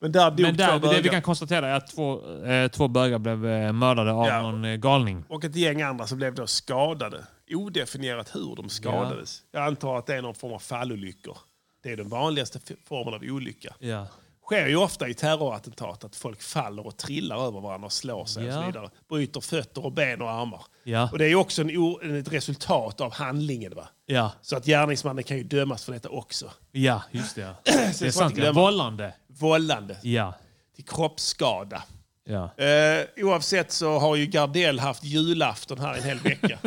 Men där dog
Men där,
två bögar.
det vi kan konstatera är att två, eh, två bögar blev eh, mördade av
Ja.
någon eh, galning.
Och ett gäng andra som blev då skadade. Odefinierat hur de skadades. Jag antar att det är någon form av fallolyckor. Det är den vanligaste f- formen av olycka.
Ja.
sker ju ofta i terrorattentat att folk faller och trillar över varandra och slår sig och
Ja.
så vidare. Bryter fötter och ben och armar.
Ja.
Och det är ju också en, o- en- ett resultat av handlingen. Va?
Ja.
Så att gärningsmannen kan ju dömas för detta också.
ja, just det. ja.
<clears throat> Så
Det är
får man
sant.
inte
Ja.
glömma.
Vållande.
Vållande
Ja.
till kroppsskada.
ja.
Eh, oavsett så har ju Gardell haft julafton här en
<laughs>
hel vecka.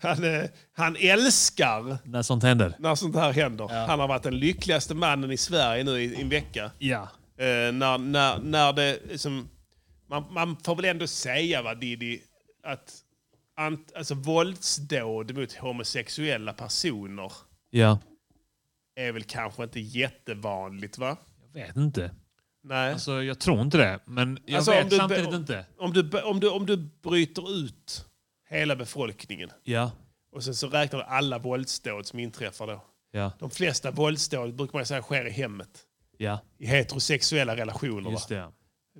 han, eh, han älskar
När sånt händer.
när sånt här händer. Han har varit den lyckligaste mannen i Sverige nu i, i en vecka.
Ja.
Eh, när, när, när det... Liksom, man, man får väl ändå säga, va, Didi, att ant, alltså, våldsdåd mot homosexuella personer
Ja.
är väl kanske inte jättevanligt, va?
Jag vet inte.
Nej.
Alltså, jag tror inte det. Men jag
Alltså, om
vet
du-
samtidigt inte.
Om, du, om, du, om du bryter ut hela befolkningen
Ja.
och sen så räknar du alla våldsdåd som inträffar då.
Ja.
De flesta våldsdåd brukar man ju säga sker i hemmet.
Ja.
I heterosexuella relationer. va?
Just det. ja.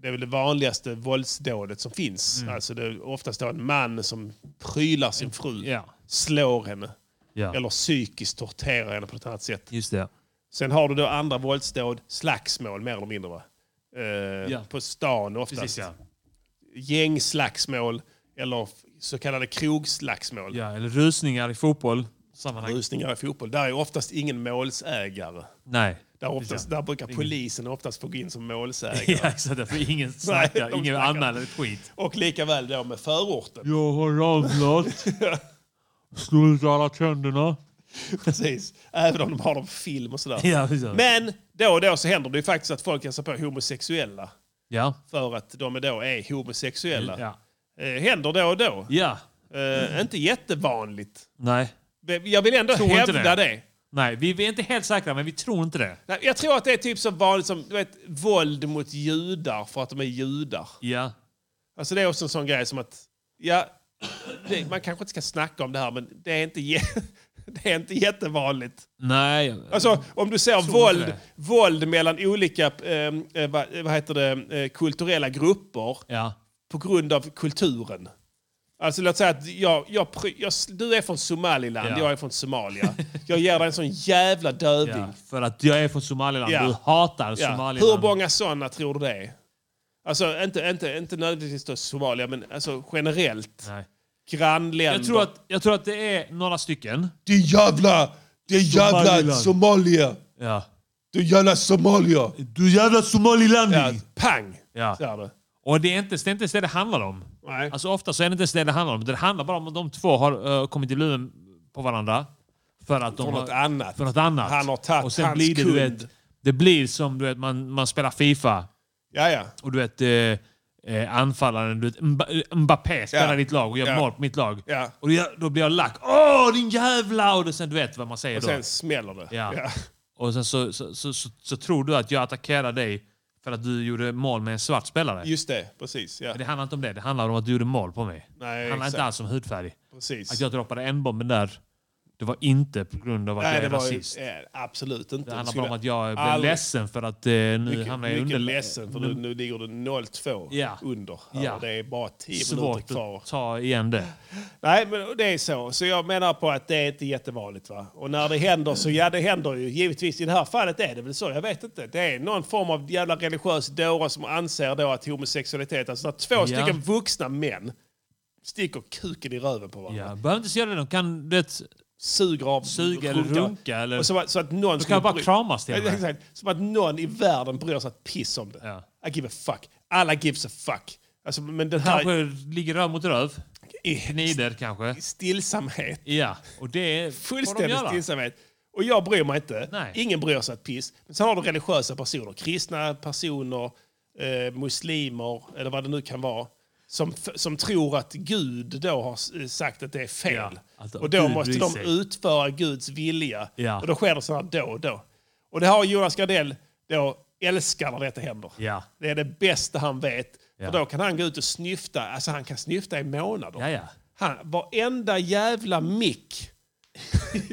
Det är väl det vanligaste våldsdådet som finns.
Mm.
Alltså det är oftast då en man som prylar sin fru,
Ja.
slår henne
Ja.
eller psykiskt torterar henne på ett annat sätt.
Just det. ja.
Sen har du då andra våldsdåd, slagsmål mer eller mindre. Va? Eh,
Ja.
På stan oftast.
Precis ja.
Gängslagsmål eller f- så kallade krogslagsmål.
Ja, eller rusningar i fotboll. Sammanhang.
Rusningar i fotboll. Där är oftast ingen målsägare.
Nej.
Där, oftast, där brukar polisen oftast få gå
<laughs>
in som målsägare.
Ja, exakt. Därför ingen
de
snackar, ingen
snackar.
anmäler ett skit.
Och lika väl då med förorten.
Jag har
<laughs>
ramlat. Slår ut alla tänderna.
Precis. Även om de har dem på film och sådär.
Ja, precis.
Men då och då så händer det ju faktiskt att folk hälsar på homosexuella
Ja.
för att de då är homosexuella.
Ja.
Eh, händer då och då.
ja.
Eh, inte jättevanligt.
Nej.
Jag vill ändå
Tror inte
hävda
det.
det. det.
Nej, vi vi är inte helt säkra, men vi tror inte det.
Nej, Jag tror att det är typ så vanligt som du vet, våld mot judar för att de är judar.
Ja.
Alltså det är också en sån grej som att, ja, det, man kanske inte ska snacka om det här men det är inte, jä- <laughs> Det är inte jättevanligt.
Nej.
Alltså, om du ser
Så
våld,
det.
våld mellan olika eh, eh, vad, vad heter det, eh, kulturella grupper
Ja.
på grund av kulturen. Alltså låt säga att jag, jag, pry- jag, du är från Somaliland,
Ja.
jag är från Somalia. Jag ger dig en sån jävla dövning.
ja. För att jag är från Somaliland.
Ja.
Du hatar
Ja.
Somaliland.
Hur många sådana tror du det är? Alltså inte, inte, inte nödvändigtvis då Somalia, men alltså generellt.
Nej.
Grannländer.
Jag tror, att, jag tror att det är några stycken.
Det är jävla... Det är jävla
Somaliland.
Somalia!
Ja.
Du jävla Somalia!
Du jävla Somaliland!
Ja, pang!
Ja.
Så är det.
Och det är, inte, det är inte ens det det handlar om.
Nej.
Alltså ofta så är det inte ens det det handlar om. Det handlar bara om att de två har eh, kommit i luven på varandra. För att de
För
har,
något annat.
För något annat.
Han har tagit
och sen
hans
blir det,
kund.
du vet, det blir som du vet, man, man spelar Fifa
Ja, ja.
och du vet eh, eh, anfallaren, du vet, Mba- eh, Mbappé spelar
Ja.
i ditt lag och gör
Ja.
mål på mitt lag.
Ja.
Och jag, då blir jag lack. Åh din jävla! Och då, sen du vet vad man säger
Och
då.
sen smäller det.
Ja. Och sen så, så, så, så, så tror du att jag attackerar dig för att du gjorde mål med en svart spelare.
Just det, precis. Ja.
Men det handlar inte om det. Det handlar om att du gjorde mål på mig.
Nej,
det handlar
exakt.
inte alls om hudfärg.
precis.
Att jag droppade en bomben där, det var inte på grund av att
Nej,
jag
det
är
var ju,
rasist.
eh, absolut inte.
Det handlar
Skulle-
bara om att jag blev
aldrig-
ledsen för att eh, nu hamnar jag
Mycket,
i
mycket
underläge.
ledsen, för nu, nu ligger du 0-2
Ja.
under.
Ja.
Och det är bara 10 minuter
Svårt
kvar.
att ta igen det.
Nej, men det är så. Så jag menar på att det är inte jättevanligt. Va? Och när det händer så, ja det händer ju. Givetvis i det här fallet är det väl så, jag vet inte. Det är någon form av jävla religiös dåre som anser då att homosexualitet, alltså när två
Ja.
stycken vuxna män sticker kuken i röven på varandra.
Ja, behöver inte ens göra det. De kan du vet,
Suger av...
suga eller runka. Eller,
Och så, att- så att någon
de
skulle
kan bara
bry-
kramas till
Ja,
och med.
Exakt. Som att någon i världen bryr sig ett piss om det.
Ja.
I give a fuck. Alla gives a fuck. Alltså, men den här...
Kanske ligger röv mot röv.
I
Knider kanske.
stillsamhet.
Ja, och det får de
Fullständig
göra.
stillsamhet. Och jag bryr mig inte.
Nej.
Ingen bryr sig ett piss. Men sen har du religiösa personer, kristna personer, eh, muslimer eller vad det nu kan vara. Som, f- som tror att Gud då har s- sagt att det är fel.
Ja, att
och då
Gud
måste
bryr
de
sig.
utföra Guds vilja.
Ja.
Och då sker det så här då och då. Och det har Jonas Gardell då älskar när detta händer.
Ja.
Det är det bästa han vet.
Ja.
För då kan han gå ut och snyfta. Alltså han kan snyfta i månader.
Ja, ja.
Han, varenda jävla mick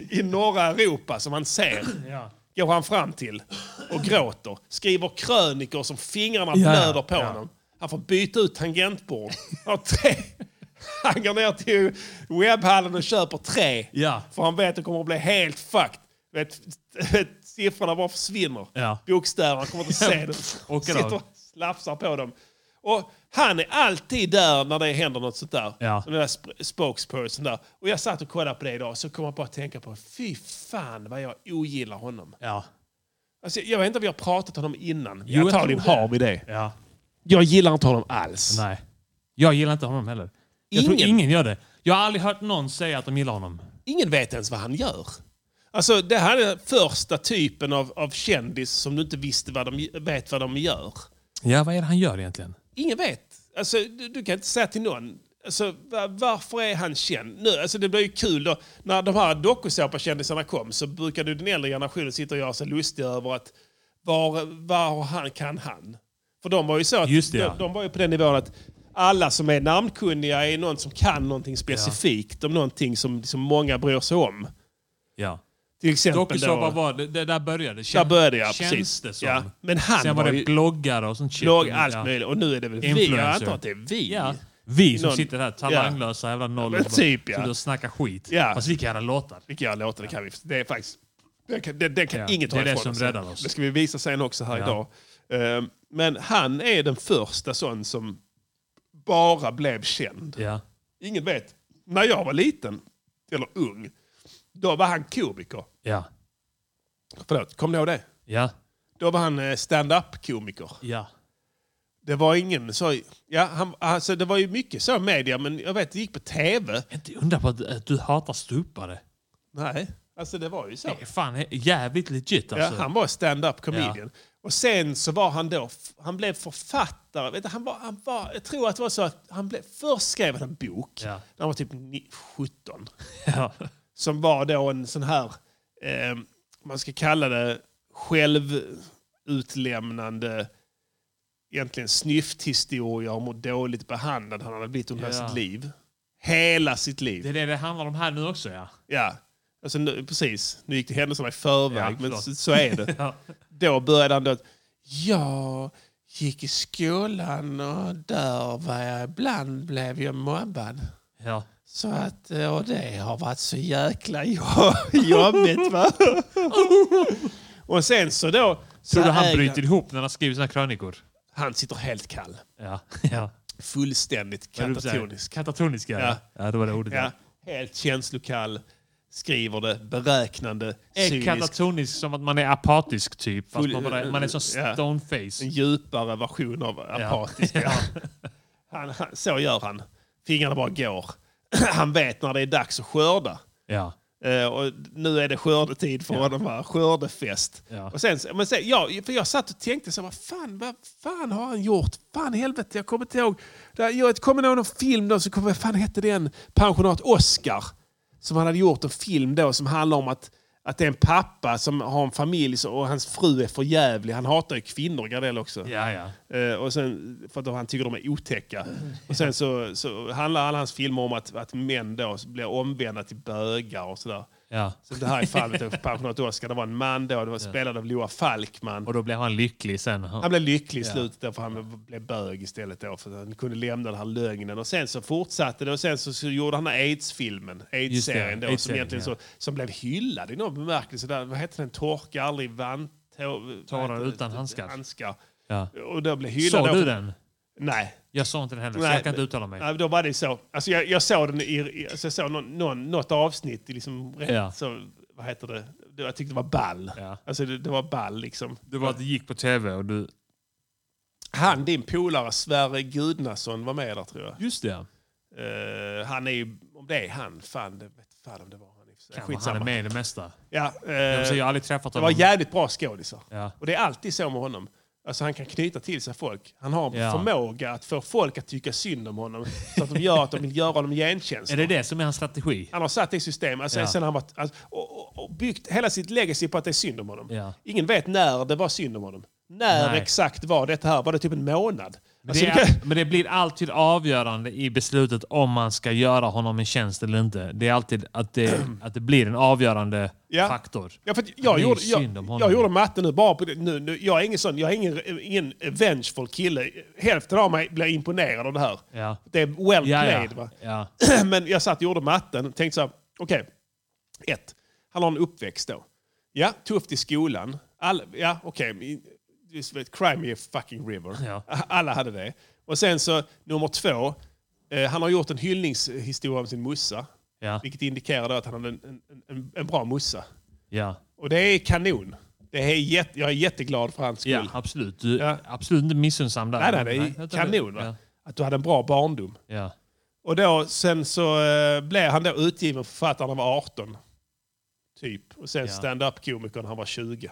i norra Europa som han ser
<clears throat>
<clears throat>
Ja.
går han fram till och gråter. Skriver krönikor som fingrarna
Ja, ja,
blöder på
ja.
honom. Han får byta ut tangentbord. Han, har tre. han går ner till webbhallen och köper tre.
Ja.
För han vet att det kommer att bli helt fucked. Vet, siffrorna bara försvinner.
Ja.
Bokstäverna kommer inte se dem.
Åker
Sitter
av.
och slafsar på dem. Och han är alltid där när det händer något sånt där.
Ja.
Som den där sp- spokesperson där. Och jag satt och kollade på det idag så kom jag bara att tänka på fy fan vad jag ogillar honom.
Ja.
Alltså, jag vet inte om vi har pratat om honom innan.
Jo,
jag
jag
tar
tror
din
det.
harm i det.
ja.
Jag gillar inte honom alls.
Nej. Jag gillar inte honom heller. Jag tror
Ingen.
ingen gör det. Jag har aldrig hört någon säga att de gillar honom.
Ingen vet ens vad han gör. Alltså, det här är första typen av, av kändis som du inte visste vad de, vet vad de gör.
Ja, vad är det han gör egentligen?
Ingen vet. Alltså, du, du kan inte säga till någon. Alltså, va- varför är han känd nu? Alltså, det blir ju kul då. När de här dokusåpakändisarna kom så brukade ju den äldre generationen sitta och göra sig lustig över att var, var har han kan han? För de var ju så att,
Just det, ja.
de, de var ju på den nivån att alla som är namnkunniga är någon som kan någonting specifikt om någonting som, som många bryr sig om.
Ja.
Till exempel
Dokusåpa
då-
var det, det där började.
där började jag,
känns
precis.
det som.
Ja. Men han
Sen var
var
det
ju-
bloggar och sånt shit.
Låg allt
Ja.
möjligt. Och nu är det väl vi. Jag
Influencer.
antar att det är vi.
Ja. Vi som
Någon-
sitter här, talanglösa jävla nollor,
men typ,
bara
ja.
sitter och snackar skit.
Ja.
Fast vi kan göra låtar.
Vilka jag låter, det kan vi. Det är faktiskt... Det kan, det, det kan
Ja,
inget
det är
ta
det
ifrån
som räddar oss.
Det ska vi visa sen också här
Ja.
idag. Ehm, men han är den första sån som bara blev känd.
Ja.
Ingen vet. När jag var liten, eller ung, då var han komiker.
Ja.
Förlåt, kommer ni ihåg det?
Ja.
Då var han eh, stand-up-komiker.
Ja.
Det var ingen så... Ja, han, alltså, det var ju mycket så media, men jag vet, det gick på tv.
Inte undra på att, att "Äh, du hatar stupare.
Nej, alltså det var ju så.
Det är fan jävligt legit alltså.
Ja, han var stand-up comedian. Och sen så var han då, han blev författare. Vet du, han var, han var, jag tror att det var så att han blev, först skrev han en bok
Ja.
när han var typ ni- 17.
<laughs> Ja.
Som var då en sån här, eh, man ska kalla det självutlämnande, egentligen snyfthistorier om hur dåligt behandlad han hade blivit
Ja.
under sitt liv. Hela sitt liv.
Det är det det handlar om här nu också ja.
Ja. Alltså, nu, precis, nu gick det händelserna i förväg,
Ja,
men
förlåt.
så, så är det.
<laughs> Ja.
Då började han då... att, Jag gick i skolan och där var jag... Ibland blev jag mobbad.
Ja.
Så att, eh, och det har varit så jäkla jo- <laughs> jobbigt va. <laughs> och sen så då... Så
Tror du han
äger-
bryter ihop när han skriver sina krönikor?
Han sitter helt kall.
Ja. <laughs> ja.
Fullständigt
Vad är det du säger?
katatonisk.
Katatonisk, ja.
Ja.
Ja, det var det ordet.
Ja, helt känslokall. Skriver det beräknande,
Är
cyniskt.
katatonisk som att man är apatisk typ? Fast
Full-
man, bara, man är som
ja.
stoneface.
En djupare version av
<laughs>
apatisk.
Ja.
Han, han, så gör han. Fingrarna bara går. <clears throat> han vet när det är dags att skörda.
Ja.
Eh, och nu är det skördetid för honom. Här. Skördefest.
Ja.
Och sen, men sen, ja, för jag satt och tänkte så här, vad fan, vad fan har han gjort? Fan i helvete, jag kommer inte ihåg. Där- Jag kommer ihåg någon film då, så kommer, vad fan hette den? Pensionat Oscar. Som han hade gjort en film då som handlar om att, att det är en pappa som har en familj så- och hans fru är förjävlig. Han hatar ju kvinnor, Gardell också.
Ja, ja.
Eh, och sen, för att då han tycker de är otäcka. Och sen så, så handlar alla hans filmer om att, att män då blir omvända till bögar och sådär.
Ja.
Så det här i fallet då, Pensionat Oscar, det var en man då, det var spelad av Loa Falkman.
Och då blev han lycklig sen.
Han blev lycklig i
Ja.
slutet därför han blev bög istället då, för att han kunde lämna den här lögnen. Och sen så fortsatte det och sen så, så gjorde han den här aids-filmen, aids-serien då, som,
AIDS-serien,
egentligen
ja.
så, som blev hyllad i någon bemärkelse. Där, vad heter den? Torka aldrig vant... tå-
Tårar
vad heter det?
utan handskar.
handskar.
Ja.
Och då blev hyllad.
Såg
då
du
för-
den?
Nej.
Jag såg inte den heller, så
Nej,
jag kan inte
men-
uttala mig.
Nej, då var det så. Alltså jag, jag såg den i, i alltså jag såg någon, någon, något avsnitt i liksom rätt,
Ja.
så, vad heter det? Det- Jag tyckte det var ball.
Ja.
Alltså det, det var ball liksom.
Det var att det gick på tv och du...
Han, din polare Sverre Gudnason var med där tror jag.
Just det.
Eh, han är ju, om det är han, fan, det vet fan om det var han. i och för sig.
Kanske han är med i det mesta.
Ja, eh,
Jag, vill säga, jag har aldrig träffat
det
honom.
var jävligt bra skådisar.
Ja.
Och det är alltid så med honom. Alltså han kan knyta till sig folk. Han har en
Ja.
förmåga att få folk att tycka synd om honom. Så att de gör att de vill göra honom
<laughs>
gentjänster.
Är det det som är hans strategi?
Han har satt det i system. Alltså,
Ja.
sen har han varit, alltså, och, och, och byggt hela sitt legacy på att det är synd om honom.
Ja.
Ingen vet när det var synd om honom. När
Nej.
exakt var detta här? Var det typ en månad? Alltså,
det är, men det blir alltid avgörande i beslutet om man ska göra honom en tjänst eller inte. Det är alltid att det, att det blir en avgörande
Ja.
faktor.
<laughs> Ja, för att
Det
jag,
är
gjorde,
synd
jag,
om honom.
jag gjorde matte nu bara på det. Nu, nu, jag är ingen sån, jag är ingen, ingen vengeful kille. Hälften av mig blir imponerad av det här.
Ja.
Det är well
Ja,
played.
ja.
Va? <clears throat>
Ja.
Men jag satt och gjorde matten och tänkte så här, okej. Ett, han har en uppväxt då. Ja, tufft i skolan. All, ja, okej. Okay. Crime me a fucking river.
Ja.
<laughs> Alla hade det. Och sen så, nummer två. Eh, han har gjort en hyllningshistoria om sin mussa.
Ja.
Vilket indikerar då att han hade en, en, en, en bra mussa.
Ja.
Och det är kanon. Det är jätte, jag är jätteglad för hans skull.
ja, absolut. Du,
Ja.
Absolut inte missunnsam där.
Nej, nej, det är
utan
kanon.
det- Ja.
Va? Att du hade en bra barndom.
Ja.
Och då, sen så eh, blev han då utgiven författare när han var 18. Typ. Och sen
Ja.
stand-up-komiker när han var 20.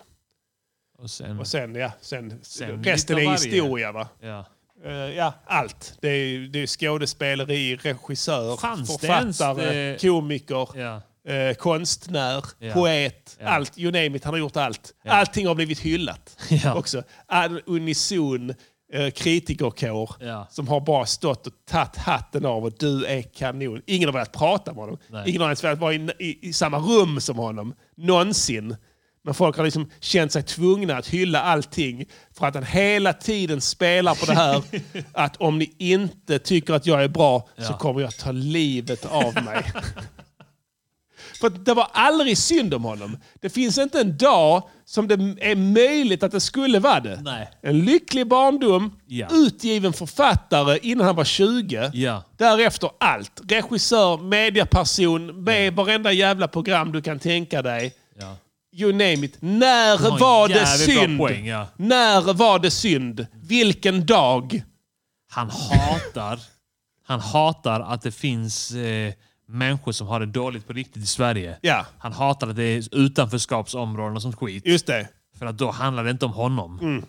Och sen,
Och sen, ja, sen,
Sen
resten
lite
är
av varje.
historia. Va?
ja.
Eh, ja, allt. Det är, det är skådespeleri, regissör,
Fanns det ens
författare,
det-
komiker,
Ja.
eh, konstnär,
Ja.
poet.
Ja.
Allt, you name it, han har gjort allt. Allting har blivit hyllat
<laughs> Ja.
också. En unison eh, kritikerkår
Ja.
som har bara stått och tagit hatten av och du är kanon. Ingen har velat prata med honom.
Nej.
Ingen har ens velat vara i, i, i samma rum som honom. Någonsin. Men folk har liksom känt sig tvungna att hylla allting för att han hela tiden spelar på
<laughs>
det här <laughs> att om ni inte tycker att jag är bra så
Ja.
kommer jag ta livet av mig. <laughs> För att det var aldrig synd om honom. Det finns inte en dag som det är möjligt att det skulle vara det.
Nej.
En lycklig barndom,
Ja.
utgiven författare innan han var 20.
Ja.
Därefter allt. Regissör, mediaperson, med i varenda jävla program du kan tänka dig.
Ja.
You name it. När
har en
var det
jävligt bra
synd?
poäng, ja.
När var det synd? Vilken dag?
Han hatar, han hatar att det finns eh, människor som har det dåligt på riktigt i Sverige.
Ja.
Han hatar att det är utanförskapsområden och sånt skit.
Just det.
För att då handlar det inte om honom.
Mm.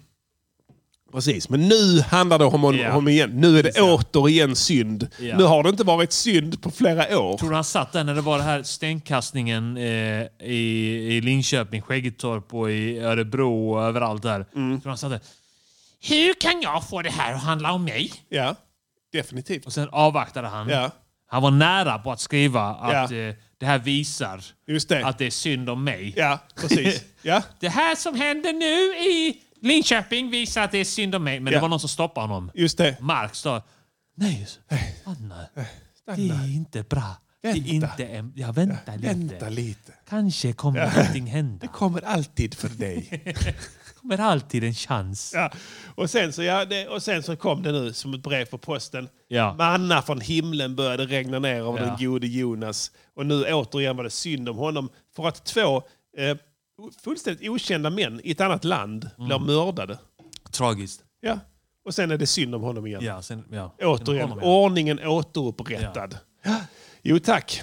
Precis, men nu handlar det om honom
Ja.
om igen. Nu är det återigen synd.
Ja.
Nu har det inte varit synd på flera år.
Tror du han satt där när det var den här stenkastningen eh, i, i Linköping, Skäggetorp och i Örebro och överallt där?
Mm.
Tror du han satt där? Hur kan jag få det här att handla om mig?
Ja, definitivt.
Och sen avvaktade han.
Ja.
Han var nära på att skriva att
Ja.
eh, det här visar att det är synd om mig.
Ja, precis. <laughs> Ja.
det här som händer nu i Linköping visar att det är synd om mig. <laughs> Men
Ja.
det var någon som stoppade honom.
Just det.
Marx då. Nej, Eh, Anna. Det är inte bra. Det är inte en... Ja, vänta lite.
Vänta lite.
Kanske kommer
Ja.
någonting hända.
Det kommer alltid
<laughs>
för dig.
kommer alltid en chans.
Ja. Och, sen så, ja, det, och sen så kom det nu som ett brev på posten.
Ja.
Manna från himlen började regna ner över
Ja.
den gode Jonas. Och nu återigen var det synd om honom för att två eh, fullständigt okända män i ett annat land blir mördade.
Tragiskt.
Ja. Och sen är det synd om honom igen.
Ja, sen, ja.
Återigen,
Honom, ja.
ordningen återupprättad. Jo tack.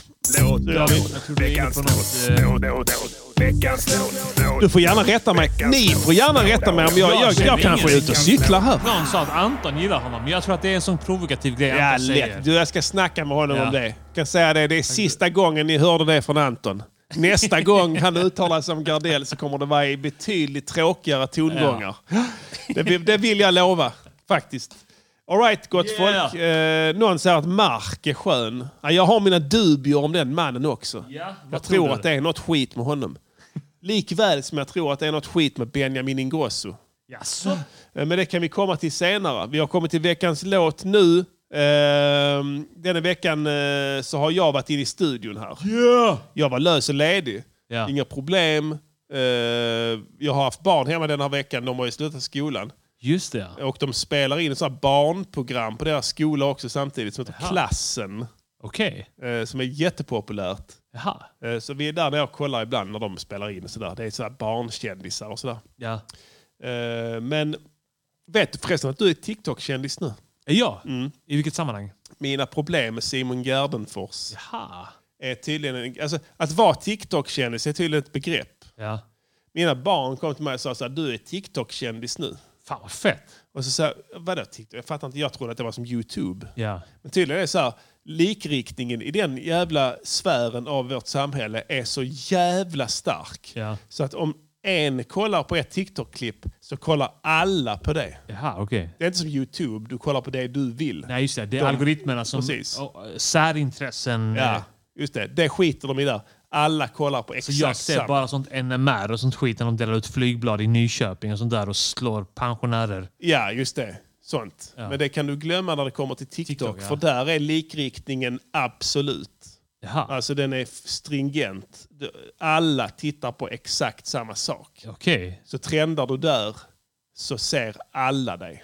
Du får gärna rätta mig. Ni får gärna rätta mig om jag, jag, jag,
känner
kanske är
ingen-
ute och cyklar här.
Någon sa att Anton gillar honom, men jag tror att det är en sån provokativ grej
Ja,
Anton säger.
lätt. Du, jag ska snacka med honom
Ja.
om det. Jag kan säga det, det är sista gången ni hörde det från Anton. Nästa gång han uttalar sig om Gardell så kommer det vara i betydligt tråkigare tongångar. Det, vill- det vill jag lova, faktiskt. All right, gott
Yeah.
folk. Eh, någon säger att Mark är skön. Ja, jag har mina dubier om den mannen också.
Ja, vad
jag
tror
tror
du?
att det är något skit med honom. Likväl som jag tror att det är något skit med Benjamin Ingrosso.
Jaså?
Eh, Men det kan vi komma till senare. Vi har kommit till veckans låt nu. Eh, denna veckan eh, så har jag varit inne i studion här.
Ja!
Jag var lös och ledig.
Ja.
Inga problem. Eh, jag har haft barn hemma den här veckan. De har ju slutat skolan.
Just det, ja.
Och de spelar in ett sånt här barnprogram på deras skola också samtidigt som heter
Jaha.
Klassen.
Okej.
eh, som är jättepopulärt.
Jaha.
Eh, så vi är där när jag kollar ibland när de spelar in. Och så där. Det är så här barnkändisar och sådär.
Ja.
Eh, men vet du förresten att du är TikTok-kändis nu? Mm.
Är jag? I vilket sammanhang?
Mina problem med Simon Gärdenfors
Jaha.
är tydligen... en- Alltså, att vara TikTok-kändis är tydligen ett begrepp.
Ja.
Mina barn kom till mig och sa så här, du är TikTok-kändis nu.
Fan vad fett.
Och så sa jag, vadå TikTok? Jag fattar inte, jag trodde att det var som YouTube.
Ja.
Men tydligen är det så här, likriktningen i den jävla sfären av vårt samhälle är så jävla stark.
Ja.
Så att om en kollar på ett TikTok-klipp så kollar alla på det.
Jaha, okej.
Det är inte som YouTube, du kollar på det du vill.
Nej, just det. Det är
De-
algoritmerna som...
Precis.
och, eh, särintressen. eh,
Ja, just det. Det skiter de i där. Alla kollar på
Så
exakt
jag ser
samma.
bara sånt NMR och sånt skit när de delar ut flygblad i Nyköping och sånt där och slår pensionärer.
Ja, just det. Sånt. Men det kan du glömma när det kommer till TikTok.
TikTok, ja.
För där är likriktningen absolut.
Jaha,
Alltså den är f- stringent. Du- Alla tittar på exakt samma sak.
okej.
Så trendar du där så ser alla dig.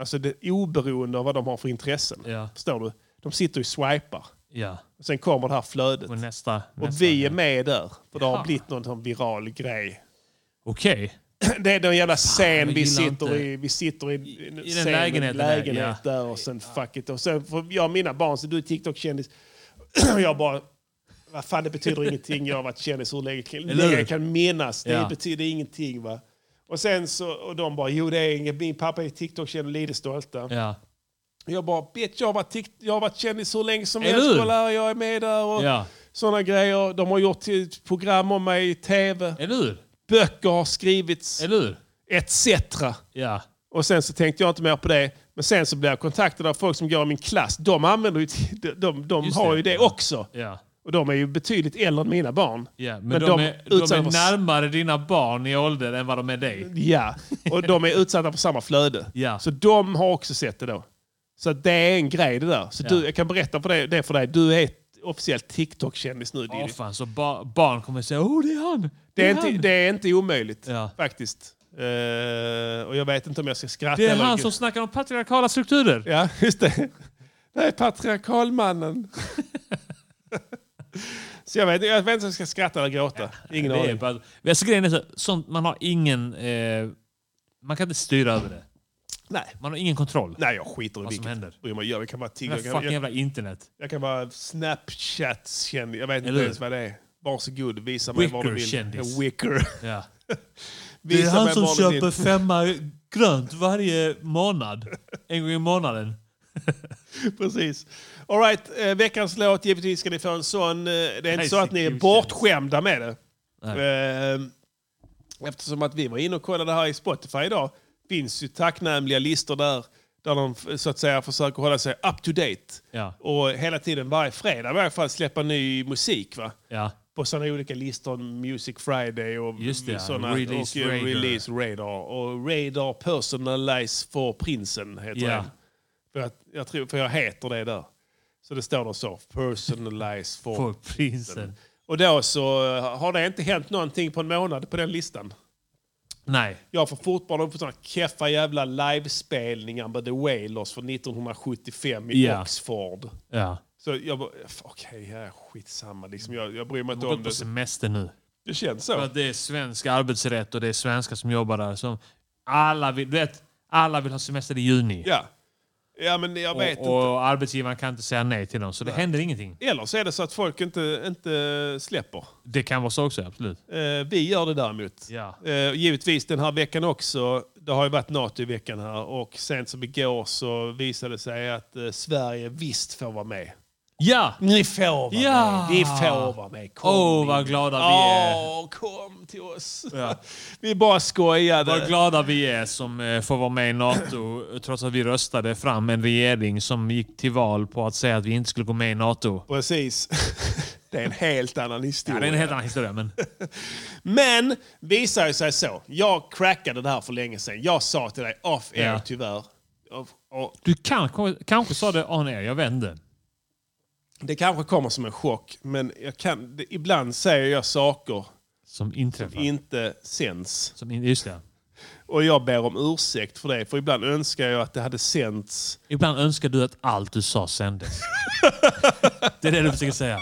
Alltså det, oberoende av vad de har för intressen.
Ja.
Förstår du? De sitter och swipar.
Ja.
Och sen kommer det här flödet.
Och nästa.
Och
nästa.
vi är med där. För det
Ja.
har blivit någon sån viral grej.
Okej.
<clears throat> Det är någon jävla scen
jag
vi
gillar
sitter,
inte-
i, vi sitter i.
den
scenen,
lägenheten där,
lägenhet där, och sen fuck it. Och sen får jag och mina barn, så du är TikTok-kändis. <clears throat> Och jag bara, vad fan det betyder ingenting. Jag har varit kändis hur länge,
hur?
länge jag kan minnas. Det
Ja.
betyder ingenting va. Och sen så, och de bara, jo det är inget. Min pappa är TikTok-kändis, Lidestolta.
Ja.
Jag bara, bitch jag har varit, tikt, jag har varit kändis hur länge som
Eller
helst.
hur?
Kolla, jag är med där och
Ja.
sådana grejer. De har gjort ett program om mig i tv.
Eller hur?
Böcker har skrivits
Eller hur?
etc.
Ja.
Och sen så tänkte jag inte mer på det. Men sen så blev jag kontaktad av folk som går i min klass. De använder ju, de, de, de
Just
har
det.
ju det också.
Ja.
Och de är ju betydligt äldre än mina barn.
Ja, men, de, är, de
utsatta
är
för-
närmare dina barn i ålder än vad de är dig.
Ja, och de är utsatta för samma flöde.
Ja.
Så de har också sett det då. Så det är en grej det där. Så
Ja.
du, jag kan berätta för dig, det för dig. Du är officiellt TikTok-kändis nu,
Ja,
Diddy.
fan. Så ba barn kommer säga åh det är han!
det, är
han!
inte, det är inte omöjligt,
Ja.
faktiskt. Eh, och jag vet inte om jag ska skratta
det är
eller-
han som snackar om patriarkala strukturer!
Ja, <laughs> just det. Det
<laughs>
är patriarkalmannen. så jag vet, jag vet inte om jag ska skratta eller gråta. Ingen
det är
aning.
bara, Men alltså, grejen är så, sånt, man har ingen... Eh, man kan inte styra över det.
Nej.
Man har ingen kontroll.
Nej, jag skiter i
Vad som
vilket.
händer.
Bryr mig. Jag kan vara
Det
tigga. Jag
här
kan,
fucking
jag,
jävla internet.
jag kan vara Snapchat-kändis. Jag
Eller
vet inte
hur?
ens vad det är. Varsågod, visa mig vad du vill.
Wicker-kändis.
Ja, <laughs> Wicker.
Ja. Det är
Visa
han
mig
som
vad du vill.
köper femma grönt varje månad. En gång i månaden.
<laughs> Precis. <laughs> All right, eh, veckans låt. Givetvis ska ni få en sån. eh, Det är inte
Nej,
så att ni är
Sigge,
bortskämda med det.
Nej.
Eh, Eftersom att vi var inne och kollade här i Spotify idag. finns ju tacknämliga listor där Där de så att säga försöker hålla sig up to date.
Ja.
Och hela tiden, varje fredag i varje fall, släppa ny musik. Va?
Ja.
På sådana olika listor, Music Friday och
Just det, ja.
såna,
Release
och, eh,
Radar.
Release Radar. Och Radar Personalize for Prinsen heter
Ja.
den. För, att, jag tror, för jag heter det där. Så det står då så, Personalize for,
For Prinsen.
Och då så eh, har det inte hänt någonting på en månad på den listan.
Nej.
Jag får fortfarande upp på sådana keffa jävla livespelningar med The Wailers från 1975 i
Ja.
Oxford.
Ja.
Så jag bara, f- okej, ja, skitsamma. Liksom, jag, jag bryr mig
De
inte
har
om
gått på
det.
semester nu.
Det känns
För
så.
att det är svensk arbetsrätt och det är svenskar som jobbar där. Som alla, vill, du vet, alla vill ha semester i juni.
Ja. ja, men jag vet
och, och arbetsgivaren kan inte säga nej till dem, så det händer ingenting.
inte. Eller så är det så att folk inte, inte släpper.
Det kan vara så också, absolut.
Eh, vi gör det däremot.
Ja.
Eh, givetvis den här veckan också. Det har ju varit NATO i veckan här och sen som igår så visade det sig att eh, Sverige visst får vara med.
Ja!
Ni får vara
Ja.
med. Ni får vara med. Kom
Åh,
in.
vad glada vi är.
Åh, kom till oss.
Ja.
Vi bara skojade.
Vad glada vi är som eh, får vara med i NATO trots att vi röstade fram en regering som gick till val på att säga att vi inte skulle gå med i NATO.
Precis. <laughs> Det är en helt annan
Ja,
historia.
det är en helt annan historia, men...
<laughs> Men visar ju sig så. Jag crackade det här för länge sedan. Jag sa till dig off air
Ja.
tyvärr. Och, och
Du kan, kanske sa det on air, jag vände.
det kanske kommer som en chock, men jag kan, det, ibland säger jag saker
Som inträffar.
inte sänds.
Som in, just det.
Och jag ber om ursäkt för det, för ibland önskar jag att det hade sänts.
Ibland önskar du att allt du sa sändes. det är det du försöker säga.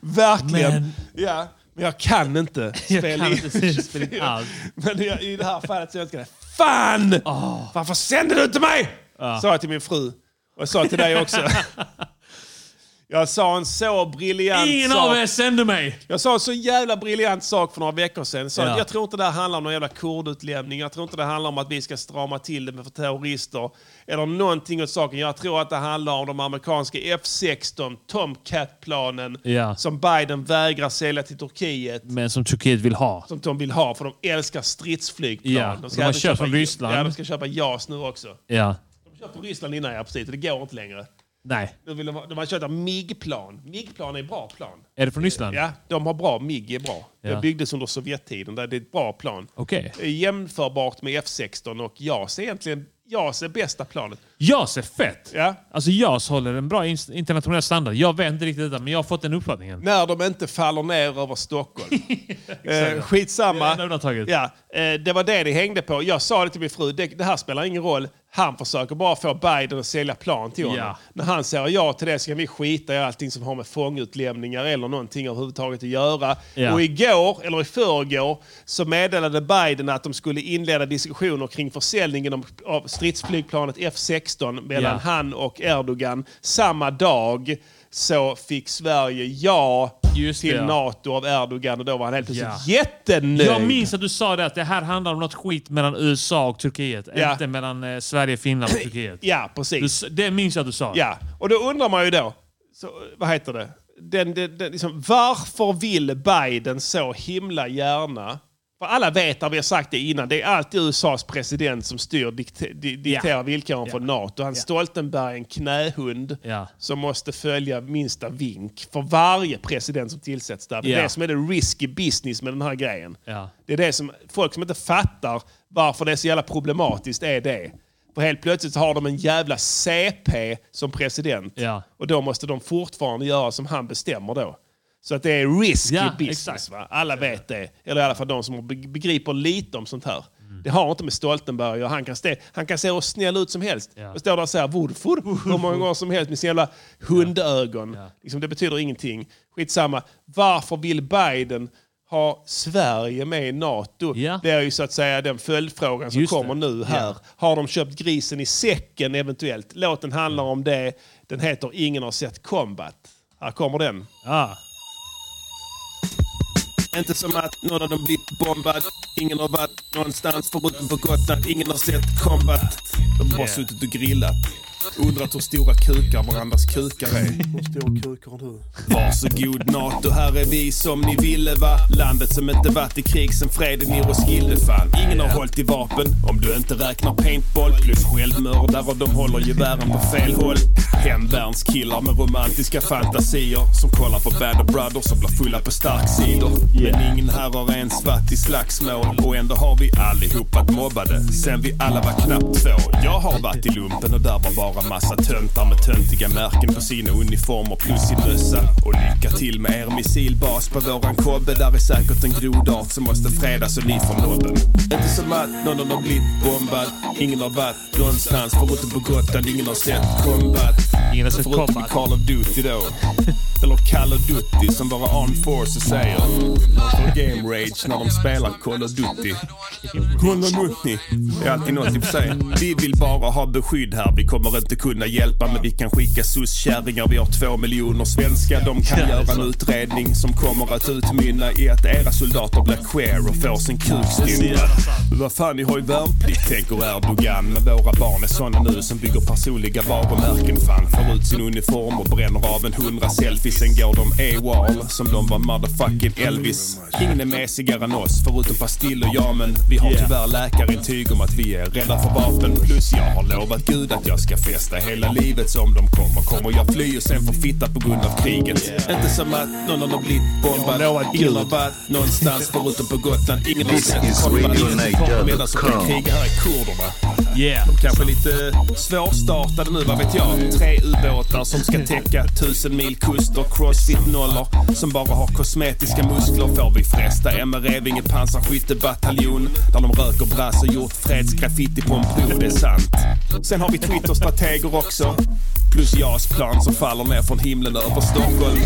Verkligen!
Men-
ja, men jag kan inte
<laughs> Jag
spela
kan
in. <laughs>
inte spela in allt.
Men jag, i det här fallet så önskar jag det. Fan!
Ah.
Varför sände du inte mig? Sa jag till min fru. Och jag sa till dig
<laughs>
också. jag sa en så briljant
Ingen
sak.
av er sände mig!
Jag sa en så jävla briljant sak för några veckor sedan. Jag Sa
Ja.
att jag tror inte det här handlar om någon jävla kurdutlämning. Jag tror inte det handlar om att vi ska strama till det med för terrorister. Eller någonting åt saken. Jag tror att det handlar om de amerikanska F16 Tomcat-planen
Ja.
som Biden vägrar sälja till Turkiet
Men som Turkiet vill ha.
som de vill ha för de älskar stridsflygplan.
Ja, de har
även
köpt
köpa-
från Ryssland.
Ja, de ska köpa JAS nu också.
Ja.
De köpte från Ryssland innan, ja precis. Det går inte längre.
Nej.
Nu vill de, ha- de har köpt MIG-plan. MIG-plan är bra plan.
Är det från Ryssland?
Ja, de har bra. MIG är bra.
Ja.
Det byggdes under Sovjettiden. Där det är ett bra plan.
Okej.
Det är Jämförbart med F16 och JAS är egentligen JAS är bästa planet.
JAS är fett!
Ja.
Alltså JAS håller en bra in- internationell standard. Jag vet inte riktigt detta, men jag har fått den uppfattningen.
När de inte faller ner över Stockholm. eh,
Det
skitsamma.
är det enda undantaget.
Ja, eh, det var det det hängde på. Jag sa det till min fru, det, det här spelar ingen roll. Han försöker bara få Biden att sälja plan till honom.
Ja.
När han säger ja till det så kan vi skita i allting som har med fångutlämningar eller någonting överhuvudtaget att göra.
Ja.
Och igår, eller i förrgår, så meddelade Biden att de skulle inleda diskussioner kring försäljningen av- av stridsflygplanet F16 mellan
Ja.
han och Erdogan. Samma dag så fick Sverige ja
Just
till
det, ja.
NATO av Erdogan och då var han helt plötsligt
Ja.
jättenöjd.
Jag minns att du sa det, att det här handlar om något skit mellan USA och Turkiet.
Ja.
Inte mellan eh, Sverige, Finland och Turkiet.
Ja,
Du,
precis.
s- det minns jag att du <laughs> sa.
Ja, och då undrar man ju då, så, vad heter det? Den, den, den, liksom, varför vill Biden så himla gärna för alla vet att vi har sagt det innan, det är alltid USAs president som styr dikte, di, dikterar
Ja.
villkoren för
Ja.
NATO. Han
Ja.
Stoltenberg är en knähund
Ja.
som måste följa minsta vink för varje president som tillsätts där. Det är
Ja.
det som är det risky business med den här grejen.
Ja.
Det är det som folk som inte fattar varför det är så jävla problematiskt är det. För helt plötsligt så har de en jävla CP som president.
Ja.
Och då måste de fortfarande göra som han bestämmer då. Så att det är risky
Ja,
business.
exakt.
Va? Alla vet det. Eller i alla fall de som be- begriper lite om sånt här.
Mm.
Det har inte med Stoltenberg att göra. han kan, stä- han kan se hur snäll ut som helst.
Ja.
Och stå där och säga "Wurfur", hur många gånger som helst med sina jävla hundögon.
Ja.
Liksom, det betyder ingenting. Skitsamma. Varför vill Biden ha Sverige med i NATO?
Ja.
Det är ju så att säga den följdfrågan som
Just det.
kommer nu här. Har de köpt grisen i säcken eventuellt? Låten handlar om det. Den heter Ingen har sett Combat. Här kommer den.
Ja.
Inte som att någon av dem blivit bombad. Ingen har varit någonstans förutom på Gotland. Ingen har sett Combat. De har bara suttit och grillat. Undrat hur stora kukar varandras kukar är.
Hur stor kuk har du?
Varsågod NATO, här är vi som ni ville va? Landet som inte varit i krig sen freden i Roskildefall. Ingen har hållit i vapen, om du inte räknar paintball. Plus självmördare, och de håller gevären på fel håll. Hemvärnskillar med romantiska fantasier. Som kollar på Band of Brothers och blir fulla på starksidor. Men ingen här har ens varit i slagsmål. Och ändå har vi allihop varit mobbade. Sen vi alla var knappt två. Jag har varit i lumpen och där var bara massa töntar med töntiga märken på sina uniformer plus sin mössa. Och lycka till med er missilbas på våran kobbe. Där är säkert en grodart som måste fredas och ni från mobben. Inte som att någon har blivit bombad. Ingen har varit någonstans förutom på Gotland. Ingen har sett kombat.
Ingen har sett
Förutom i Call of
<laughs>
Duty då. Eller Call of Duty som våra armed forces säger. Och Game Rage när de spelar Call of Duty. Call of Duty är alltid något i och för sig. Vi vill bara ha beskydd här. Vi kommer inte kunna hjälpa men vi kan skicka soc-kärringar. Vi har två miljoner svenskar. De kan
Ja, det är
göra en
sant.
utredning som kommer att utmynna i att era soldater blir queer och får sin kuk stympad. Vad fan, ni har ju värnplikt, tänker Erdogan. Men våra barn är såna nu som bygger personliga varumärken. Fan, får ut sin uniform och bränner av en hundra selfies. Sen går de AWOL som de var motherfucking Elvis. Ingen är mesigare än oss, förutom pastiller, ja men vi har tyvärr läkarintyg om att vi är rädda för vapen. Plus jag har lovat gud att jag ska festa hela livet. Så om de kommer, kommer jag fly och sen få fitta på grund av kriget. Inte som att någon har blivit bombad. Ingen har varit någonstans förutom på Gotland. Ingen har
This
sett en
is
kombat.
Radio
Ingen som
Niger
kommer
dot
medan som
com.
krigar här är kurderna.
Yeah.
De kanske är lite svårstartade nu, vad vet jag? Tre ubåtar som ska täcka tusen mil kuster, crossfit-nollor som bara har kosmetiska muskler får vi fresta MR-Revinge pansarskyttebataljon där de röker brass och gjort fredsgraffiti på en bro, det är sant. Sen har vi Twitter-strateger också, plus JAS-plan som faller ner från himlen över Stockholm.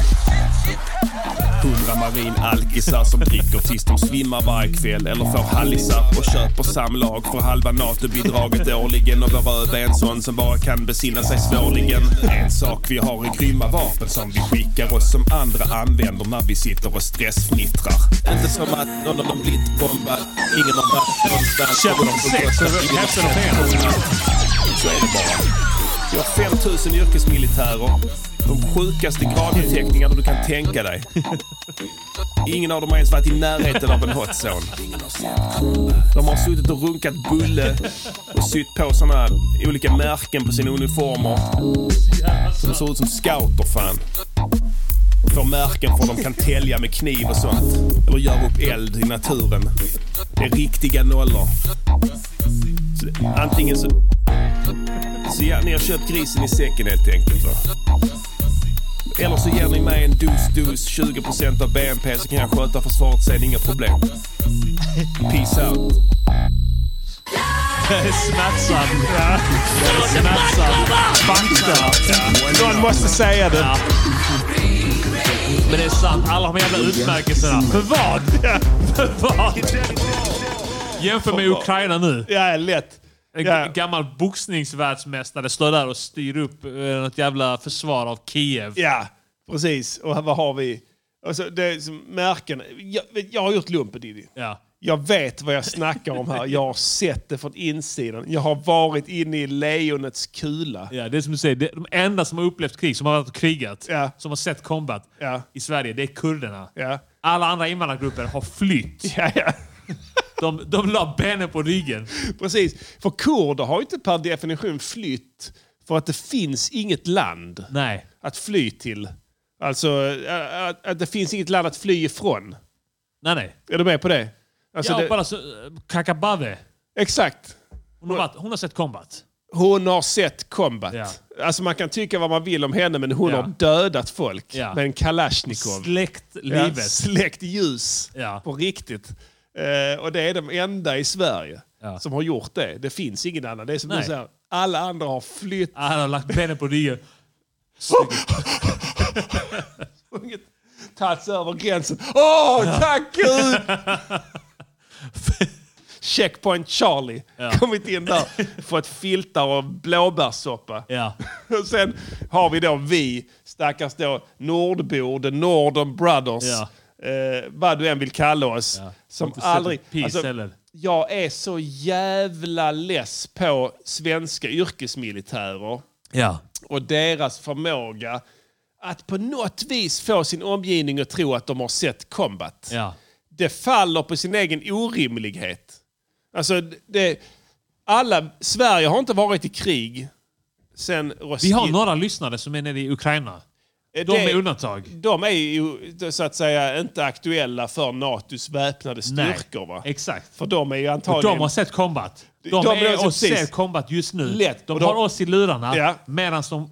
Hundra marinalkisar som dricker tills de svimmar varje kväll eller får hallisar och köper samlag för halva NATO-bidraget årligen och beröva en sån som bara kan besinna sig svårligen. En sak vi har är grymma vapen som vi skickar och som andra använder när vi sitter och stressfnittrar. Inte som att någon av dem blivit bombad, ingen har varit någonstans.
Känner de
Och
sig?
Gotland,
Så
ingen har
hälften av
sett
er.
någon. Så är det bara. Vi har 5000 yrkesmilitärer. De sjukaste gradbeteckningarna du kan tänka dig. Ingen av dem har ens varit i närheten av en hot zone. De har suttit och runkat bulle och sytt på såna olika märken på sina uniformer. Som ser ut som scouter fan. Får märken för att de kan tälja med kniv och sånt. Eller göra upp eld i naturen. Det är riktiga nollor. Så det- Antingen så... Så ja, ni har köpt grisen i säcken helt enkelt va? Eller så ger ni mig en dos-dos 20% av BNP så kan jag sköta försvaret sen, inga problem. Peace out.
Smärtsam. Smärtsam. Fakta.
Någon måste säga det.
Men det är sant. Alla de jävla utmärkelserna. För vad? <laughs> För vad? Jämför med Ukraina nu.
Ja, lätt.
En
Ja.
g- gammal boxningsvärldsmästare står där och styr upp eh, något jävla försvar av Kiev.
Ja, precis. Och vad har vi? Alltså, det är som märken. Jag, jag har gjort lumpen, Diddy.
Ja.
Jag vet vad jag snackar om här. Jag har sett det från insidan. Jag har varit inne i lejonets kula.
Ja, det är som du säger, det, de enda som har upplevt krig, som har varit och krigat, som har sett combat i Sverige, det är kurderna. Alla andra invandrargrupper har flytt. De, de la benen på ryggen.
Precis. För kurder har ju inte per definition flytt för att det finns inget land
Nej.
att fly till. Alltså, ä- att, att det finns inget land att fly ifrån.
Nej, nej.
Är du med på det? Alltså,
ja,
det-
bara så, Kakabave.
Exakt.
Hon har, varit, hon har sett combat.
Hon har sett combat.
Ja.
Alltså man kan tycka vad man vill om henne, men hon
Ja.
har dödat folk
Ja.
med en
<laughs>
kalasjnikov.
Släckt
Ja,
livet.
släckt ljus. På riktigt. Eh, och det är de enda i Sverige som har gjort det. Det finns ingen annan. Det är som du
Nej.
säger, alla andra har flytt.
Han har lagt benen på ryggen.
<laughs> sprungit, tagit sig över gränsen. Åh, tack
<laughs>
gud! Checkpoint Charlie. Kommit in där,
<laughs>
fått filtar och blåbärssoppa.
Ja.
<laughs> Och sen har vi då vi, stackars då nordbor, the Northern Brothers.
Ja.
Eh, vad du än vill kalla oss. Som
Inte sett
aldrig... alltså,
ett piss
alltså,
heller.
jag är så jävla less på svenska yrkesmilitärer.
Ja.
Och deras förmåga att på något vis få sin omgivning att tro att de har sett combat.
Ja.
Det faller på sin egen orimlighet. Alltså, det, alla, Sverige har inte varit i krig sen
Vi har några lyssnare som är nere i Ukraina. De är undantag.
De är ju så att säga inte aktuella för NATOs väpnade styrkor. Va?
Exakt.
För de är ju
Och
antagligen...
de har sett combat. De,
De
är
har
och
sett-
ser combat just nu.
Lätt.
De,
Och de-
har oss i lurarna
Ja.
medan de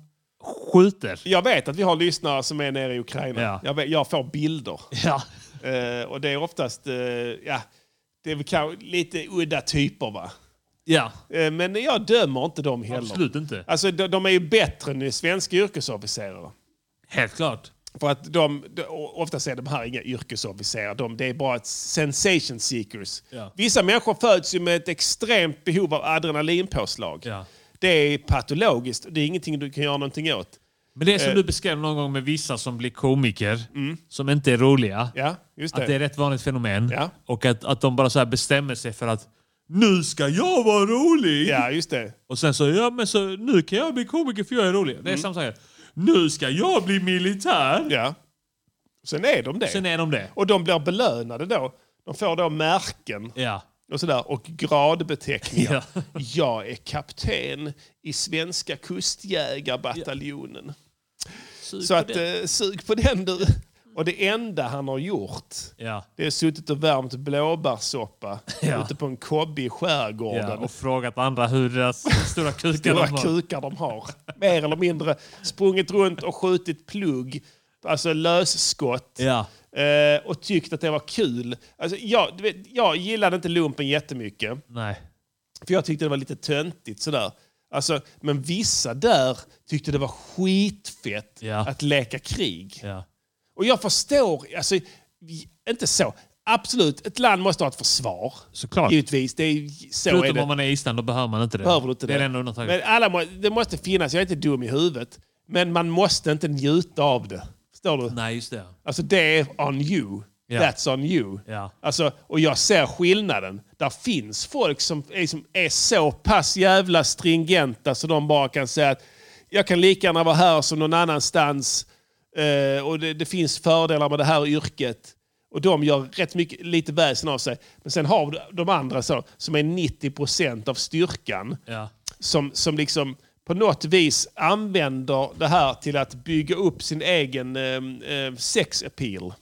skjuter.
<laughs> Jag vet att vi har lyssnare som är nere i Ukraina.
Ja.
Jag, vet, jag får
<laughs>
bilder. Eh, och det är oftast eh, ja, det är väl kanske lite udda typer. va?
Ja.
Eh, men jag dömer inte dem heller.
Absolut inte.
Alltså, de, de är ju bättre än svenska yrkesofficerare.
Helt klart.
För att de, de, oftast är de här inga yrkesofficerare. De, det är bara ett sensation seekers.
Ja.
Vissa människor föds ju med ett extremt behov av adrenalinpåslag. Det är patologiskt. Det är ingenting du kan göra någonting åt.
Men det är som
Eh. Mm.
du beskrev någon gång med vissa som blir komiker, som inte är roliga.
Ja, just det.
Att det är rätt vanligt fenomen.
Ja.
Och att, att de bara så här bestämmer sig för att nu ska jag vara rolig!
Ja, just det.
Och sen så, ja men så nu kan jag bli komiker för jag är rolig. Det är samma sak. Nu ska jag bli militär!
Mm. Ja. Sen är de det.
Sen är de det.
Och de blir belönade då. De får då märken
Ja.
och, sådär, och gradbeteckningar.
Ja.
<laughs> Jag är kapten i svenska kustjägarbataljonen. Så att, eh, sug på den du. Och det enda han har gjort,
Ja.
det är suttit och värmt blåbärssoppa
Ja.
ute på en kobbe i skärgården.
ja. Och frågat andra hur deras stora kukar
stora
de har.
kukar de har. Mer eller mindre sprungit runt och skjutit plugg, alltså lösskott.
Ja.
Eh, och tyckt att det var kul. Alltså, jag, du vet, jag gillade inte lumpen jättemycket,
Nej.
för jag tyckte det var lite töntigt. Sådär. Alltså, men vissa där tyckte det var skitfett
Ja.
att leka krig.
Ja.
Och jag förstår, alltså, vi- inte så. Absolut, ett land måste ha ett försvar.
Såklart.
Givetvis, det är, så är
Förutom
det.
om man är i Island, då behöver man inte det.
Behöver du inte
det
det?
är det enda undantaget.
Men alla, må- det måste finnas, jag är inte dum i huvudet. Men man måste inte njuta av det. Förstår du?
Nej, just det.
Alltså det är on you.
Ja.
That's on you.
Ja.
Alltså, och jag ser skillnaden. Där finns folk som är, som är så pass jävla stringenta så de bara kan säga att jag kan lika gärna vara här som någon annanstans. eh, och det, det finns fördelar med det här yrket. Och de gör rätt mycket, lite väsen av sig. Men sen har du de andra så, som är 90% av styrkan
Ja.
som, som liksom på något vis använder det här till att bygga upp sin egen eh, eh, sex appeal.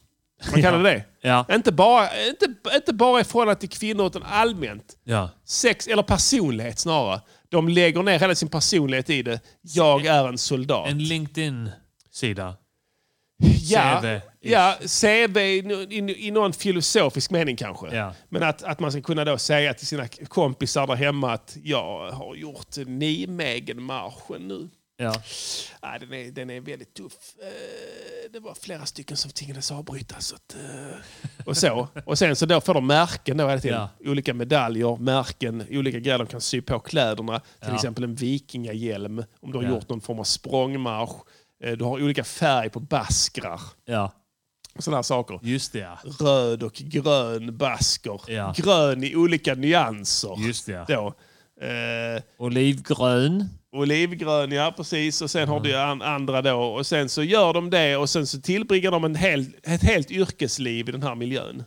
Man kallar det
Ja.
det. Inte bara, inte, inte bara i förhållande till kvinnor utan allmänt.
Ja.
Sex, eller personlighet snarare. De lägger ner hela sin personlighet i det. Jag är en soldat.
En LinkedIn-sida.
ja,
CV.
ja, CV i, i, i någon filosofisk mening kanske.
Ja.
Men att, att man ska kunna då säga till sina kompisar där hemma att jag har gjort Nijmegen-marschen nu.
Ja.
Nej, den, är, den är väldigt tuff. Eh, Det var flera stycken som tvingades avbryta. Så att,
Ah,
eh, och, så. och sen så då får de märken då hela tiden. Olika medaljer, märken, olika grejer de kan sy på kläderna. Till
Ja.
exempel en vikingahjälm om du har
Ja.
gjort någon form av språngmarsch. Eh, Du har olika färg på baskrar.
Ja.
Sådana här saker.
Just det, ja.
Röd och grön basker.
Ja.
Grön i olika nyanser.
Just det, ja.
Då. Eh,
Olivgrön.
Olivgrön, ja precis. Och sen har du ju an- andra då. Och sen så gör de det och sen så tillbringar de en hel, ett helt yrkesliv i den här miljön.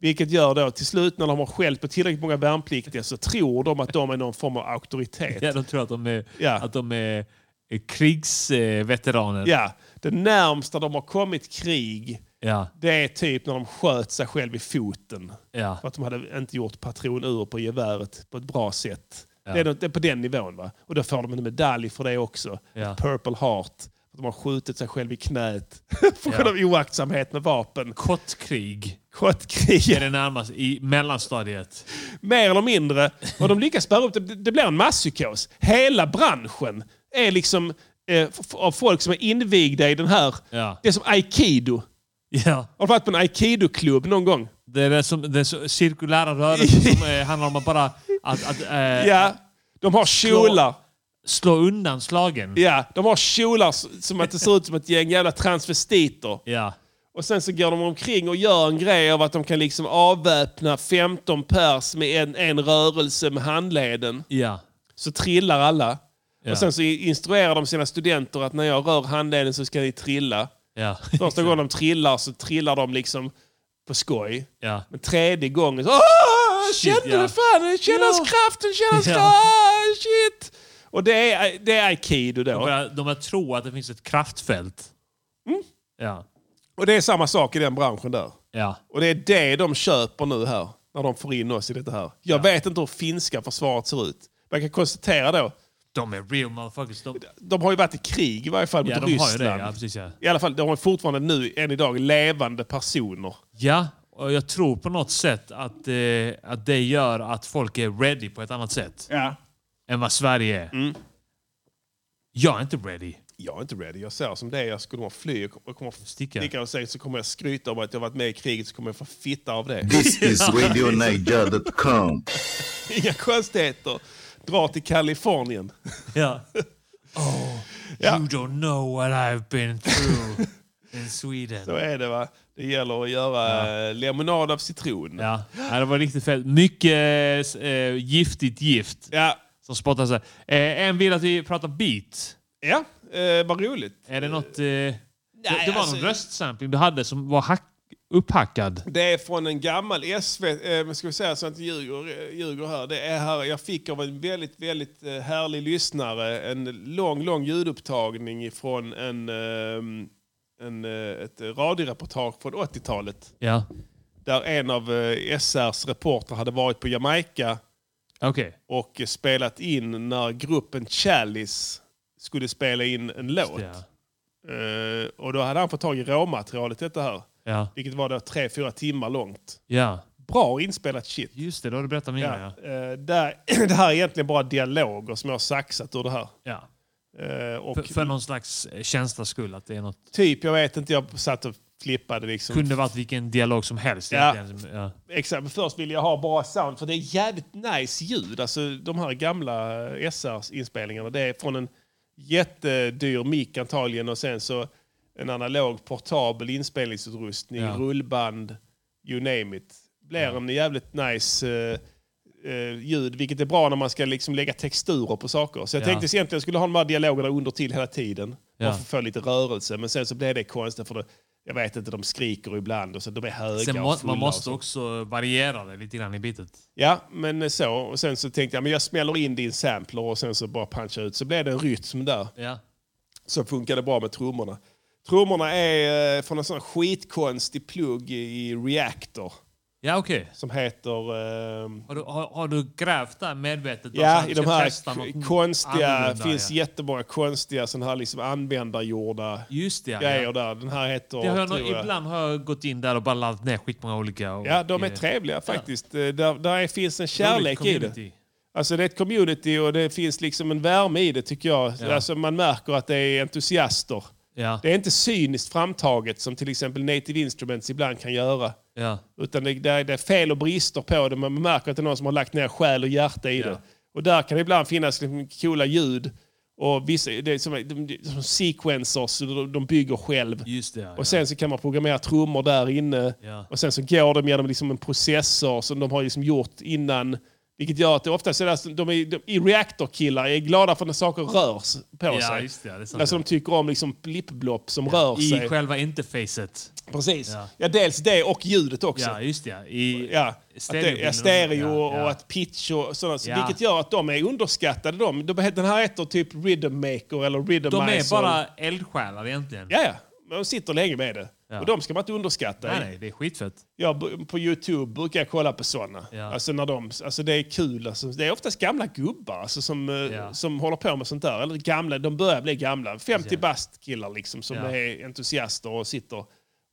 Vilket gör då till slut när de har skällt på tillräckligt många värnpliktiga så tror de att de är någon form av auktoritet.
Ja, de tror att de är,
Ja.
att de är är krigsveteraner.
Ja, det närmsta de har kommit krig
Ja.
det är typ när de sköt sig själv i foten.
Ja.
För att de hade inte gjort patronur på geväret på ett bra sätt.
Ja.
Det, är, det är på den nivån. va? Och då får de en medalj för det också.
Ja.
Ett Purple Heart. För att de har skjutit sig själv i knät. <laughs>
Ja.
på grund av oaktsamhet med vapen.
Kottkrig är
Skottkriget.
det närmast i mellanstadiet.
Mer eller mindre. Och de lyckas bära upp det. Det blir en masspsykos. Hela branschen är liksom eh, f- av folk som är invigda i den här.
Ja.
Det är som aikido.
Ja.
Har du varit på en aikido-klubb någon gång?
Det är det som, det är så, cirkulära rörelser som eh, handlar om att bara att, att, eh,
Ja. De har kjolar.
slå undan slagen.
Ja, de har kjolar s- som att det ser ut som ett gäng jävla transvestiter.
Ja.
Och sen så går de omkring och gör en grej av att de kan liksom avväpna 15 pers med en, en rörelse med handleden.
Ja.
Så trillar alla.
Ja.
Och sen så instruerar de sina studenter att när jag rör handleden så ska ni trilla.
Ja. <laughs>
Första gången de trillar så trillar de liksom på skoj.
Ja.
Men tredje gången så... Åh,
Shit,
ah, kände
ja.
du fan? Kännas
Ja.
kraften, kännas
Ja.
kraften, shit! Och det är, det är aikido då.
De börjar, de börjar tro att det finns ett kraftfält. Ja.
Och det är samma sak i den branschen där.
Ja.
Och det är det de köper nu här, när de får in oss i detta här. Jag vet inte hur finska försvaret ser ut. Man kan konstatera då,
De är real motherfuckers. De,
de har ju varit i krig i varje fall mot
ja, de har ju
Ryssland.
det. Ja, precis, ja.
I alla fall, de har fortfarande nu, än idag, levande personer.
ja, och jag tror på något sätt att, eh, att det gör att folk är ready på ett annat sätt
Ja. Mm.
än vad Sverige är. Jag är inte ready.
Jag är inte ready. Jag ser som det är. Jag skulle bara fly. Jag kommer- jag kommer sticka. sticka och sen så kommer jag skryta om att jag varit med i kriget så kommer jag få fitta av det.
This is
<laughs>
RadioNiger.com.
Inga konstigheter. Dra till Kalifornien. <laughs>
Ja. Oh,
Ja.
You don't know what I've been
<laughs>
through in Sweden.
Så är det va. Det gäller att göra eh, lemonad av citron.
Ja. ja, det var riktigt fett. Mycket eh, giftigt gift
ja.
som spottas här. Eh, en vill att vi pratar beat.
Ja, eh, vad roligt.
Är det något... Eh, det, det var
alltså-
någon röstsampling du hade som var hack, upphackad.
Det är från en gammal SV, eh, ska vi säga så att jag inte ljuger, eh, ljuger här. Det är här. Jag fick av en väldigt, väldigt eh, härlig lyssnare en lång, lång ljudupptagning från en, eh, en, eh, ett radioreportage från 80-talet.
Ja.
Där en av eh, SRs reporter hade varit på Jamaica
Okej.
och eh, spelat in när gruppen Chalice skulle spela in en låt. Eh, och då hade han fått tag i råmaterialet till detta här.
Ja.
Vilket var då tre, fyra timmar långt.
Ja.
Bra inspelat shit.
Just det, då har du berättat mer. Ja.
Eh, där, <clears throat> det här är egentligen bara dialoger som jag har saxat ur det här.
Ja.
Eh, och
För, för någon slags eh, känslas skull att det är något...
typ, jag vet inte, jag satt och flippade liksom.
Kunde varit vilken dialog som helst.
Ja.
egentligen. Ja.
Exakt, men först ville jag ha bra sound för det är jävligt nice ljud. Alltså de här gamla eh, SR-inspelningarna. Det är från en jättedyr mick antagligen och sen så en analog portabel inspelningsutrustning,
Ja.
rullband, you name it. Blir en jävligt nice eh, eh, ljud, vilket är bra när man ska liksom lägga texturer på saker. Så jag
Ja.
tänkte egentligen att jag skulle ha de här dialogerna under till hela tiden.
Ja.
Bara för att få lite rörelse. Men sen så blev det konstigt för det, jag vet inte, de skriker ibland och så de är höga
Sen
och
må,
fulla
man
och
måste
så.
också variera det lite grann i bitet.
Ja, men så. Och sen så tänkte jag men jag smäller in din sampler och sen så bara punchar ut. Så blev det en rytm där
Ja.
som funkade bra med trummorna. Trummorna är eh, från en sån här skitkonstig plugg i Reactor
Ja, okej.
som heter... ehm,
Har, du- har, har du grävt där medvetet? då, så att
ja,
du
i de
ska
här
testa något
k- konstiga... Det
annorlunda,
finns
ja.
jättemånga konstiga sån här liksom användargjorda
Just det, ja.
grejer
ja.
där. Den här heter...
Det har jag, nog-
tror jag-
ibland har jag gått in där och bara laddat ner skitmånga olika. Och,
Ja, de är
eh,
trevliga
ja.
faktiskt. Eh, Där, där är- finns en kärlek
Roligt
i det.
community.
Alltså det är ett community och det finns liksom en värme i det tycker jag.
Ja.
Alltså man märker att det är entusiaster.
Ja,
Det är inte cyniskt framtaget som till exempel Native Instruments ibland kan göra.
ja,
Utan det, det, är, det är fel och brister på det men man märker att det är någon som har lagt ner själ och hjärta i det. Och där kan det ibland finnas liksom coola ljud. Och vissa, det är som, de, de, som sequencers, de, de bygger själv.
just det. Ja,
Och sen så kan man programmera trummor där inne.
Ja.
Och sen så går de genom liksom en processor som de har liksom gjort innan. Vilket gör att det oftast är det, alltså- de är, de, i reaktorkillar är glada för när saker rörs på
ja. ja,
sig.
just det. ja, det är sant,
Alltså
ja.
de tycker om liksom blippblopp som rör sig.
I själva interfacet.
Precis. Ja.
Ja.
dels det och ljudet också.
Ja, just det. ja. I
Ja, att det
stereobilden.
är stereo och
Ja, ja.
att pitch och sådant. Så
Ja.
Vilket gör att de är underskattade. De, de, den här heter typ Rhythm Maker eller Rhythm
De är bara eldsjälar egentligen.
Ja, ja. Men De sitter länge med det.
Ja.
Och de ska man inte underskatta.
Nej, nej, det är skitfett.
Ja, b- på Youtube brukar jag kolla på sådana.
Ja.
Alltså när de, alltså det är kul. Alltså, det är oftast gamla gubbar alltså, som, eh,
Ja.
som håller på med sånt där. Eller gamla, de börjar bli gamla. 50
Precis.
bast killar liksom, som
Ja.
är entusiaster och sitter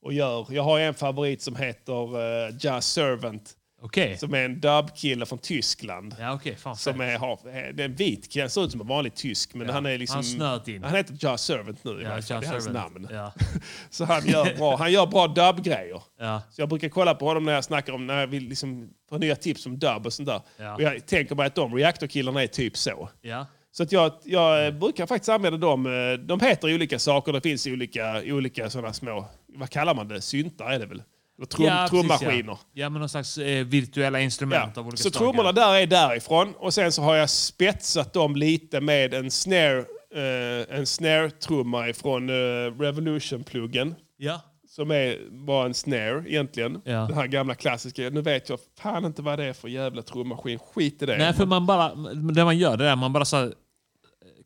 och gör. Jag har en favorit som heter uh, Jazz Servant.
Okej.
Som är en dubbkille från Tyskland.
Ja, okej. Fan,
Som
fett.
är, har, eh, det är en vit kille, han ser ut som en vanlig tysk men
Ja.
han är liksom...
Han har snöat in.
Han heter Jazz Servant nu i
Ja,
varje fall. Det är hans
Servant.
namn.
Ja.
<laughs> Så han gör bra, han gör bra dubbgrejer.
Ja.
Så jag brukar kolla på honom när jag snackar om, när jag vill liksom få nya tips om dubb och sånt där.
Ja.
Och jag tänker mig att de reaktorkillarna är typ så.
Ja.
Så att jag, jag eh, brukar faktiskt använda dem. eh, De heter ju olika saker, det finns ju olika, olika sådana små, vad kallar man det, syntar är det väl? Och trum,
Ja, precis,
trummaskiner.
Ja. ja, men någon slags eh, virtuella instrument av olika
Så
slag.
trummorna där är därifrån och sen så har jag spetsat dem lite med en snare, eh, en snare-trumma ifrån eh, Revolution-pluggen.
Ja.
Som är bara en snare egentligen.
Ja.
Den här gamla klassiska. Nu vet jag fan inte vad det är för jävla trummaskin. Skit i det.
Nej, för man bara, det man gör det är man bara så här,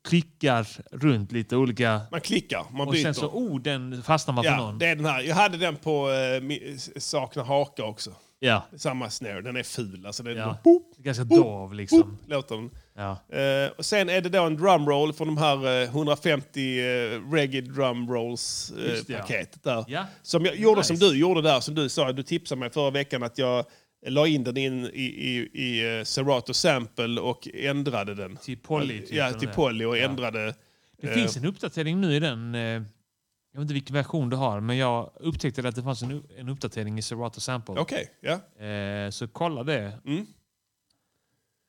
klickar runt lite olika...
Man klickar, man
Och
byter.
sen så, oh, den fastnar man på
ja,
någon.
det är den här. Jag hade den på eh, mi- Sakna haka också.
Ja.
Samma snare. Den är ful. Alltså, den
Ja.
är boop,
Ganska
boop,
dov liksom.
boop, låter den.
Ja.
Eh, och sen är det då en drumroll från de här eh, 150 eh, reggae drumrolls eh,
Just det, ja.
paketet där.
Ja.
Som jag gjorde som du gjorde där, som du sa, du tipsade mig förra veckan att jag la in den in i, i, i eh, Serato Sample och ändrade den.
Till Polly, typ,
ja,
eller
till
det.
Polly och ändrade.
Det
eh,
finns en uppdatering nu i den. eh, Jag vet inte vilken version du har, men jag upptäckte att det fanns en, u- en uppdatering i Serato Sample.
Okej, Mm.
Eh, Så kolla det.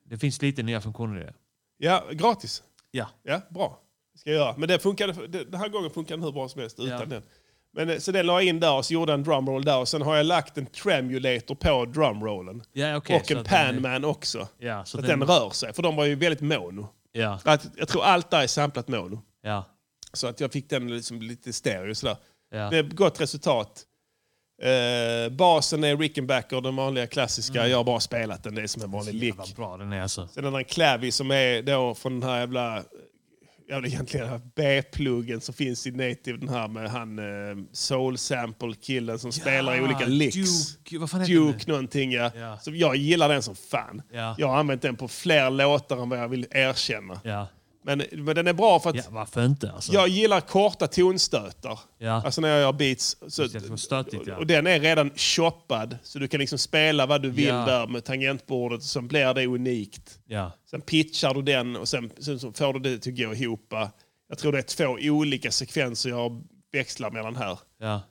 Det finns lite nya funktioner i det.
Ja, gratis.
Ja.
Ja, bra. Det ska jag göra. Men det funkade, det, den här gången funkar den hur bra som helst utan den. Men, eh, så den la jag in där och så gjorde jag en drumroll där och sen har jag lagt en tremulator på drumrollen.
Ja, okej,
och
så
en
att den är-
panman också.
Ja,
så att den, rör sig, för de var ju väldigt mono.
Ja.
Att, jag tror allt där är samplat mono.
Ja.
Så att jag fick den liksom lite stereo sådär.
Ja.
Det är gott resultat. Eh, basen är Rickenbacker, den vanliga klassiska.
Mm.
Jag har bara spelat den, det är som en vanlig lick.
Bra den är alltså.
Sen är det en klavi som är då från den här jävla, jävla egentligen den här B-pluggen som finns i Native. Den här med han eh, soul sample-killen som spelar i olika licks.
Duke, vad fan heter
Duke
den?
någonting ja.
Ja.
Så jag gillar den som fan.
Ja.
Jag har använt den på fler låtar än vad jag vill erkänna.
Ja.
Men, men den är bra för att
ja, varför inte? Alltså.
jag gillar korta tonstötar.
Ja.
Alltså när jag gör beats. Så,
Just det, det var stötigt, ja.
Och den är redan choppad. Så du kan liksom spela vad du vill
Ja.
där med tangentbordet. Så blir det unikt.
Ja.
Sen pitchar du den och sen, sen så får du det till att gå ihop. Jag tror det är två olika sekvenser jag växlar mellan här.
Ja.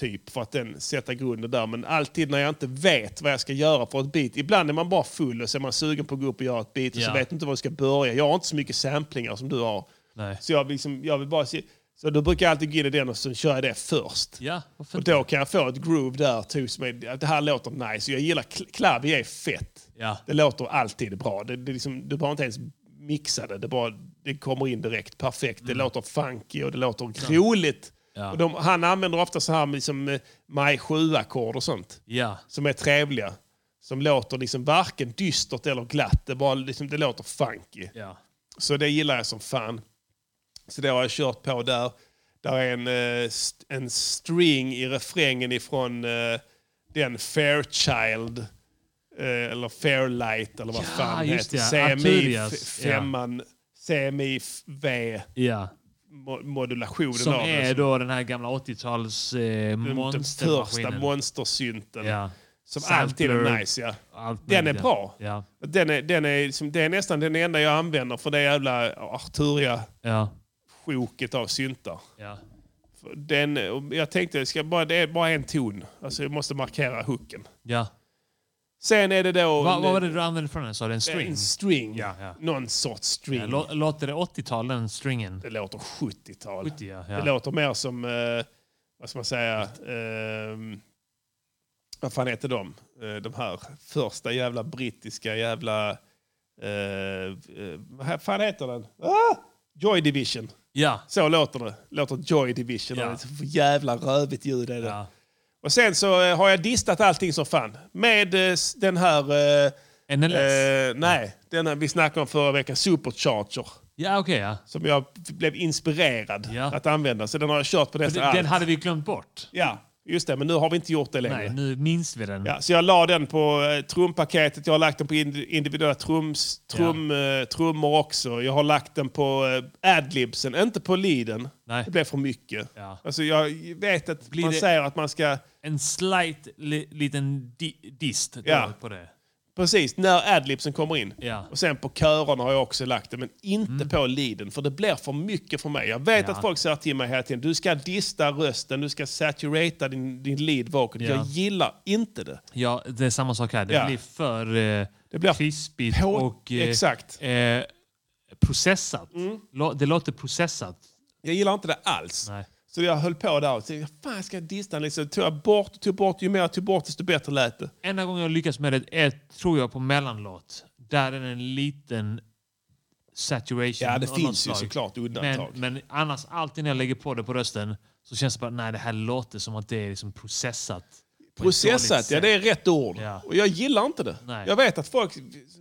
Typ för att den sätter grunden där. Men alltid när jag inte vet vad jag ska göra för ett beat. Ibland är man bara full och så är man sugen på att gå upp och göra ett beat. Och så
Ja.
vet du inte var du ska börja. Jag har inte så mycket samplingar som du har.
Nej.
Så jag, liksom, jag vill bara se... Så då brukar jag alltid gå in i den och så kör jag det först.
Ja, varför
och då kan jag få ett groove där. typ som är- att Det här låter nice. Jag gillar... kl- Klavi är fett.
Ja.
Det låter alltid bra. Det, det är liksom, du behöver inte ens mixa det. Det, bara, det kommer in direkt perfekt. Det låter funky och det låter roligt.
Mm. Ja.
Och de, han använder ofta så här med liksom, eh, maj 7-ackord och sånt.
Ja.
Som är trevliga. Som låter liksom varken dystert eller glatt. Det, bara, liksom, det låter funky.
Ja.
Så det gillar jag som fan. Så det har jag kört på där. Där är en, eh, st- en string i refrängen ifrån eh, den Fairchild. eh, Eller Fairlight eller vad
Ja,
fan
just
heter.
det, ja.
CMI
Arturias,
f-
ja.
femman, CMI V
Ja.
mo- modulationen
Som
av den.
är då den här gamla 80-tals eh,
Den- Den första
monstermaskinen.
monstersynten.
Ja.
Som
Sampler.
alltid är nice. Ja.
Allt
den är
möjligt, ja.
bra.
Ja.
Den är, den är, liksom, det är nästan den enda jag använder för det jävla
Ja.
Arturia-sjoket av syntar.
Ja.
För Den, och jag tänkte jag ska bara, det är bara en ton. Alltså, jag måste markera hooken.
Ja.
Sen är det då...
Vad, vad var det du använde för den? Sa du en string?
En string.
Ja, ja.
Någon sorts string.
Ja, lå- låter det 80-tal den stringen?
Det låter 70-tal.
70, ja, ja.
Det låter mer som, eh, vad ska man säga, eh, vad fan heter de? Eh, de här första jävla brittiska jävla, eh, eh, vad fan heter den? Ah! Joy Division.
Ja.
Så låter det. Låter Joy Division.
Ja.
Det är så för jävla rövigt ljud är det. Och sen så eh, har jag distat allting som fan. Med eh, s- den här... Eh,
NLS?
Eh, nej, den här vi snackade om förra veckan, Supercharger.
Ja, okej. ja.
Som jag blev inspirerad att använda. Så den har jag kört på
Men
nästan
Den, den
allt.
hade vi glömt bort.
Ja, just det. Men nu har vi inte gjort det längre.
Nej, nu minns vi den.
Ja, så jag la den på eh, trumpaketet, jag har lagt den på ind- individuella trums, trum, eh, trummor också. Jag har lagt den på eh, adlibsen, inte på leaden.
Nej.
Det blev för mycket.
Ja.
Alltså, jag vet att
Blir
man
det-
säger att man ska...
En slight li, liten di, dist där
Ja.
på det.
Precis, när adlibsen kommer in.
Ja. Mm.
Och sen på körerna har jag också lagt det, men inte på leaden. För det blir för mycket för mig. Jag vet
Ja.
att folk säger till mig hela tiden, du ska dista rösten, du ska saturata din, din lead vocal.
Ja.
Jag gillar inte det.
Ja, det är samma sak här. Det
Ja.
blir för eh,
Det blir
krispigt
på-
och eh,
exakt. Mm.
Eh, processat. Lå- Det låter processat.
Jag gillar inte det alls.
Nej.
Så jag höll på där och tänkte, fan ska jag dista liksom. Tog jag bort, tog bort, ju mer jag tog bort desto bättre lät det.
Enda gången jag lyckas med det är, tror jag, på mellanlåt. Där är det en liten saturation.
Ja, det
av
finns
något
ju
slag.
såklart undantag.
Men, men annars, alltid när jag lägger på det på rösten så känns det bara, nej, det här låter som att det är liksom processat. på ett dåligt
Processat, ja
sätt.
det är rätt ord.
Ja.
Och jag gillar inte det.
Nej.
Jag vet att folk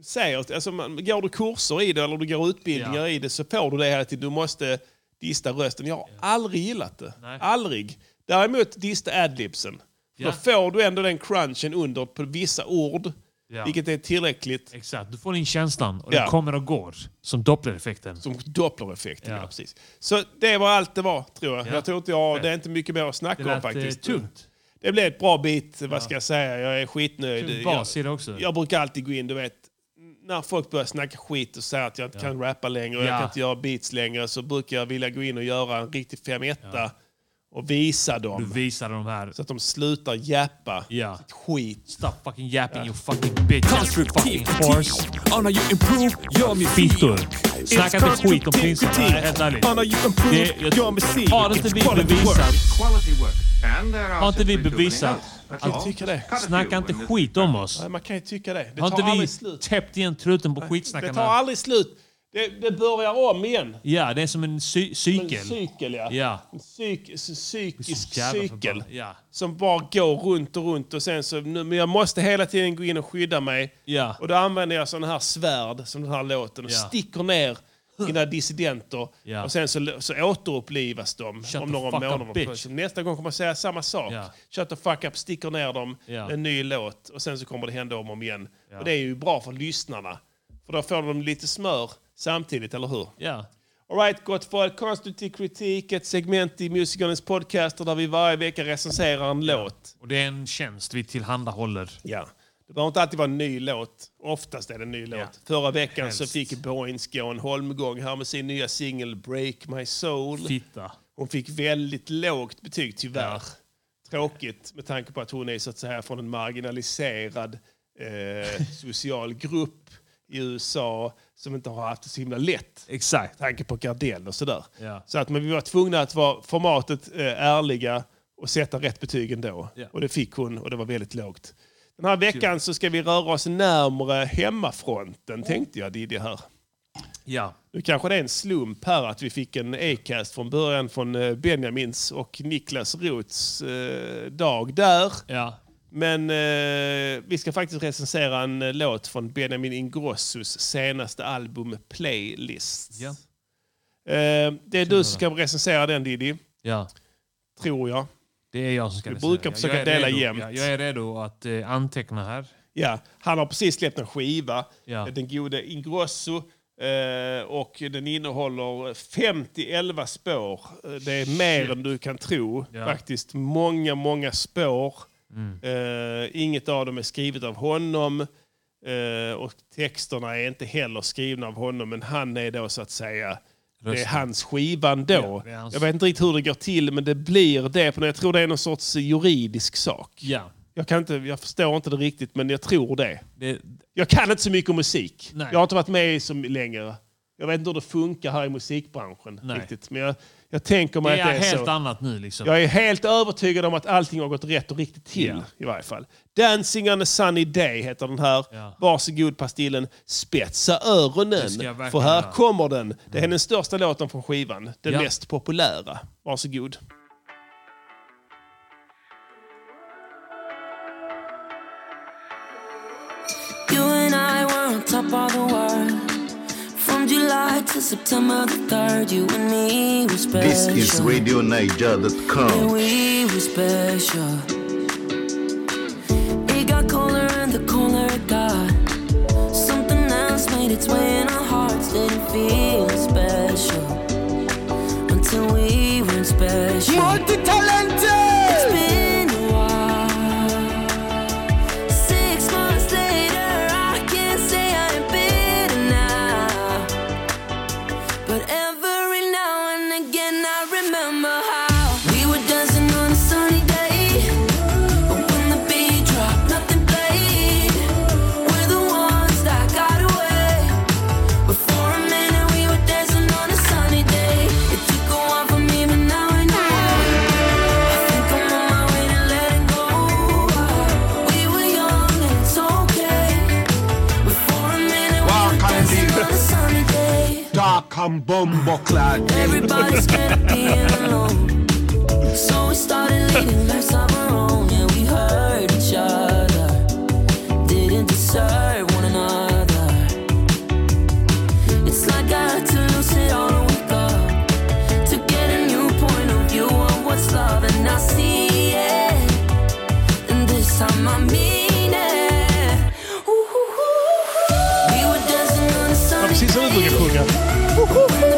säger, att- alltså, man, går du kurser i det eller du går utbildningar
Ja.
i det så får du det hela tiden. Du måste dista rösten. Jag har aldrig gillat det. Aldrig. Däremot dista adlibsen. För
Ja.
Då får du ändå den crunchen under på vissa ord,
Ja.
vilket är tillräckligt.
Exakt, du får in känslan och
Ja.
den kommer och går. Som dopplereffekten.
Som dopplereffekten, ja. precis. Så det var allt det var, tror jag.
Ja.
Jag tror inte jag,
Fett.
det är inte mycket mer att snacka
Det lät,
om faktiskt.
eh, tungt.
Det blev ett bra bit, vad ska jag säga. Jag är skitnöjd.
Kul
Jag-
bas i det också.
Jag brukar alltid gå in, du vet, när folk börjar snacka skit och säga att jag inte kan rappa längre och
Ja.
jag kan inte göra beats längre så brukar jag vilja gå in och göra en riktig 5-1 och visa dem.
Du visar de här.
Så att de slutar jappa
Ja.
sitt skit.
Stop fucking yapping you fucking bitch. Fucking horse.
On how you improve your music.
Fitor. Snacka inte skit om prinsarna, helt ärligt.
On how you improve
Det- jag-
your music.
Har inte vi
It's quality work.
bevisat
Quality work. And there
Har
are
inte vi
simply too many
bevisat
notes. That's
att
all.
tycker det.
Cut a
Snacka
few
inte
when the-
skit om oss.
Nej, man kan ju tycka det. Det
Har
tar
inte vi
aldrig slut.
täppt igen truten på
Det
skitsnackarna?
tar aldrig slut. Det, det börjar om igen.
Ja, det är som en cy-
En
cykel.
cykel, ja.
Ja.
En psyk, en psykisk
jävla
cykel.
förbannat. Ja.
Som bara går runt och runt. Och sen så, nu, men jag måste hela tiden gå in och skydda mig.
Ja.
Och då använder jag sådana här svärd, som den här låten, och
Ja.
sticker ner mina dissidenter.
Ja.
Och sen så, så återupplivas de
Shut
om
the
några
fuck up,
månader.
bitch.
Nästa gång kommer jag säga samma sak.
Ja.
Shut the fuck up, sticker ner dem,
Ja.
en ny låt. Och sen så kommer det hända om och om igen.
Ja.
Och det är ju bra för lyssnarna. För då får de lite smör samtidigt, eller hur?
Ja.
Alright, gott folk. Konstruktiv kritik, ett segment i Musikernas podcaster där vi varje vecka recenserar en låt.
Och det är en tjänst vi tillhandahåller.
Ja. Det behöver inte alltid vara en ny låt. Oftast är det en ny låt. Förra veckan så
Helst.
fick Boinska en holmgång här med sin nya singel Break My Soul.
Fitta.
Hon fick väldigt lågt betyg, tyvärr. Tråkigt med tanke på att hon är så att säga från en marginaliserad
<laughs>
eh, social grupp i USA som inte har haft det så himla lätt.
Exakt.
tanke på Gardell och sådär.
Ja.
Så att men vi var tvungna att vara formatet eh, ärliga och sätta rätt betyg ändå.
Ja.
Och det fick hon och det var väldigt lågt. Den här veckan så ska vi röra oss närmre hemmafronten tänkte jag Diddy här.
Ja.
Nu kanske det är en slump här att vi fick en e-cast från början från eh, Benjamins och Niklas Roths eh, dag där.
Ja.
Men eh, vi ska faktiskt recensera en eh, låt från Benjamin Ingrossos senaste album Playlist.
Ja.
Eh, det är du som ska recensera den Diddy,
Ja.
tror jag.
Det är jag som ska
Vi
recensera.
brukar försöka
Jag är
dela
redo.
jämnt.
Ja, jag är redo att eh, anteckna här.
Ja, han har precis släppt en skiva,
Ja.
Eh, den gode Ingrosso. eh, Och den innehåller 50-11 spår. Eh, Det är mer än du kan tro.
Ja.
Faktiskt många, många spår.
Mm.
Eh, inget av dem är skrivet av honom. Eh, och texterna är inte heller skrivna av honom. Men han är då så att säga... Det är
Rösten.
hans skiva ändå.
Ja, det är hans.
Jag vet inte riktigt hur det går till, men det blir det. För jag tror det är någon sorts juridisk sak.
Ja.
Jag, kan inte, jag förstår inte det riktigt, men jag tror det.
Det,
Jag kan inte så mycket om musik.
Nej.
Jag har inte varit med så längre. Jag vet inte hur det funkar här i musikbranschen.
Nej.
riktigt. Men jag, jag tänker mig
det är,
att det är
helt
så.
annat nu liksom.
Jag är helt övertygad om att allting har gått rätt och riktigt till.
Ja.
I varje fall. Dancing on a sunny day heter den här.
Ja.
Varsågod pastillen, spetsa öronen.
Det ska jag verkligen
För här
göra. Mm.
kommer den. Det är den största låten från skivan. Den
Ja.
mest populära. Varsågod.
You and I were on top of the world. From July to September the 3rd, you and me were special.
This is
Yeah,
RadioNiger.com.
we were special. It got colder and the colder it got. Something else made its way in our hearts. Didn't feel special until we weren't special. Multi-talented! It's been a while. Six months later, I can't say I'm bitter now. But every now and again, I remember how we were dancing on a sunny day. But when the beat dropped, nothing played. We're the ones that got away. But for a minute, we were dancing on a sunny day. It took a while for me, but now I know.
han bombokladd.
Everybody's scared of being alone. So we started leading lives of our own. Yeah, we hurt each other. Didn't deserve one another. It's like I had to lose it all and wake up to get a new point of view on what's love, and I see it. And this time I mean it. Ooh-hoo-hoo-hoo. We were dancing on the
Ja,
sunny
precis som vi brukar sjunga.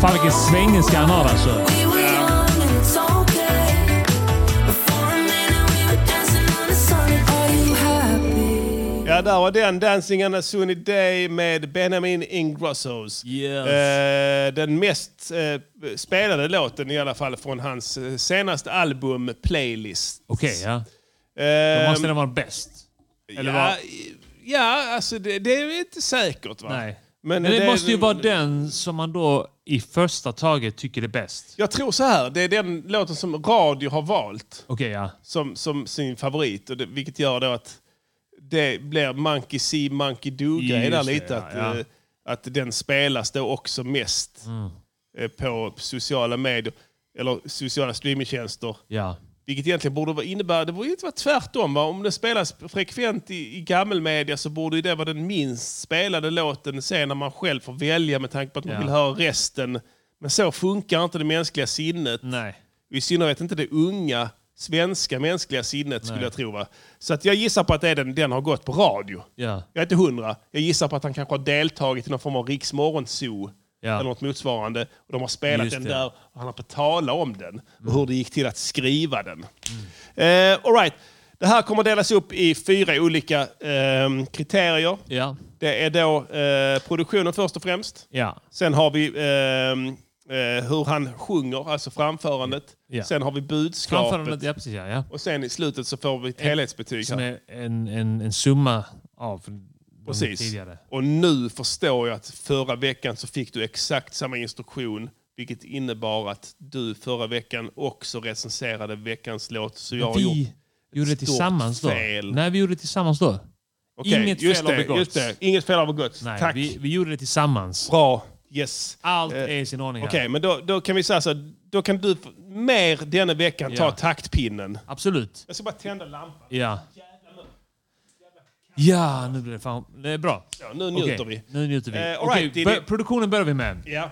Fan vilken svengelska han har alltså.
Ja, där var den. Dancing on a sunny day med Benjamin Ingrossos.
Yes.
Eh, den mest eh, spelade låten i alla fall från hans eh, senaste album, Playlist.
Okej, ja.
Ehm,
Då måste den vara bäst. Eller
ja,
vad?
ja, alltså det, det är inte säkert. Va?
Nej.
Men
Men,
det-
det, måste ju vara den som man då i första taget tycker är bäst.
Jag tror så här, det är den låten som radio har valt
Okej, ja.
som, som sin favorit. Och det, vilket gör då att det blir Monkey See, Monkey Do-grej
Just
där
det,
lite.
ja,
att,
ja. Mm.
eh, att den spelas då också mest eh, på sociala medier eller sociala streamingtjänster.
Ja.
Vilket egentligen borde vara- innebära, det borde ju inte vara tvärtom. Va? Om den spelas frekvent i, i gammelmedia så borde ju det vara den minst spelade låten sen när man själv får välja med tanke på att man
Ja.
vill höra resten. Men så funkar inte det mänskliga sinnet.
Nej.
I synnerhet inte det unga svenska mänskliga sinnet skulle jag tro. Va? Så att jag gissar på att det är den, den har gått på radio.
Ja.
Jag är inte hundra. Jag gissar på att han kanske har deltagit i någon form av riksmorgonzoo
Ja.
eller något motsvarande. Och de har spelat
Just
den
det.
där och han har fått tala om den och hur det gick till att skriva den.
Mm.
Eh, all right. Det här kommer delas upp i fyra olika ehm, kriterier.
Ja.
Det är då eh, produktionen först och främst.
Ja.
Sen har vi ehm, eh, hur han sjunger, alltså framförandet.
Ja.
Sen har vi budskapet.
Framförandet, ja precis ja. ja.
Och sen i slutet så får vi ett helhetsbetyg.
Som
här.
är en, en, en summa av de
Precis.
tidigare.
Och nu förstår jag att förra veckan så fick du exakt samma instruktion. Vilket innebar att du förra veckan också recenserade veckans låt. Så jag har
vi
gjort
gjorde det
ett stort
tillsammans då.
fel.
Nej, vi gjorde det tillsammans då.
Okej,
Inget
just
fel
det,
har begåtts.
Just det. Inget fel har begåtts.
Nej,
Tack.
Vi, vi gjorde det tillsammans.
Bra. Yes. Eh,
Allt är i sin ordning
Okej,
här.
men då, då kan vi säga så. här, Då kan du f- mer denna veckan ta
Ja.
taktpinnen.
Absolut.
Jag ska bara tända lampan.
Ja. Ja, nu blir det fan... Det är bra.
Ja, nu njuter
Okej,
vi.
Nu njuter vi.
Eh, all
Okej,
right, det-
bör-
det-
produktionen börjar vi med.
Ja.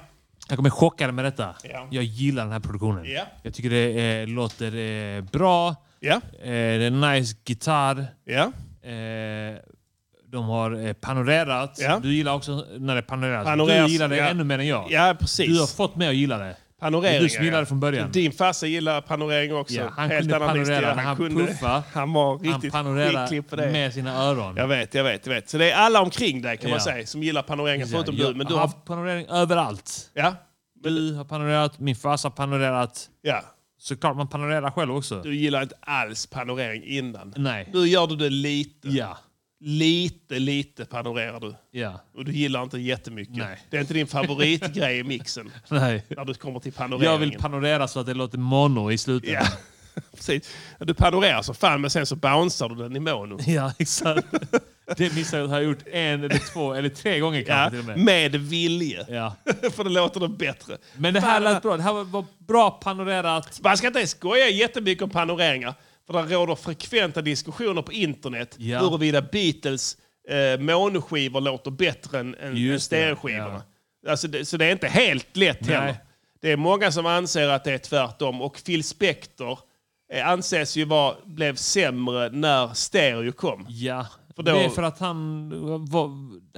Jag kommer chocka dig med detta.
Ja.
Jag gillar den här produktionen.
Ja.
Jag tycker det eh, låter eh, bra.
Ja.
Eh, det är en nice gitarr.
Ja.
Eh, de har eh, panorerat.
Ja.
Du gillar också när det panoreras.
Panoreras,
Du gillar det
ja.
ännu mer än jag.
Ja, precis.
Du har fått mig att gilla det.
Panoreringar.
Det är du som gillar det från början.
Din farsa gillar panorering också.
Ja, han
Helt
kunde
annan
panorera
livsstil.
när han puffade.
Han var
Han
riktigt
panorerar
skicklig på det.
med sina öron.
Jag vet, jag vet, jag vet. Så det är alla omkring dig kan man
Ja.
säga som gillar panoreringar
Ja,
förutom
jag
du. Men du
har
har...
haft panorering överallt.
Ja.
Du har panorerat, min farsa har panorerat.
Ja.
Såklart man panorerar själv också.
Du gillar inte alls panorering innan.
Nej.
Nu gör du det lite.
Ja.
Lite, lite panorerar du.
Ja.
Och du gillar inte jättemycket.
Nej.
Det är inte din favoritgrej i mixen.
<laughs> Nej.
När du kommer till panoreringen.
Jag vill panorera så att det låter mono i slutet.
Ja. <laughs> Precis. Du panorerar så fan men sen så bouncear du den i mono.
<laughs> Ja, exakt. Det missade jag har gjort en eller två eller tre gånger <laughs> kanske
Ja,
till och med.
med vilje.
Ja.
<laughs> För det låter det bättre.
Men det här lät bra. Det här var- var bra panorerat.
Man ska inte skoja jättemycket om panoreringar. För det råder frekventa diskussioner på internet
Ja.
huruvida Beatles eh, monoskivor låter bättre än, än, än
Just det,
stereoskivorna. Alltså det, så det är inte helt lätt
Nej.
heller. Det är många som anser att det är tvärtom. Och Phil Spector eh, anses ju vara, blev sämre när stereo kom.
Ja.
För då-
Det är för att han var,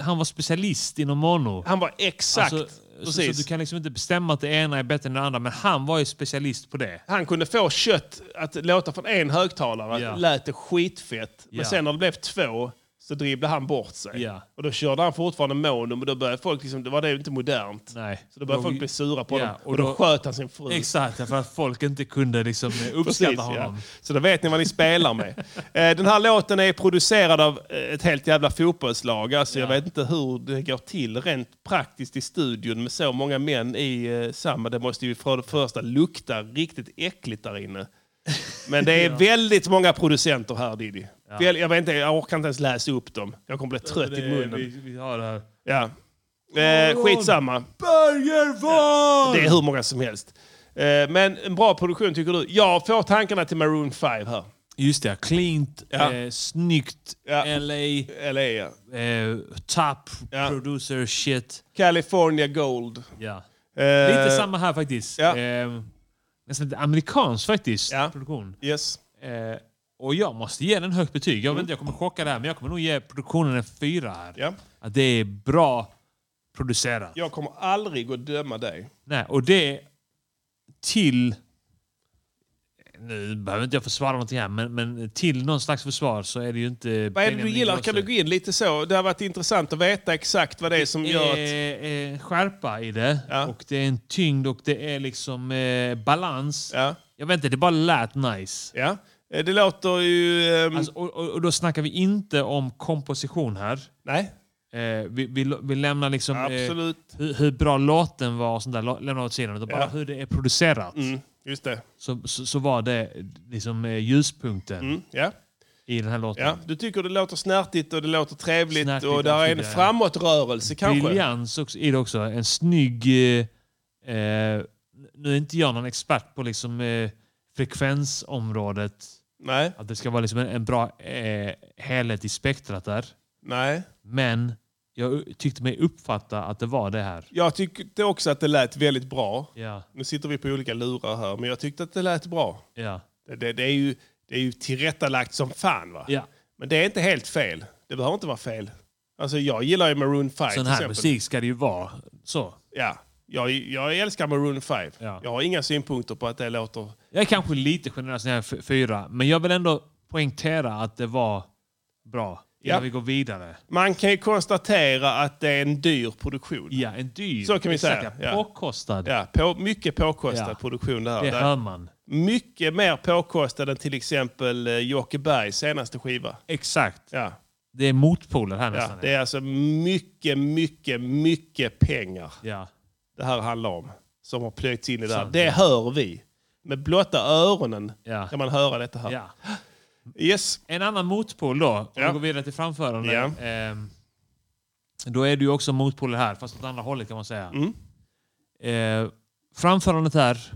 han var specialist inom mono.
Han var exakt...
Alltså, så, så
precis.
du kan liksom inte bestämma att det ena är bättre än det andra, men han var ju specialist på det.
han kunde få kött att låta från en högtalare,
Ja.
lät det skitfett. Men
Ja.
sen när det blev två så så dribblade han bort sig.
Ja.
Och då körde han fortfarande monum och då började folk, liksom, det var det inte modernt.
Nej.
Så då började
Då-
folk bli sura på
ja,
honom.
och
Och, då,
då-
sköt han sin fru.
Exakt, ja, för att folk inte kunde
<laughs>
liksom eh,
Precis,
uppskatta
ja.
honom.
Så då vet ni vad ni spelar med. Eh, Den här låten är producerad av eh, ett helt jävla fotbollslag. Alltså, Jag vet inte hur det går till rent praktiskt i studion med så många män i eh, samma. Det måste ju för det första lukta riktigt äckligt där inne.
<laughs>
Men det är
Ja.
väldigt många producenter här Diddy.
Ja.
Väl- Jag, vet inte, jag orkar inte ens läsa upp dem. Jag kommer bli trött
Det-
i munnen.
Vi, vi har det här.
Ja. Eh, skitsamma.
Bergervall!
Det er är hur många som helst. Eh, men en bra produktion tycker du. Jag får tankarna till Maroon 5 här.
Just det, cleant,
Ja.
eh, snyggt, LA,
LA ja.
eh, top producer shit.
California Gold.
Ja.
Eh,
Lite samma här faktiskt. Eh, nästan lite amerikansk faktiskt, produktion.
Yes. Mm.
Eh, och jag måste ge den högt betyg. Jag vet inte, jag kommer chocka det här, men jag kommer nog ge produktionen en fyra här.
Ja.
Att det är bra producerat.
Jag kommer aldrig att döma dig.
Nej, och det till... Nu behöver inte jag försvara någonting här, men, men till någon slags försvar så är det ju inte...
Vad är det du gillar? Kan du gå in lite så? Det har varit intressant att veta exakt vad det är som gör att...
eh, skärpa i det. Och det är en tyngd och det är liksom eh, balans. Jag vet inte, det bara lät nice.
Ja. Eh, Det låter ju... ehm,
Alltså, och, och, och då snackar vi inte om komposition här.
Nej.
Eh, vi, vi, vi lämnar liksom eh,
Absolut.
hur, hur bra låten var och sånt där, la- lämnar åt sidan. Utan bara
Ja. Mm,
hur det är producerat.
Just det.
Så, så, så var det liksom eh, ljuspunkten
Mm, ja.
i den här låten.
Ja, du tycker det låter snärtigt och det låter trevligt
Snärtigt
och det är en
och så vidare.
framåtrörelse kanske?
Briljans också, i det också. En snygg... Eh, eh, nu är inte jag någon expert på liksom, eh, frekvensområdet.
Nej.
Att det ska vara liksom en, en bra eh, helhet i spektrat där.
Nej.
Men jag u- tyckte mig uppfatta att det var det här.
Jag tyckte också att det lät väldigt bra.
Ja.
Nu sitter vi på olika lurar här, men jag tyckte att det lät bra.
Ja.
Det, det, det, är, ju, det är ju tillrättalagt som fan. va?
Ja.
Men det är inte helt fel. Det behöver inte vara fel. Alltså, jag gillar ju Maroon
Sån
5 till
här
exempel.
musik ska det ju vara. Så.
Ja. Jag, jag älskar Maroon 5. Jag har inga synpunkter på att det låter...
Jag är kanske lite generös när jag är f- fyra, men jag vill ändå poängtera att det var bra innan
Ja.
vi går vidare.
Man kan ju konstatera att det är en dyr produktion.
Ja, en dyr.
Så kan vi
Exakt,
säga.
ja. Påkostad.
Ja, på, mycket påkostad
Ja.
produktion det här.
Det
Där-
hör man.
Mycket mer påkostad än till exempel eh, Jocke Bergs senaste skiva.
Exakt.
Ja.
Det är motpoler här
Ja,
nästan.
det är alltså mycket, mycket, mycket pengar
Ja.
det här handlar om. Som har plöjts in i det här.
Sant.
Det hör vi. Med blotta öronen
Ja.
kan man höra detta här.
Ja.
Yes.
En annan motpol då, om vi går vidare till framförande. ehm, då är det ju också motpoler här, fast åt andra hållet kan man säga.
Mm.
Eh, framförandet här,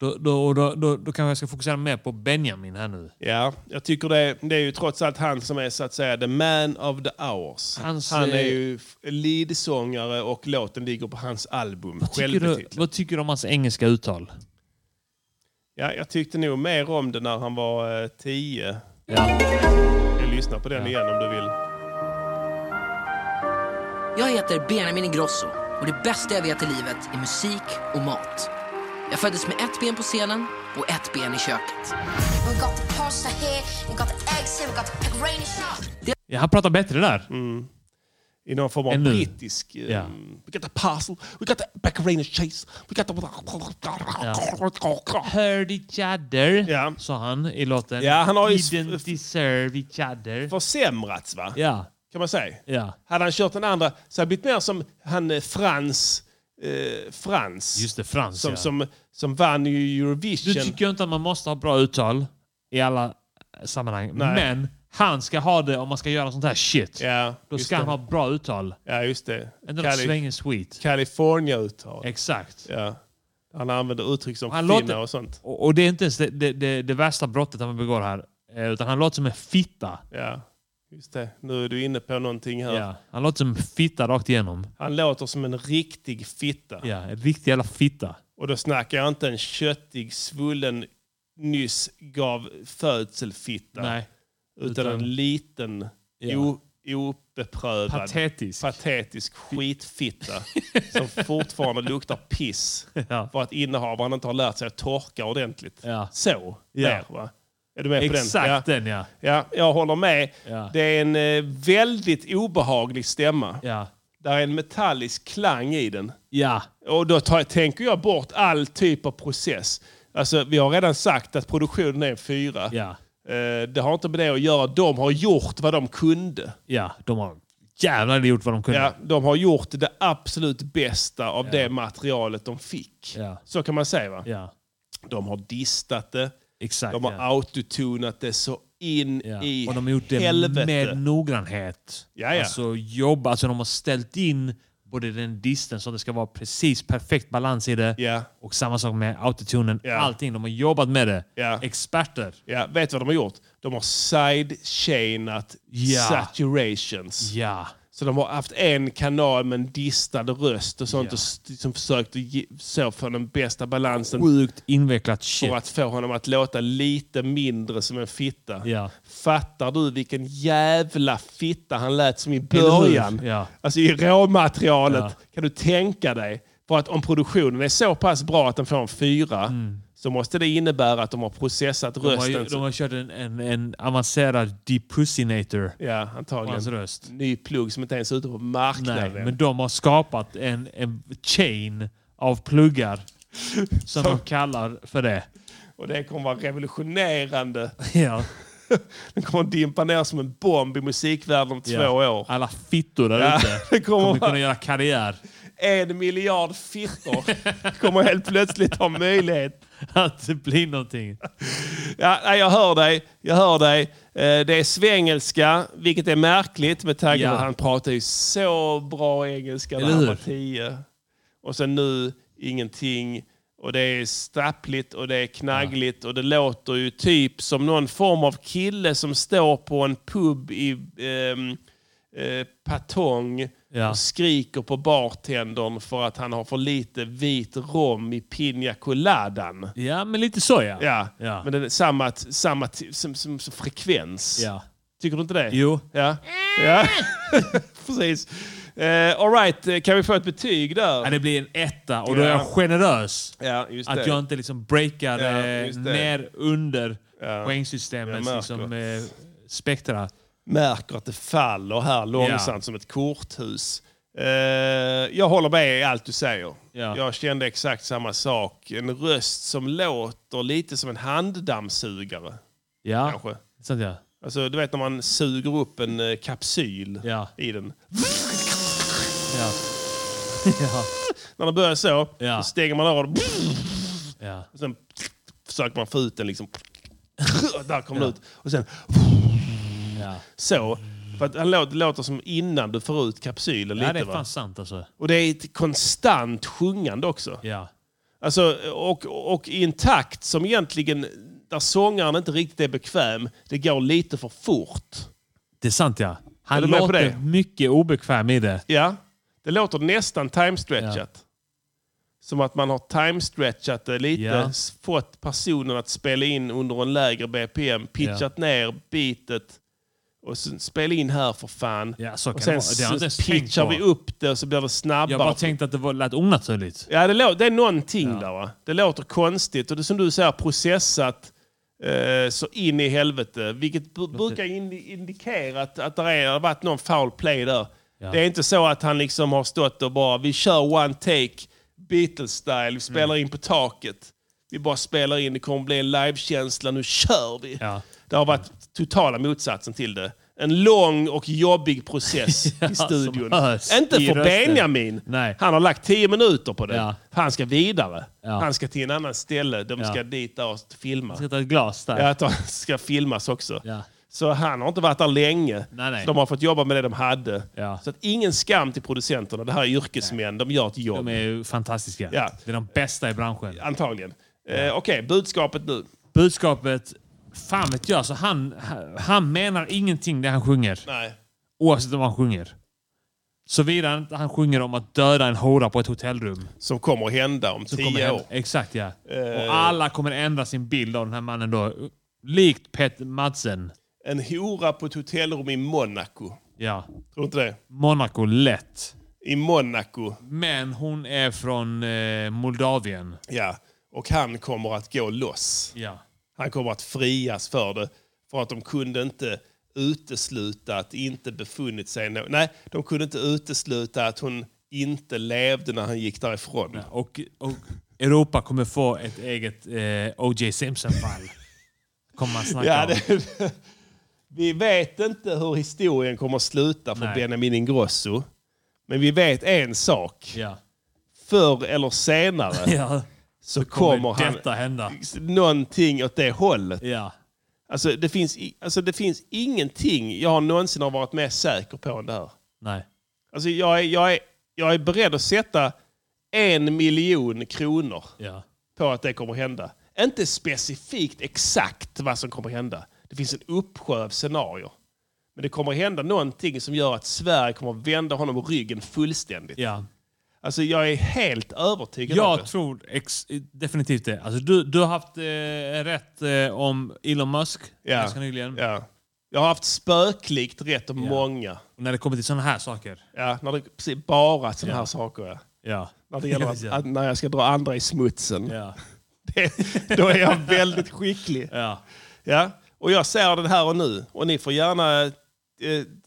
då, då, då, då, då kanske jag ska fokusera mer på Benjamin här nu.
Ja, jag tycker det, det är ju trots allt han som är så att säga the man of the hours.
Hans,
han är
eh,
ju f- leadsångare och låten ligger på hans album.
Vad tycker, du,
Självbetitlat.
vad tycker du om hans engelska uttal?
Ja, jag tyckte nog mer om det när han var eh, tio. Jag lyssnar på den igen om du vill.
Jag heter Benjamin Ingrosso och det bästa jag vet i livet är musik och mat. Jag föddes med ett ben på scenen och ett ben i köket.
We got the pasta here, we got the eggs here, we got the pepperoni sauce.
Ja, han pratar bättre där.
I någon form av
Än nu.
Mm. brittisk... eh,
Ja.
We got the parcel, we got the macarena cheese, we got the...
Heard each other, sa han i låten.
Ja, han har ju-
Didn't deserve each other.
Försämrats va?
Ja.
Kan man säga.
Ja.
Hade han kört den andra så hade det blivit mer som han eh, Frans... Eh, Frans.
Just det, Frans,
Som,
ja.
som, som vann ju Eurovision.
Du tycker ju inte att man måste ha bra uttal i alla eh, sammanhang.
Nej.
Men han ska ha det om man ska göra sånt här shit.
Ja,
Då
just
ska han
det.
ha bra uttal.
Ja, just det.
Ändå något svänger sweet.
California-uttal.
Exakt.
Ja. Han använder uttryck som
Han
finna
låter-
och sånt.
Och, och det är inte ens det, det, det, det värsta brottet han begår här. Eh, Utan han låter som en fitta.
Ja, just det. Nu är du inne på någonting här.
Ja. Han låter som en fitta rakt igenom.
Han låter som en riktig fitta.
Ja, en riktig jävla fitta.
Och då snackar jag inte en köttig, svullen, nyss gav födselfitta.
Nej.
Utan,
Utan-
en liten,
Ja.
o, obeprövad,
Patetisk. <laughs>
patetisk skitfitta som fortfarande luktar piss
Ja.
för att innehavaren inte har lärt sig att torka ordentligt.
Ja.
Så,
Ja.
där, va? Är du med på den?
Exakt den, ja.
Ja, jag håller med. Det är en eh, väldigt obehaglig stämma.
Ja.
Där är en metallisk klang i den.
Ja.
Och då tar, tänker jag bort all typ av process. Alltså, vi har redan sagt att produktionen är en fyra.
Ja.
Eh, Det har inte med det att göra. De har gjort vad de kunde.
Ja, de har jävlar gjort vad de kunde.
Ja, de har gjort det absolut bästa av det materialet de fick. Så kan man säga va? De har distat det. de har autotunat det så in i
Och de har gjort det
helvete.
med noggrannhet.
Ja, ja.
Alltså, jobb, alltså de har ställt in både den disten så att det ska vara precis perfekt balans i det. Och samma sak med autotunen.
Ja.
Allting. De har jobbat med det. Experter.
Ja, vet du vad de har gjort? De har sidechainat
Ja.
saturations.
Ja.
Så de har haft en kanal med en distad röst och sånt och s- liksom försökt att ge, så få den bästa balansen.
Sjukt invecklat shit.
För att få honom att låta lite mindre som en fitta.
Ja.
Fattar du vilken jävla fitta han lät som i
Eller hur?
början?
Ja.
Alltså i råmaterialet.
Ja.
Kan du tänka dig? För att om produktionen är så pass bra att den får en fyra så måste det innebära att de har processat
Mm. De har, ju-
rösten.
de har kört en, en, en avancerad depussinator.
Ja,
på hans
antagligen.
röst.
Ny plugg som inte ens är ute på
Nej,
marknaden.
men de har skapat en, en chain av
<laughs>
pluggar som de kallar för det.
Och det kommer vara revolutionerande.
<laughs> Ja.
<laughs> Den kommer dimpa ner som en bomb i musikvärlden om två
Ja.
år.
Alla fittor där
Ja,
ute
<laughs> det kommer
kommer
vara-
kunna göra karriär.
En miljard fittor kommer helt plötsligt ha möjlighet
att det blir någonting.
Ja, nej, jag hör dig. Jag hör dig. Eh, Det är svengelska, vilket är märkligt med tanke på
Ja.
att han pratar ju så bra engelska när
Eller
han
hur?
var tio. Och sen nu ingenting. Och det är stappligt och det är knaggligt och det låter ju typ som någon form av kille som står på en pub i ehm, eh, Patong
Ja.
och skriker på bartendern för att han har för lite vit rom i pina coladan.
Ja, men lite så ja.
Ja,
Ja.
men det är samma, samma t- som, som, som frekvens.
Ja.
Tycker du inte det?
Jo.
Ja, ja. <laughs> precis. Uh, Alright, kan vi få ett betyg där?
Ja, det blir en etta och då är jag generös.
Ja, just
Att
det.
jag inte liksom breakar
Ja,
eh,
just det.
ner under
Jag
poängsystemets
märker.
liksom, eh, spektra.
Alltså, märker att det faller här långsamt
Ja.
som ett korthus. Eh, jag håller med i allt du säger.
Ja.
Jag kände exakt samma sak. En röst som låter lite som en handdammsugare.
Ja,
Kanske.
sånt ja.
Alltså, du vet när man suger upp en eh, kapsyl i den.
ja. <laughs> ja.
När det börjar så,
Ja.
så stänger man av det.
Ja.
Och sen försöker man få ut den liksom. Där kom den ut. Och sen
Ja.
så. För att han låter, det låter som innan du får ut kapsylen
ja,
lite.
det är
va?
fan sant alltså.
Och det är ett konstant sjungande också.
Ja.
Alltså, och, och i en takt som egentligen, där sångaren inte riktigt är bekväm, det går lite för fort.
Det är sant ja. Han
Är du med på
låter
det?
mycket obekväm i det.
Ja, det låter nästan time-stretchat. Som att man har time-stretchat det lite,
Ja.
s- fått personen att spela in under en lägre BPM, pitchat ner beatet och sen spela in här för fan.
så
och
kan det
sen
vara. Det har jag inte ens
s-
tänkt
pitchar
på.
vi upp det och så blir det snabbare.
Jag bara tänkte att det var, lät onaturligt.
Ja, det, lå- det är någonting där. Va? Det låter konstigt och det är som du säger processat eh, så in i helvete. Vilket b- brukar in-
<laughs>
indikera att, att det är- har varit någon foul play där.
Ja.
Det är inte så att han liksom har stått och bara, vi kör one take, Beatles-style, vi
Mm.
spelar in på taket. Vi bara spelar in, det kommer bli en livekänsla, nu kör vi.
Ja.
Det har varit totala motsatsen till det. En lång och
<laughs>
jobbig process i studion.
som hörs
Inte
i
för
rösten.
Benjamin.
Nej.
Han har lagt tio minuter på det.
Ja.
Han ska vidare.
Ja.
Han ska till en annan ställe. De ska
Ja.
dit där och filma.
Jag ska ta ett glas där.
Ja, att de <laughs> ska filmas också.
Ja.
Så han har inte varit där länge.
Nej, nej.
Så de har fått jobba med det de hade.
Ja.
Så att ingen skam till producenterna. Det här är yrkesmän. De gör ett jobb.
De är ju fantastiska.
Ja.
Det är de bästa i branschen.
Antagligen. Eh, Okej, budskapet nu.
Budskapet, fan vet jag, alltså han, han menar ingenting det han sjunger.
Nej.
Oavsett om han sjunger. Såvida inte han sjunger om att döda en hora på ett hotellrum.
Som kommer att hända om
Så
tio
kommer hända-
år.
Exakt ja.
Eh.
Och alla kommer ändra sin bild av den här mannen då. Likt Pet Madsen.
En hora på ett hotellrum i Monaco.
Ja.
Tror du inte det?
Monaco lätt.
I Monaco.
Men hon är från eh, Moldavien.
Ja. Och han kommer att gå loss.
Ja.
Han kommer att frias för det. För att de kunde inte utesluta att inte befunnit sig... nå- Nej, de kunde inte utesluta att hon inte levde när han gick därifrån.
och, och Europa kommer få ett eget eh, O.J. Simpson-fall. Kommer man snacka
Ja,
om.
det, <laughs> vi vet inte hur historien kommer att sluta för
Nej.
Benjamin Ingrosso. Men vi vet en sak.
Ja.
Förr eller
<laughs>
senare
Ja.
så
kommer
kommer han...
detta hända.
Någonting åt det hållet.
Ja.
Alltså, det finns, i- alltså det finns ingenting jag någonsin har varit mer säker på än det här.
Nej.
Alltså jag är, jag är, jag är beredd att sätta en miljon kronor
Ja.
på att det kommer hända. Inte specifikt exakt vad som kommer hända. Det finns en uppsjö av scenarier. Men det kommer hända någonting som gör att Sverige kommer vända honom ryggen fullständigt.
Ja.
Alltså jag är helt övertygad om det.
Jag tror ex- definitivt det. Alltså, du, du har haft eh, rätt eh, om Elon Musk ganska nyligen.
Ja. Jag har haft spöklikt rätt om
Ja.
många.
Och när det kommer till sådana här saker.
Ja, när det, precis, bara sådana
Ja.
här saker. Ja.
Ja.
När
<laughs>
det gäller att,
Ja.
att när jag ska dra andra i smutsen.
Ja.
Det, då är jag väldigt skicklig.
Ja.
Ja. Och jag ser den här och nu. Och ni får gärna eh,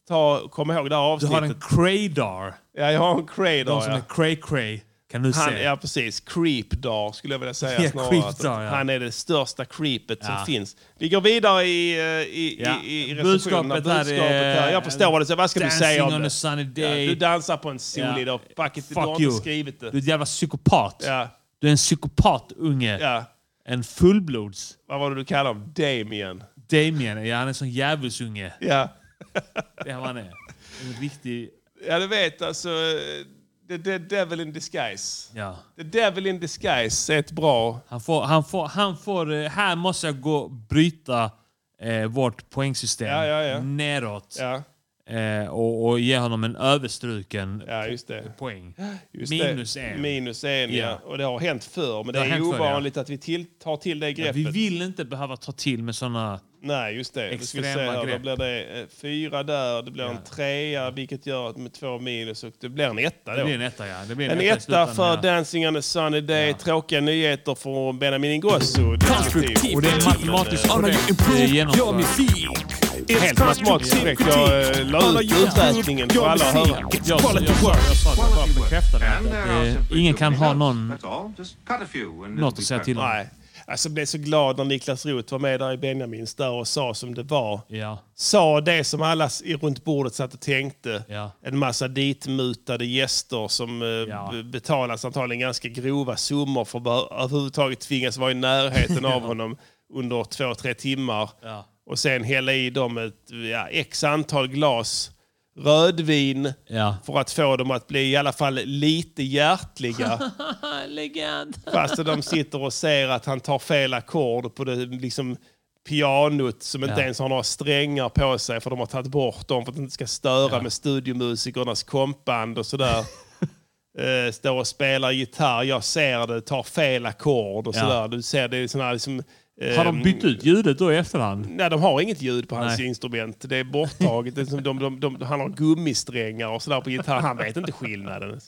ta, komma ihåg det här
Du
avsnittet.
har en Cradar.
Ja, jag har en Cradar.
De som
ja.
är cray-cray kan du
han,
se.
Ja, precis. Creepdar skulle jag vilja säga.
Ja,
snarare.
creepdar, ja.
Han är det största creepet
Ja.
som finns. Vi går vidare i, eh, i,
Ja.
i, i, i
Budskapet
recensionerna.
här är-
Budskapet här. Jag förstår vad du säger. Vad ska du
Dancing
säga om
on
det?
a sunny day.
Ja, du dansar på en solig dag. Fuck it, du har inte skrivit det.
Du är ett jävla psykopat.
Ja.
Du är en psykopatunge.
Ja.
En fullblods.
Vad var det du kallade honom? Damien?
Damien, ja han är en sån djävulsunge.
Ja.
Det är vad han är. En riktig...
Ja, du vet alltså. eh, The, the devil in disguise.
Ja.
The devil in disguise är ett bra...
Han får, han får, han får, eh, här måste jag gå bryta eh, vårt poängsystem
Ja, ja, ja.
neråt.
Ja.
Eh, och, och ge honom en överstruken
Ja, just det.
poäng.
Just
Minus
det.
en.
Minus en, ja.
Ja.
Och det har hänt förr, men
Det
det,
har
är
hänt förr,
ovanligt att vi till, tar till det
Ja,
greppet.
vi vill inte behöva ta till med såna...
Nej, just det. Vi ska se
Extrema
här, då
grepp.
blir det eh, fyra där, det blir en trea, vilket gör att med två minus och det blir en etta då.
Det blir en etta, ja. Det blir
En
i
etta
slutändan,
för
ja.
Dancing on a Sunny Day, tråkiga nyheter från Benjamin Ingrosso. definitivt.
Och det är matematiskt
Men, eh,
korrekt. Det är genomfört.
Helt matematiskt korrekt. Jag eh, la ut uträkningen för alla att höra.
Jag sa jag sa- jag sa att jag bara bekräftade
And there are
det.
some
Eh, Ingen kan ha någon...
That's all. Just cut a few and
Något att säga till om.
Nej. Alltså, jag blev så glad när Niklas Roth var med där i Benjamins där och sa som det var.
Ja.
Sa det som alla s- i- runt bordet satt och tänkte.
Ja.
En massa ditmutade gäster som eh, b- betalas antagligen ganska grova summor för att bara- överhuvudtaget tvingas vara
<laughs>
i närheten av honom under två, tre timmar.
Ja.
Och sen hälla i dem ett ja, x antal glas rödvin
Ja.
för att få dem att bli i alla fall
<laughs>
lite hjärtliga. <laughs>
Legend.
Fast de sitter och ser att han tar fel ackord på det liksom, pianot som inte
Ja.
ens har några strängar på sig för de har tagit bort dem för att det inte ska störa med studiomusikernas kompband
<laughs>
och sådär. Eh, Står och spelar gitarr, jag ser det, tar fel ackord och
Ja.
sådär. Du ser det är sådana här liksom... eh,
Har de bytt ut ljudet då i efterhand?
Nej, de har inget ljud på hans
Nej.
instrument. Det är borttaget. Det är som de, de, de, han har gummisträngar och sådär på gitarr. Han vet inte skillnaden.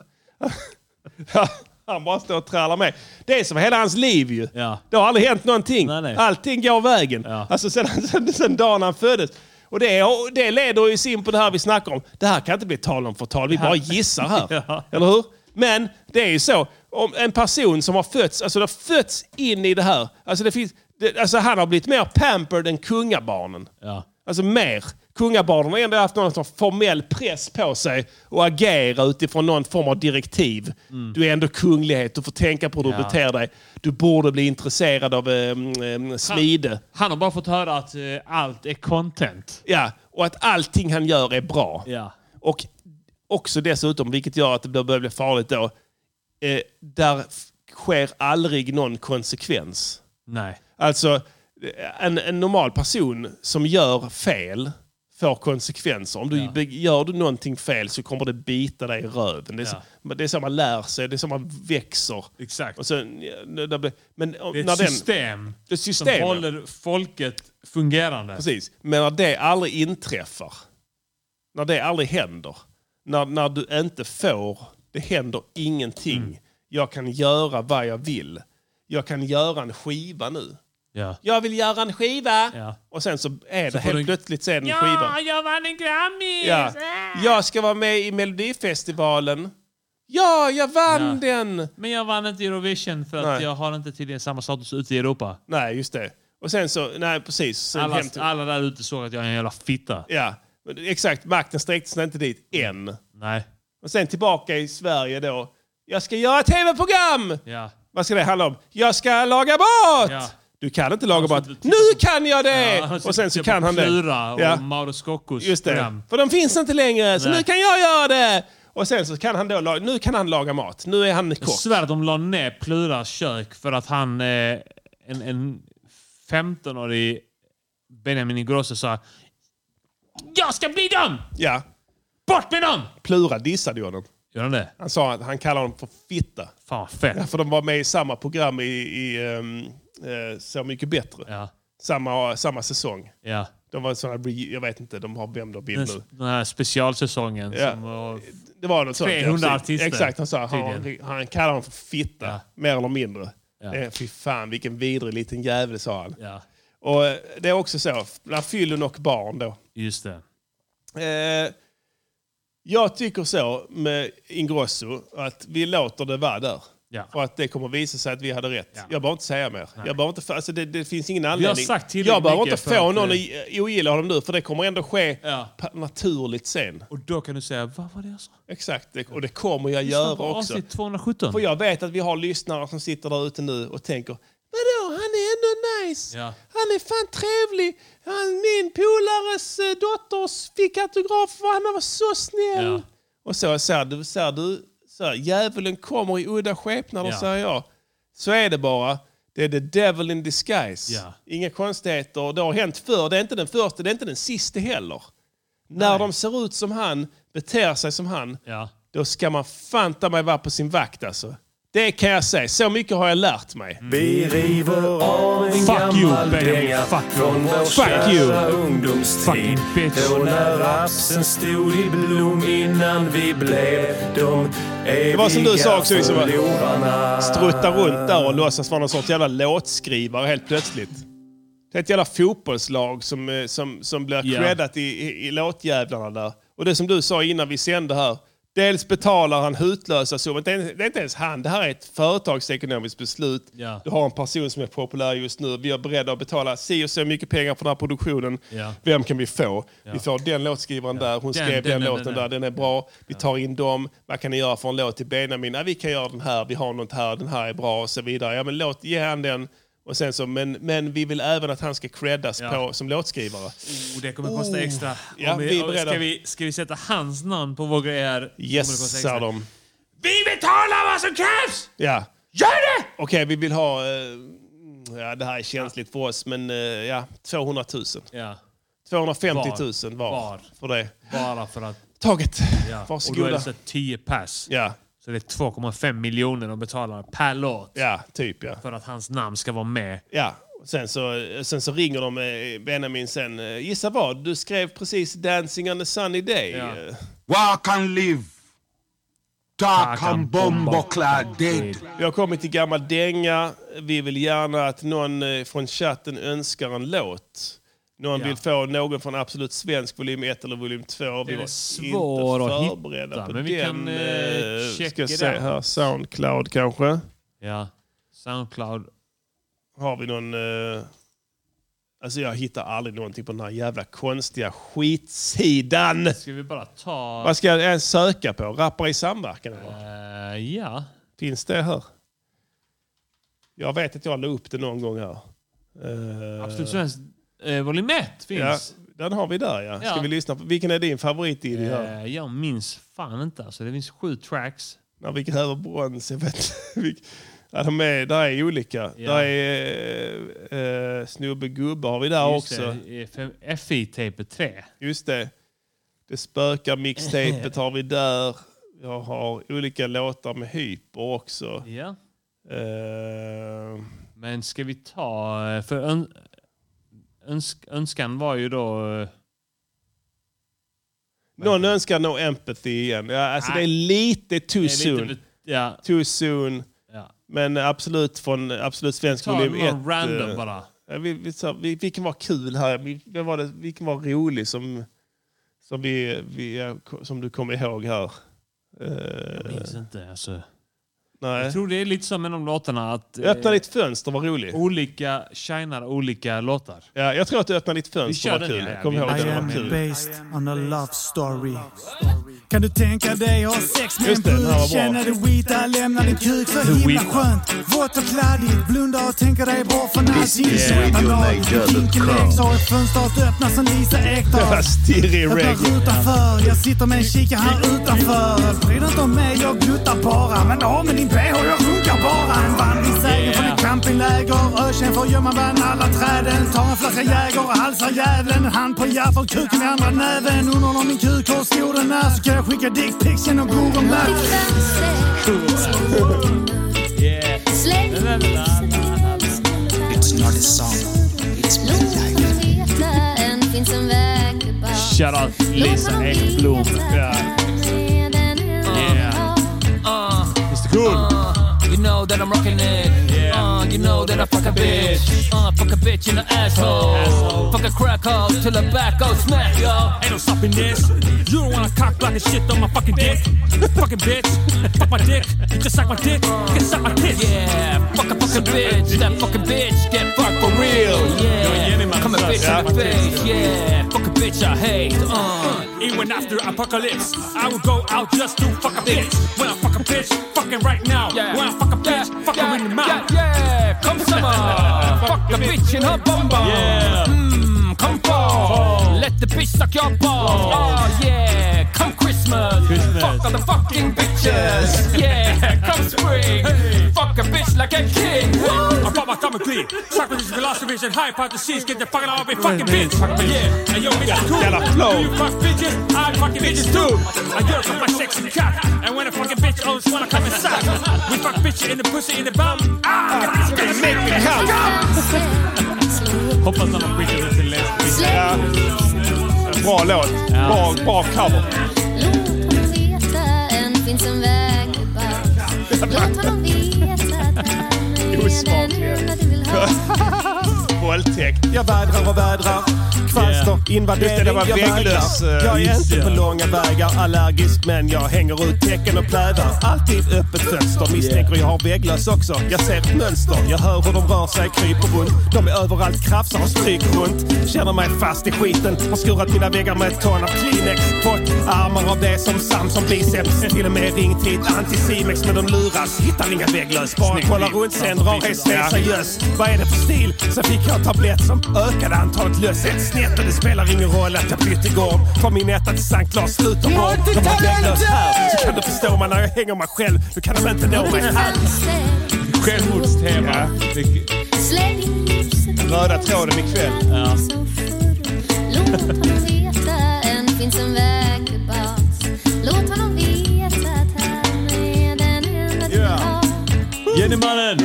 <laughs> Han bara står och trallar med. Det är som hela hans liv ju.
Ja.
Det har aldrig hänt någonting.
Nej, nej.
Allting går vägen.
Ja.
Alltså sen, <laughs> sen, sen dagen han föddes. Och det, och det leder ju oss in på det här vi snackar om. Det här kan inte bli tal om förtal. Vi bara gissar här.
<laughs> Ja.
Eller hur? Men det är ju så. Om en person som har fötts, alltså det har fötts in i det här. Alltså, det finns, det, alltså han har blivit mer pampered än kungabarnen.
Ja.
Alltså mer. Kungabarnen har ändå haft någon sorts formell press på sig och agera utifrån någon form av direktiv. Du är ändå kunglighet, du får tänka på hur du
Mm. Ja.
beter dig. Du borde bli intresserad av ehm, ehm, smide.
Han har bara fått höra att eh, allt är content.
Ja, och att allting han gör är bra.
Ja.
Och också dessutom, vilket gör att det börjar bli farligt då, eh, där f- sker aldrig någon konsekvens.
Nej.
Alltså, en, en normal person som gör fel får konsekvenser. Om du be- gör du någonting fel så kommer det bita dig i röven. Det är, så,
Ja.
men det är så man lär sig, det är så man växer.
Exakt.
Och sen, ja, det, det blir- men om-
Det är
när
ett
den-
system,
Det är
som
system, ja.
håller folket fungerande.
Precis. Men när det aldrig inträffar, när det aldrig händer, när, när du inte får, det händer
Mm.
ingenting. Jag kan göra vad jag vill. Jag kan göra en skiva nu.
Ja.
Jag vill göra en skiva.
Ja.
Och sen så är
Så
det
får
helt
du-
plötsligt sen
Ja,
skivan.
jag vann en Grammy!
Ja. Jag ska vara med i Melodifestivalen. Ja, jag vann den!
Men jag vann inte Eurovision för att
Nej.
jag har inte tydligen samma status ute i Europa.
Nej, just det. Och sen så, nej precis. Sen
Alla,
hem till-
alla där ute såg att jag är en jävla fitta.
Ja, men exakt. Makten sträckte sig inte dit än.
Nej.
Och sen tillbaka i Sverige då. Jag ska göra ett tv-program!
Ja.
Vad ska det handla om? Jag ska laga mat!
Ja.
Du kan inte laga mat. Nu kan jag det! och sen så kan han det.
Plura och
Ja.
Mauro Scoccos
Just det.
program.
För de finns inte längre, så
Nej.
nu kan jag göra det! Och sen så kan han då laga, nu kan han laga mat. Nu är han
Jag
kock.
svär att de la ner Pluras kök för att han, eh, en, en 15-årig Benjamin Ingrosso sa Jag ska bli dem!
Ja.
Bort med dem!
Plura dissade ju honom.
Gör han det?
Han sa att han kallar honom för fitta.
Fan vad fett.
Ja, för de var med i samma program i, i ehm, eh, Så mycket bättre. Samma, samma säsong.
Ja.
De var såna, re- jag vet inte, de har vem de vill
Den,
nu.
den här specialsäsongen.
Ja.
Som var,
Det var något sånt. ja,
300
precis.
artister.
Exakt, han sa han,
Tydligen.
han kallar honom för fitta, mer eller mindre.
Ja.
Eh, Fy fan vilken vidrig liten jävel, sa han.
Ja.
Och eh, det är också så, bland fyllon och barn då.
just det.
Eh, jag tycker så med Ingrosso, att vi låter det vara där.
Ja.
För att det kommer visa sig att vi hade rätt. Jag behöver inte säga mer.
Nej.
Jag behöver inte, för, alltså det, det finns ingen anledning.
sagt tillräckligt
jag behöver inte
mycket
få
för att-
någon att eh, ogilla honom nu, för det kommer ändå ske
Ja.
pa- naturligt sen.
Och då kan du säga, vad var det jag sa?
Exakt, det- och det kommer jag
Lyssna
göra
på
också.
avsnitt 217.
För jag vet att vi har lyssnare som sitter där ute nu och tänker Vadå, han är ändå nice.
Ja.
Han är fan trevlig. Han, min polares eh, dotter fick autograf för han var så snäll.
Ja.
Och så ser du, ser du så här, djävulen kommer i udda skepnader
Ja.
säger jag. Så är det bara. Det är the devil in disguise.
Ja.
Inga konstigheter. Det har hänt förr. Det är inte den första, det är inte den sista heller. När de ser ut som han, beter sig som han,
Ja.
då ska man fan ta mig vara på sin vakt alltså. Det kan jag säga. Så mycket har jag lärt mig.
Vi river av en
Fuck
gammal
you,
dänga
Benjamin. Fuck
från vår
Fuck
kära
you.
ungdomstid. Då när rapsen stod i blom innan vi blev de eviga
Det var som du sa också, liksom, att
förlorarna.
strutta runt där och låtsas vara någon sorts jävla låtskrivare helt plötsligt. Det är ett jävla fotbollslag som, eh, som, som blir
Ja.
creddat i, i, i låtjävlarna där. Och det som du sa innan vi sände här. Dels betalar han hutlösa summor. Det är, det är inte ens han. Det här är ett företagsekonomiskt beslut.
Ja.
Du har en person som är populär just nu. Vi är beredda att betala si och så mycket pengar för den här produktionen.
Ja.
Vem kan vi få? Vi får den låtskrivaren där. Hon
Den,
skrev den,
den, den,
låten
den,
där.
den.
Den är bra. Vi tar in dem. Vad kan ni göra för en låt till Benjamin? Ja, vi kan göra den här. Vi har något här. Den här är bra och så vidare. Ja, men låt, ge han den. Och sen så, men, men vi vill även att han ska creddas
Ja.
på, som låtskrivare.
Oh, det kommer kosta extra. Om
Ja,
vi,
vi är
om-
beredda.
ska, vi, ska vi sätta hans namn på vår grej här? Kommer det kosta
Yes,
extra?
sa de.
Vi betalar vad som krävs!
Ja.
Gör det!
Okej, vi vill ha... eh, ja, det här är känsligt för oss, men eh, ja, 200 000.
Ja.
250
Var.
000 var,
Var.
för det.
Bara för att...
Taget.
Ja. Och då är
Varsågoda.
det så 10 pass.
Ja.
Så det är 2,5 miljoner de betalar per låt.
Ja, typ ja.
För att hans namn ska vara med.
Ja, och sen så, sen så ringer de eh, Benjamin sen. eh, Gissa vad? Du skrev precis Dancing on a sunny day. Eh,
Walk and live. Talk and bombo clad dead.
Vi har kommit till gammal dänga. Vi vill gärna att någon eh, från chatten önskar en låt. Någon
Ja.
vill få någon från Absolut Svensk volym 1 eller volym 2. Vi
Den
var
är svår
inte
att
förberedda
hitta,
på
men vi
den.
kan, eh,
eh,
checka
ska jag
det.
se här. Soundcloud kanske.
Ja. Soundcloud.
Har vi någon... eh, Alltså jag hittar aldrig någonting på den här jävla konstiga skitsidan.
Ska vi bara ta...
Vad ska jag ens söka på? Rappare i samverkan? eller?
Eh, ja.
Finns det här? Jag vet att jag la upp det någon gång här. Eh,
Absolut Svenskt eh, volym 1
Ja,
finns.
den har vi där ja. Ska
Ja.
vi lyssna på? Vilken är din favorit i det här?
Eh, jag minns fan inte. Alltså, det finns sju tracks.
När vi gräver brons. Jag vet <laughs> inte vilk- ja, de är, där är olika.
Ja.
Där är eh, eh, Snubbe Gubbe har vi där
Just
också.
det, eh, fem- FI-tape 3.
Just det. Det spökar mixtapet har vi där. Jag har olika låtar med hyper också.
Ja.
Eh,
Men ska vi ta... eh, För ön, önsk, önskan var ju då... eh,
Någon önskar No Empathy igen. Ja, alltså det är lite too
lite
soon.
väl- ja.
Too soon.
Ja.
Men absolut från absolut svensk
Ta
volym 1.
någon random bara.
Ja, Vi, vi, så, vi, vi kan vara kul här. Vi, vad var det, vi kan vara rolig som, som, vi, vi, som du kommer ihåg här.
Jag minns inte. Alltså.
Eh. Nej.
Jag tror det är lite så med de låtarna att... eh,
Öppna ditt fönster, vad rolig.
Olika shinar olika låtar.
Ja, jag tror att du öppnar ditt
Vi
fönster,
kör
vad
den.
kul.
ja, ja,
Kom
vi-
ihåg
I
den,
am
vad kul.
Based on a love story. Kan du tänka dig ha sex med en
Just det, den här var
pud?
bra.
Känna dig vita, lämna din kuk så
The
himla
Weeknd.
skönt. Vått och kladdigt, blunda och tänka dig bort från
This
allting.
is
Köpa
Radio
nåt.
Niger dot
Kinkelek,
com.
så har ett fönster att öppna som Lisa Ekdahl.
Stirrig
Öppna rutan för, jag sitter med en kikare här utanför. Bry dig inte om mig, jag gluttar bara. Men av med din bh, jag runkar bara. En vandringssägen från ett campingläger. Ökänd för gömma bland alla träden. Tar en flaska Jäger och halsar djävulen. En hand på hjärtat, kuken i andra näven. Undrar om min kuk hur stor den är. Så kan jag skicka dickpics genom Google Maps.
It's not a song. It's
Än finns en väg bara
Shoutout Lisa Ekblom.
med den
Yeah.
Uh, it's good. Uh, you know that I'm rocking it. Uh, you know that I fuck a bitch. Uh, fuck a bitch in the asshole. Fuck a crack hole till her back goes smack, yo.
Ain't no stopping this. You don't wanna cock block and shit on my fucking dick. fucking bitch. Fuck my dick. You just suck my dick. You can suck my tits.
Yeah, fuck a fucking bitch. That fucking bitch get fucked for real. Yeah, come a bitch in the face. Yeah, fuck a bitch I hate. Uh,
Even after apocalypse, I will go out just to fuck a bitch. When I fuck a bitch, fucking right now. When I fuck a bitch, fuck her in the mouth.
yeah, come summer. fuck the bitch in her bum bum.
Yeah.
Mm, come fall. Let the bitch suck your balls.
Ah,
Oh yeah, come Christmas. Fuck all the fucking bitches.
<laughs>
yeah, come spring. Fuck a bitch like a king.
I brought my stomach clean. Socrates, philosophies, and hypotheses. Get the fucking off me, fucking bitch. Yeah, and yo, bitch, is cool. Do you fuck bitches? I fucking bitches too. I girl fuck my sexy cock. And when a fucking bitch always wanna come and suck. We fuck bitch in the pussy, in the bum. Ah, it's gonna make me come.
Hoppas han har skickat det till Leslie.
Ja. Bra låt. Bra, bra cover.
veta Än finns en väg bara Låt honom veta Där med den när du vill ha
Våldtäkt.
Jag vädrar och vädrar. Kvalster,
Yeah. E Just det, det
invadering,
var
jag
vägglös,
vägrar.
eh,
Jag är
just
inte på
det.
långa vägar allergisk, men jag hänger ut tecken och plädar. Alltid öppet fönster, misstänker jag har vägglös också. Jag ser ett mönster, jag hör hur de rör sig, kryper runt. De är överallt, krafsar och stryker runt. Känner mig fast i skiten, har skurat mina väggar med ett ton av Kleenex. Fått armar av det som Samson biceps. Till och med ringt hit antisimex, men de luras. Hittar inga vägglös, bara
Snygg
kollar
bild.
runt sen drar
Ja.
helt seriös. Vad är det för stil? Sen fick jag en tablett som ökade antalet löss ett snett och det spelar ingen roll att jag bytte gård. Från min etta till Sankt Lars slutergård. De har vägglös här, så kan du förstå mig när jag hänger mig själv. Du kan de inte nå mig här.
Självmordstema.
Släng ljuset
Röda tråden ikväll.
Ja.
Låt honom veta Än finns en väg tillbaks Låt honom veta Att han är den enda du vill ha
Jennymannen!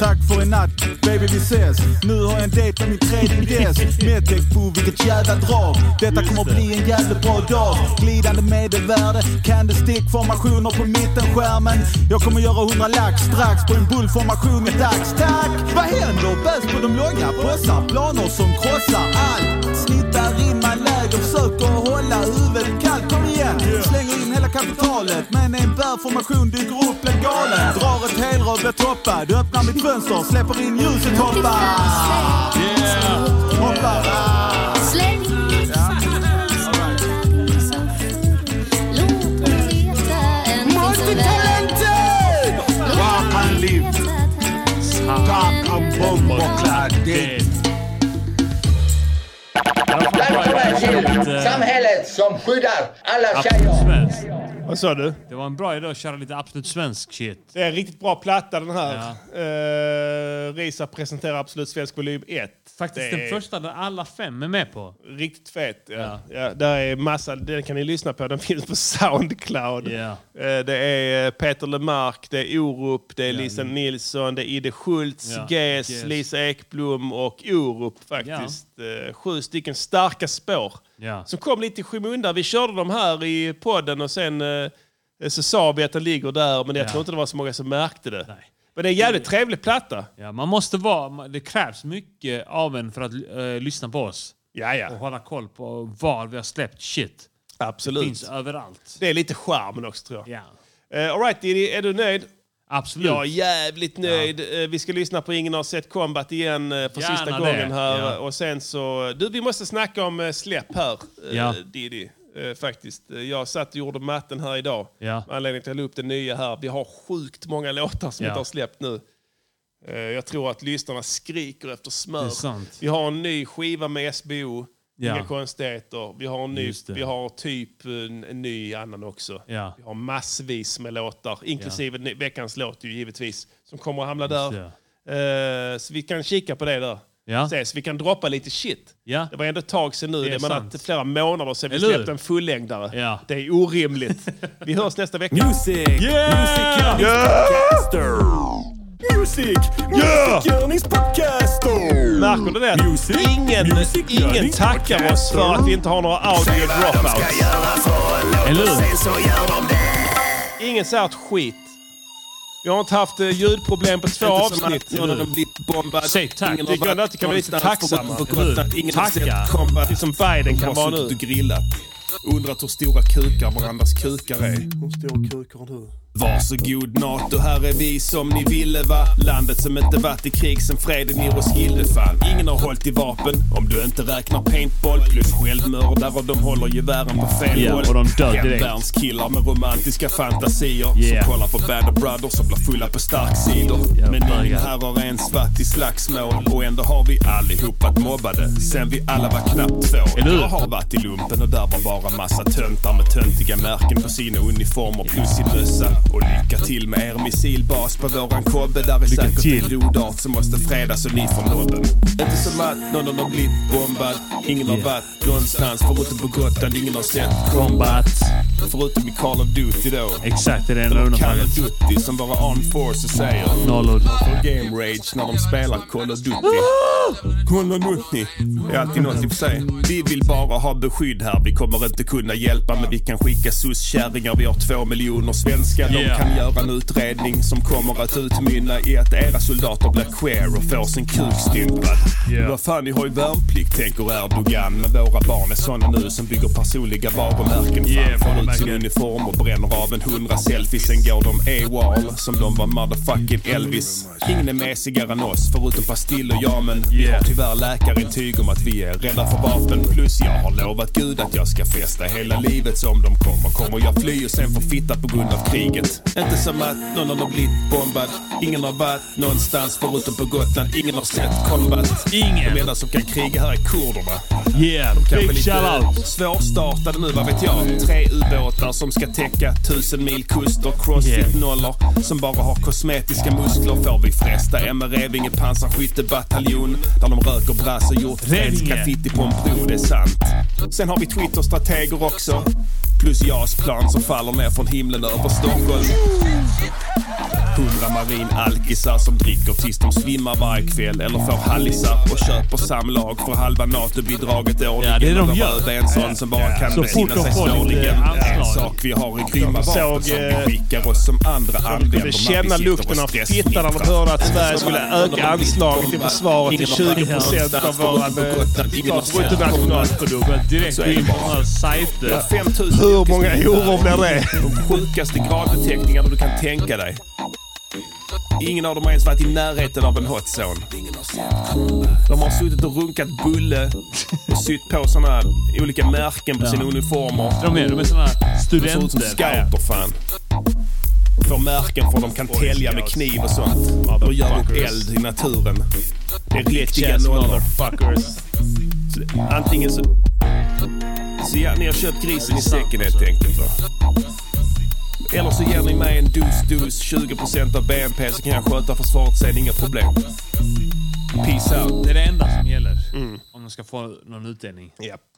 Tack för en natt, baby vi ses. Nu har jag en dejt med min tredje gäst. Medtäckt på vilket jävla drag. Detta kommer bli en jävligt bra dag. Glidande medelvärde, candlestick formationer på mittenskärmen. Jag kommer göra 100 lax strax på en bullformation i dags. Tack! Vad händer? Bäst på de långa påsar. Planer som krossar allt. Snittar rimma läger, försöker hålla huvudet kallt. Kom igen! Slänger in hela kapitalet. Men en bärformation dyker upp legalen. Drar ett helrör, blir toppad. Öppnar mitt fönster, släpper in ljuset, hoppar. Hoppar.
Släng
Multitalented!
Walk and live. Talk and bomb or clad dead.
Samhället som skyddar alla
Absolut
tjejer.
svensk.
Vad sa du?
Det var en bra idé att köra lite Absolut svensk shit.
Det är en riktigt bra platta den här. Eh, Risa presenterar Absolut Svensk volym 1.
Faktiskt
Det
den
är-
första där alla fem är med på.
Riktigt fet. Ja. Ja, där är massa, den kan ni lyssna på. Den finns på Soundcloud.
Ja.
Eh, Det är eh, Peter Lemark, det är Orup, det är Lisa Nilsson, det är Ide Schultz,
Ja,
Ges,
Ges.
Lisa Ekblom och Orup faktiskt. Eh, Sju stycken starka spår.
Ja.
Som kom lite i skymundan. Vi körde dem här i podden och sen eh, så sa vi att den ligger där, men jag
Ja.
tror inte det var så många som märkte det.
Men det är en jävligt trevlig platta.
Ja, man måste vara, det krävs mycket av en för att eh, lyssna på oss.
Ja, ja.
Och hålla koll på var vi har släppt shit.
Absolut.
Det finns överallt.
Det är lite charmen också tror jag.
Ja.
Eh, all right, Diddy, är du nöjd?
Absolut.
Jag är jävligt nöjd. Eh, Vi ska lyssna på Ingen har sett Combat igen eh, för
Gärna
sista
det.
gången här.
Ja.
Och sen så... Du, vi måste snacka om eh, släpp här, eh,
Ja.
Diddy. eh, Faktiskt. Eh, Jag satt och gjorde matten här idag.
Ja.
Med anledning till att jag la upp den nya här. Vi har sjukt många <laughs> låtar som
Ja.
inte har släppt nu. Eh, Jag tror att lyssnarna skriker efter smör.
Det är sant.
Vi har en ny skiva med SBO.
Ja.
Inga konstigheter. Vi har, en ny,
Just det.
vi har typ en, en ny annan också.
Ja.
Vi har massvis med låtar, inklusive ny- veckans låt ju, givetvis, som kommer att hamna där. Eh, så vi kan kika på det där.
Ja.
Ses. Vi kan droppa lite shit.
Ja.
Det var ändå ett tag sedan nu.
Det
Det
är
är man
sant.
att flera månader sedan vi
Eller hur?
släppte en fullängdare.
Ja.
Det är
<laughs>
orimligt. Vi hörs nästa vecka.
Music!
Yeah!
Podcaster! Music!
Yeah!
Musicgörnings podcaster!
Märker du det? Ingen, ingen tackar oss för att vi inte har några audio dropouts.
Eller hur?
Ingen säger ett skit. Vi har inte haft eh, ljudproblem på två avsnitt.
Säg tack.
Ingen Tycker ändå att det kan vara lite tacksamma.
Tacka.
Det är som Biden kan
Har
vara
suttit
nu.
och grillat. Undrat hur stora kukar varandras kukar är.
Hur stor kuk har du?
Varsågod NATO, här är vi som ni ville va. Landet som inte varit i krig sen freden i Roskilde fann. Ingen har hållit i vapen, om du inte räknar paintball. Plus självmördare, och de håller gevären på fel
Ja,
håll.
och de dör direkt.
Hemvärnskillar med romantiska fantasier.
Yeah.
Som kollar på Band of Brothers och blir fulla på starksidor.
Ja,
Men ingen
bögar.
här har ens varit i slagsmål. Och ändå har vi allihop varit mobbade. Sen vi alla var knappt två.
Eller hur?
Jag har varit i lumpen och där var bara massa töntar med töntiga märken på sina uniformer plus i bössa. Och lycka till med er missilbas på våran kobbe. Där är säkert en rodart som måste fredas och ni från nobben. Inte som att någon har blivit bombad. Ingen har varit någonstans förutom på Gotland. Ingen har sett combat. Förutom i Call of Duty då.
Exakt, det är det enda
Eller Call
undantaget.
of Duty som våra armed forces säger.
Nollor.
De får game rage när de spelar Call of Duty. Call of Duty. Det är alltid något i och för sig. Vi vill bara ha beskydd här. Vi kommer inte kunna hjälpa men vi kan skicka soskärringar. Vi har två miljoner svenskar. De
Yeah.
kan göra en utredning som kommer att utmynna i att era soldater blir queer och får sin kuk stympad.
Yeah.
Vad fan, ni har ju värnplikt tänker Erdogan. Men våra barn är såna nu som bygger personliga varumärken
Yeah,
framför ut sin
varumärken.
uniform och bränner av en hundra selfies. Sen går de AWOL som de var motherfucking Elvis. Ingen är mesigare än oss, förutom Pastill och jag. Men vi har tyvärr läkarintyg om att vi är rädda för vapen. Plus jag har lovat gud att jag ska festa hela livet. Så om de kommer, kommer jag fly och sen få fitta på grund av kriget. Inte som att någon har blivit bombad. Ingen har varit någonstans förutom på Gotland. Ingen har sett combat.
Ingen.
De enda som kan kriga här är kurderna.
Yeah,
Kanske
big
lite
shoutout.
svårstartade nu, vad vet jag? Tre ubåtar som ska täcka tusen mil kuster. Crossfit-nollor som bara har kosmetiska muskler. Får vi fresta MR-Revinge pansarskyttebataljon. Där de röker brass och gjort
Revinge.
fredsgraffiti på en bro, det är sant. Sen har vi Twitter-strateger också. Plus JAS-plan som faller ner från himlen över Stockholm. Hundra marinalkisar som dricker tills de svimmar varje kväll eller får hallisar och köper samlag för halva NATO-bidraget årligen.
Ja, det är de
Och
gör.
röva en sån som bara kan
Så
besinna
fort de
sig
får lite
snåligen.
anslag.
En sak vi har i grymma vapen
Såg,
som
eh,
vi skickar oss som andra använder när
kunde
vi
känna
sitter och
lukten av
stressnittrar.
fittan när de hörde att Sverige skulle öka anslagen till försvaret till 20 procent av våran bruttonationalprodukt.
Direkt
Så är
gå in
det
på
bara. eh,
några
Det
sajter.
är 5000
Hur många
yrkesbitar.
horor blir det?
De sjukaste gradbeteckningarna du kan tänka dig. Ingen av dem har ens varit i närheten av en hotzone. De har suttit och runkat bulle och sytt på såna olika märken på sina uniformer.
De är, de är såna
De ser ut som
studenter.
scouter fan. Får märken för de kan tälja med kniv och sånt. Och gör upp eld i naturen. Det är riktiga nollor. Så- Antingen så... Så ja, ni har köpt grisen i säcken helt enkelt va? Eller så ger ni mig en dos-dos 20% av BNP så kan jag sköta försvaret sen, inga problem. Peace out.
Mm.
Det är det enda som gäller. Om de ska få någon utdelning.
Japp.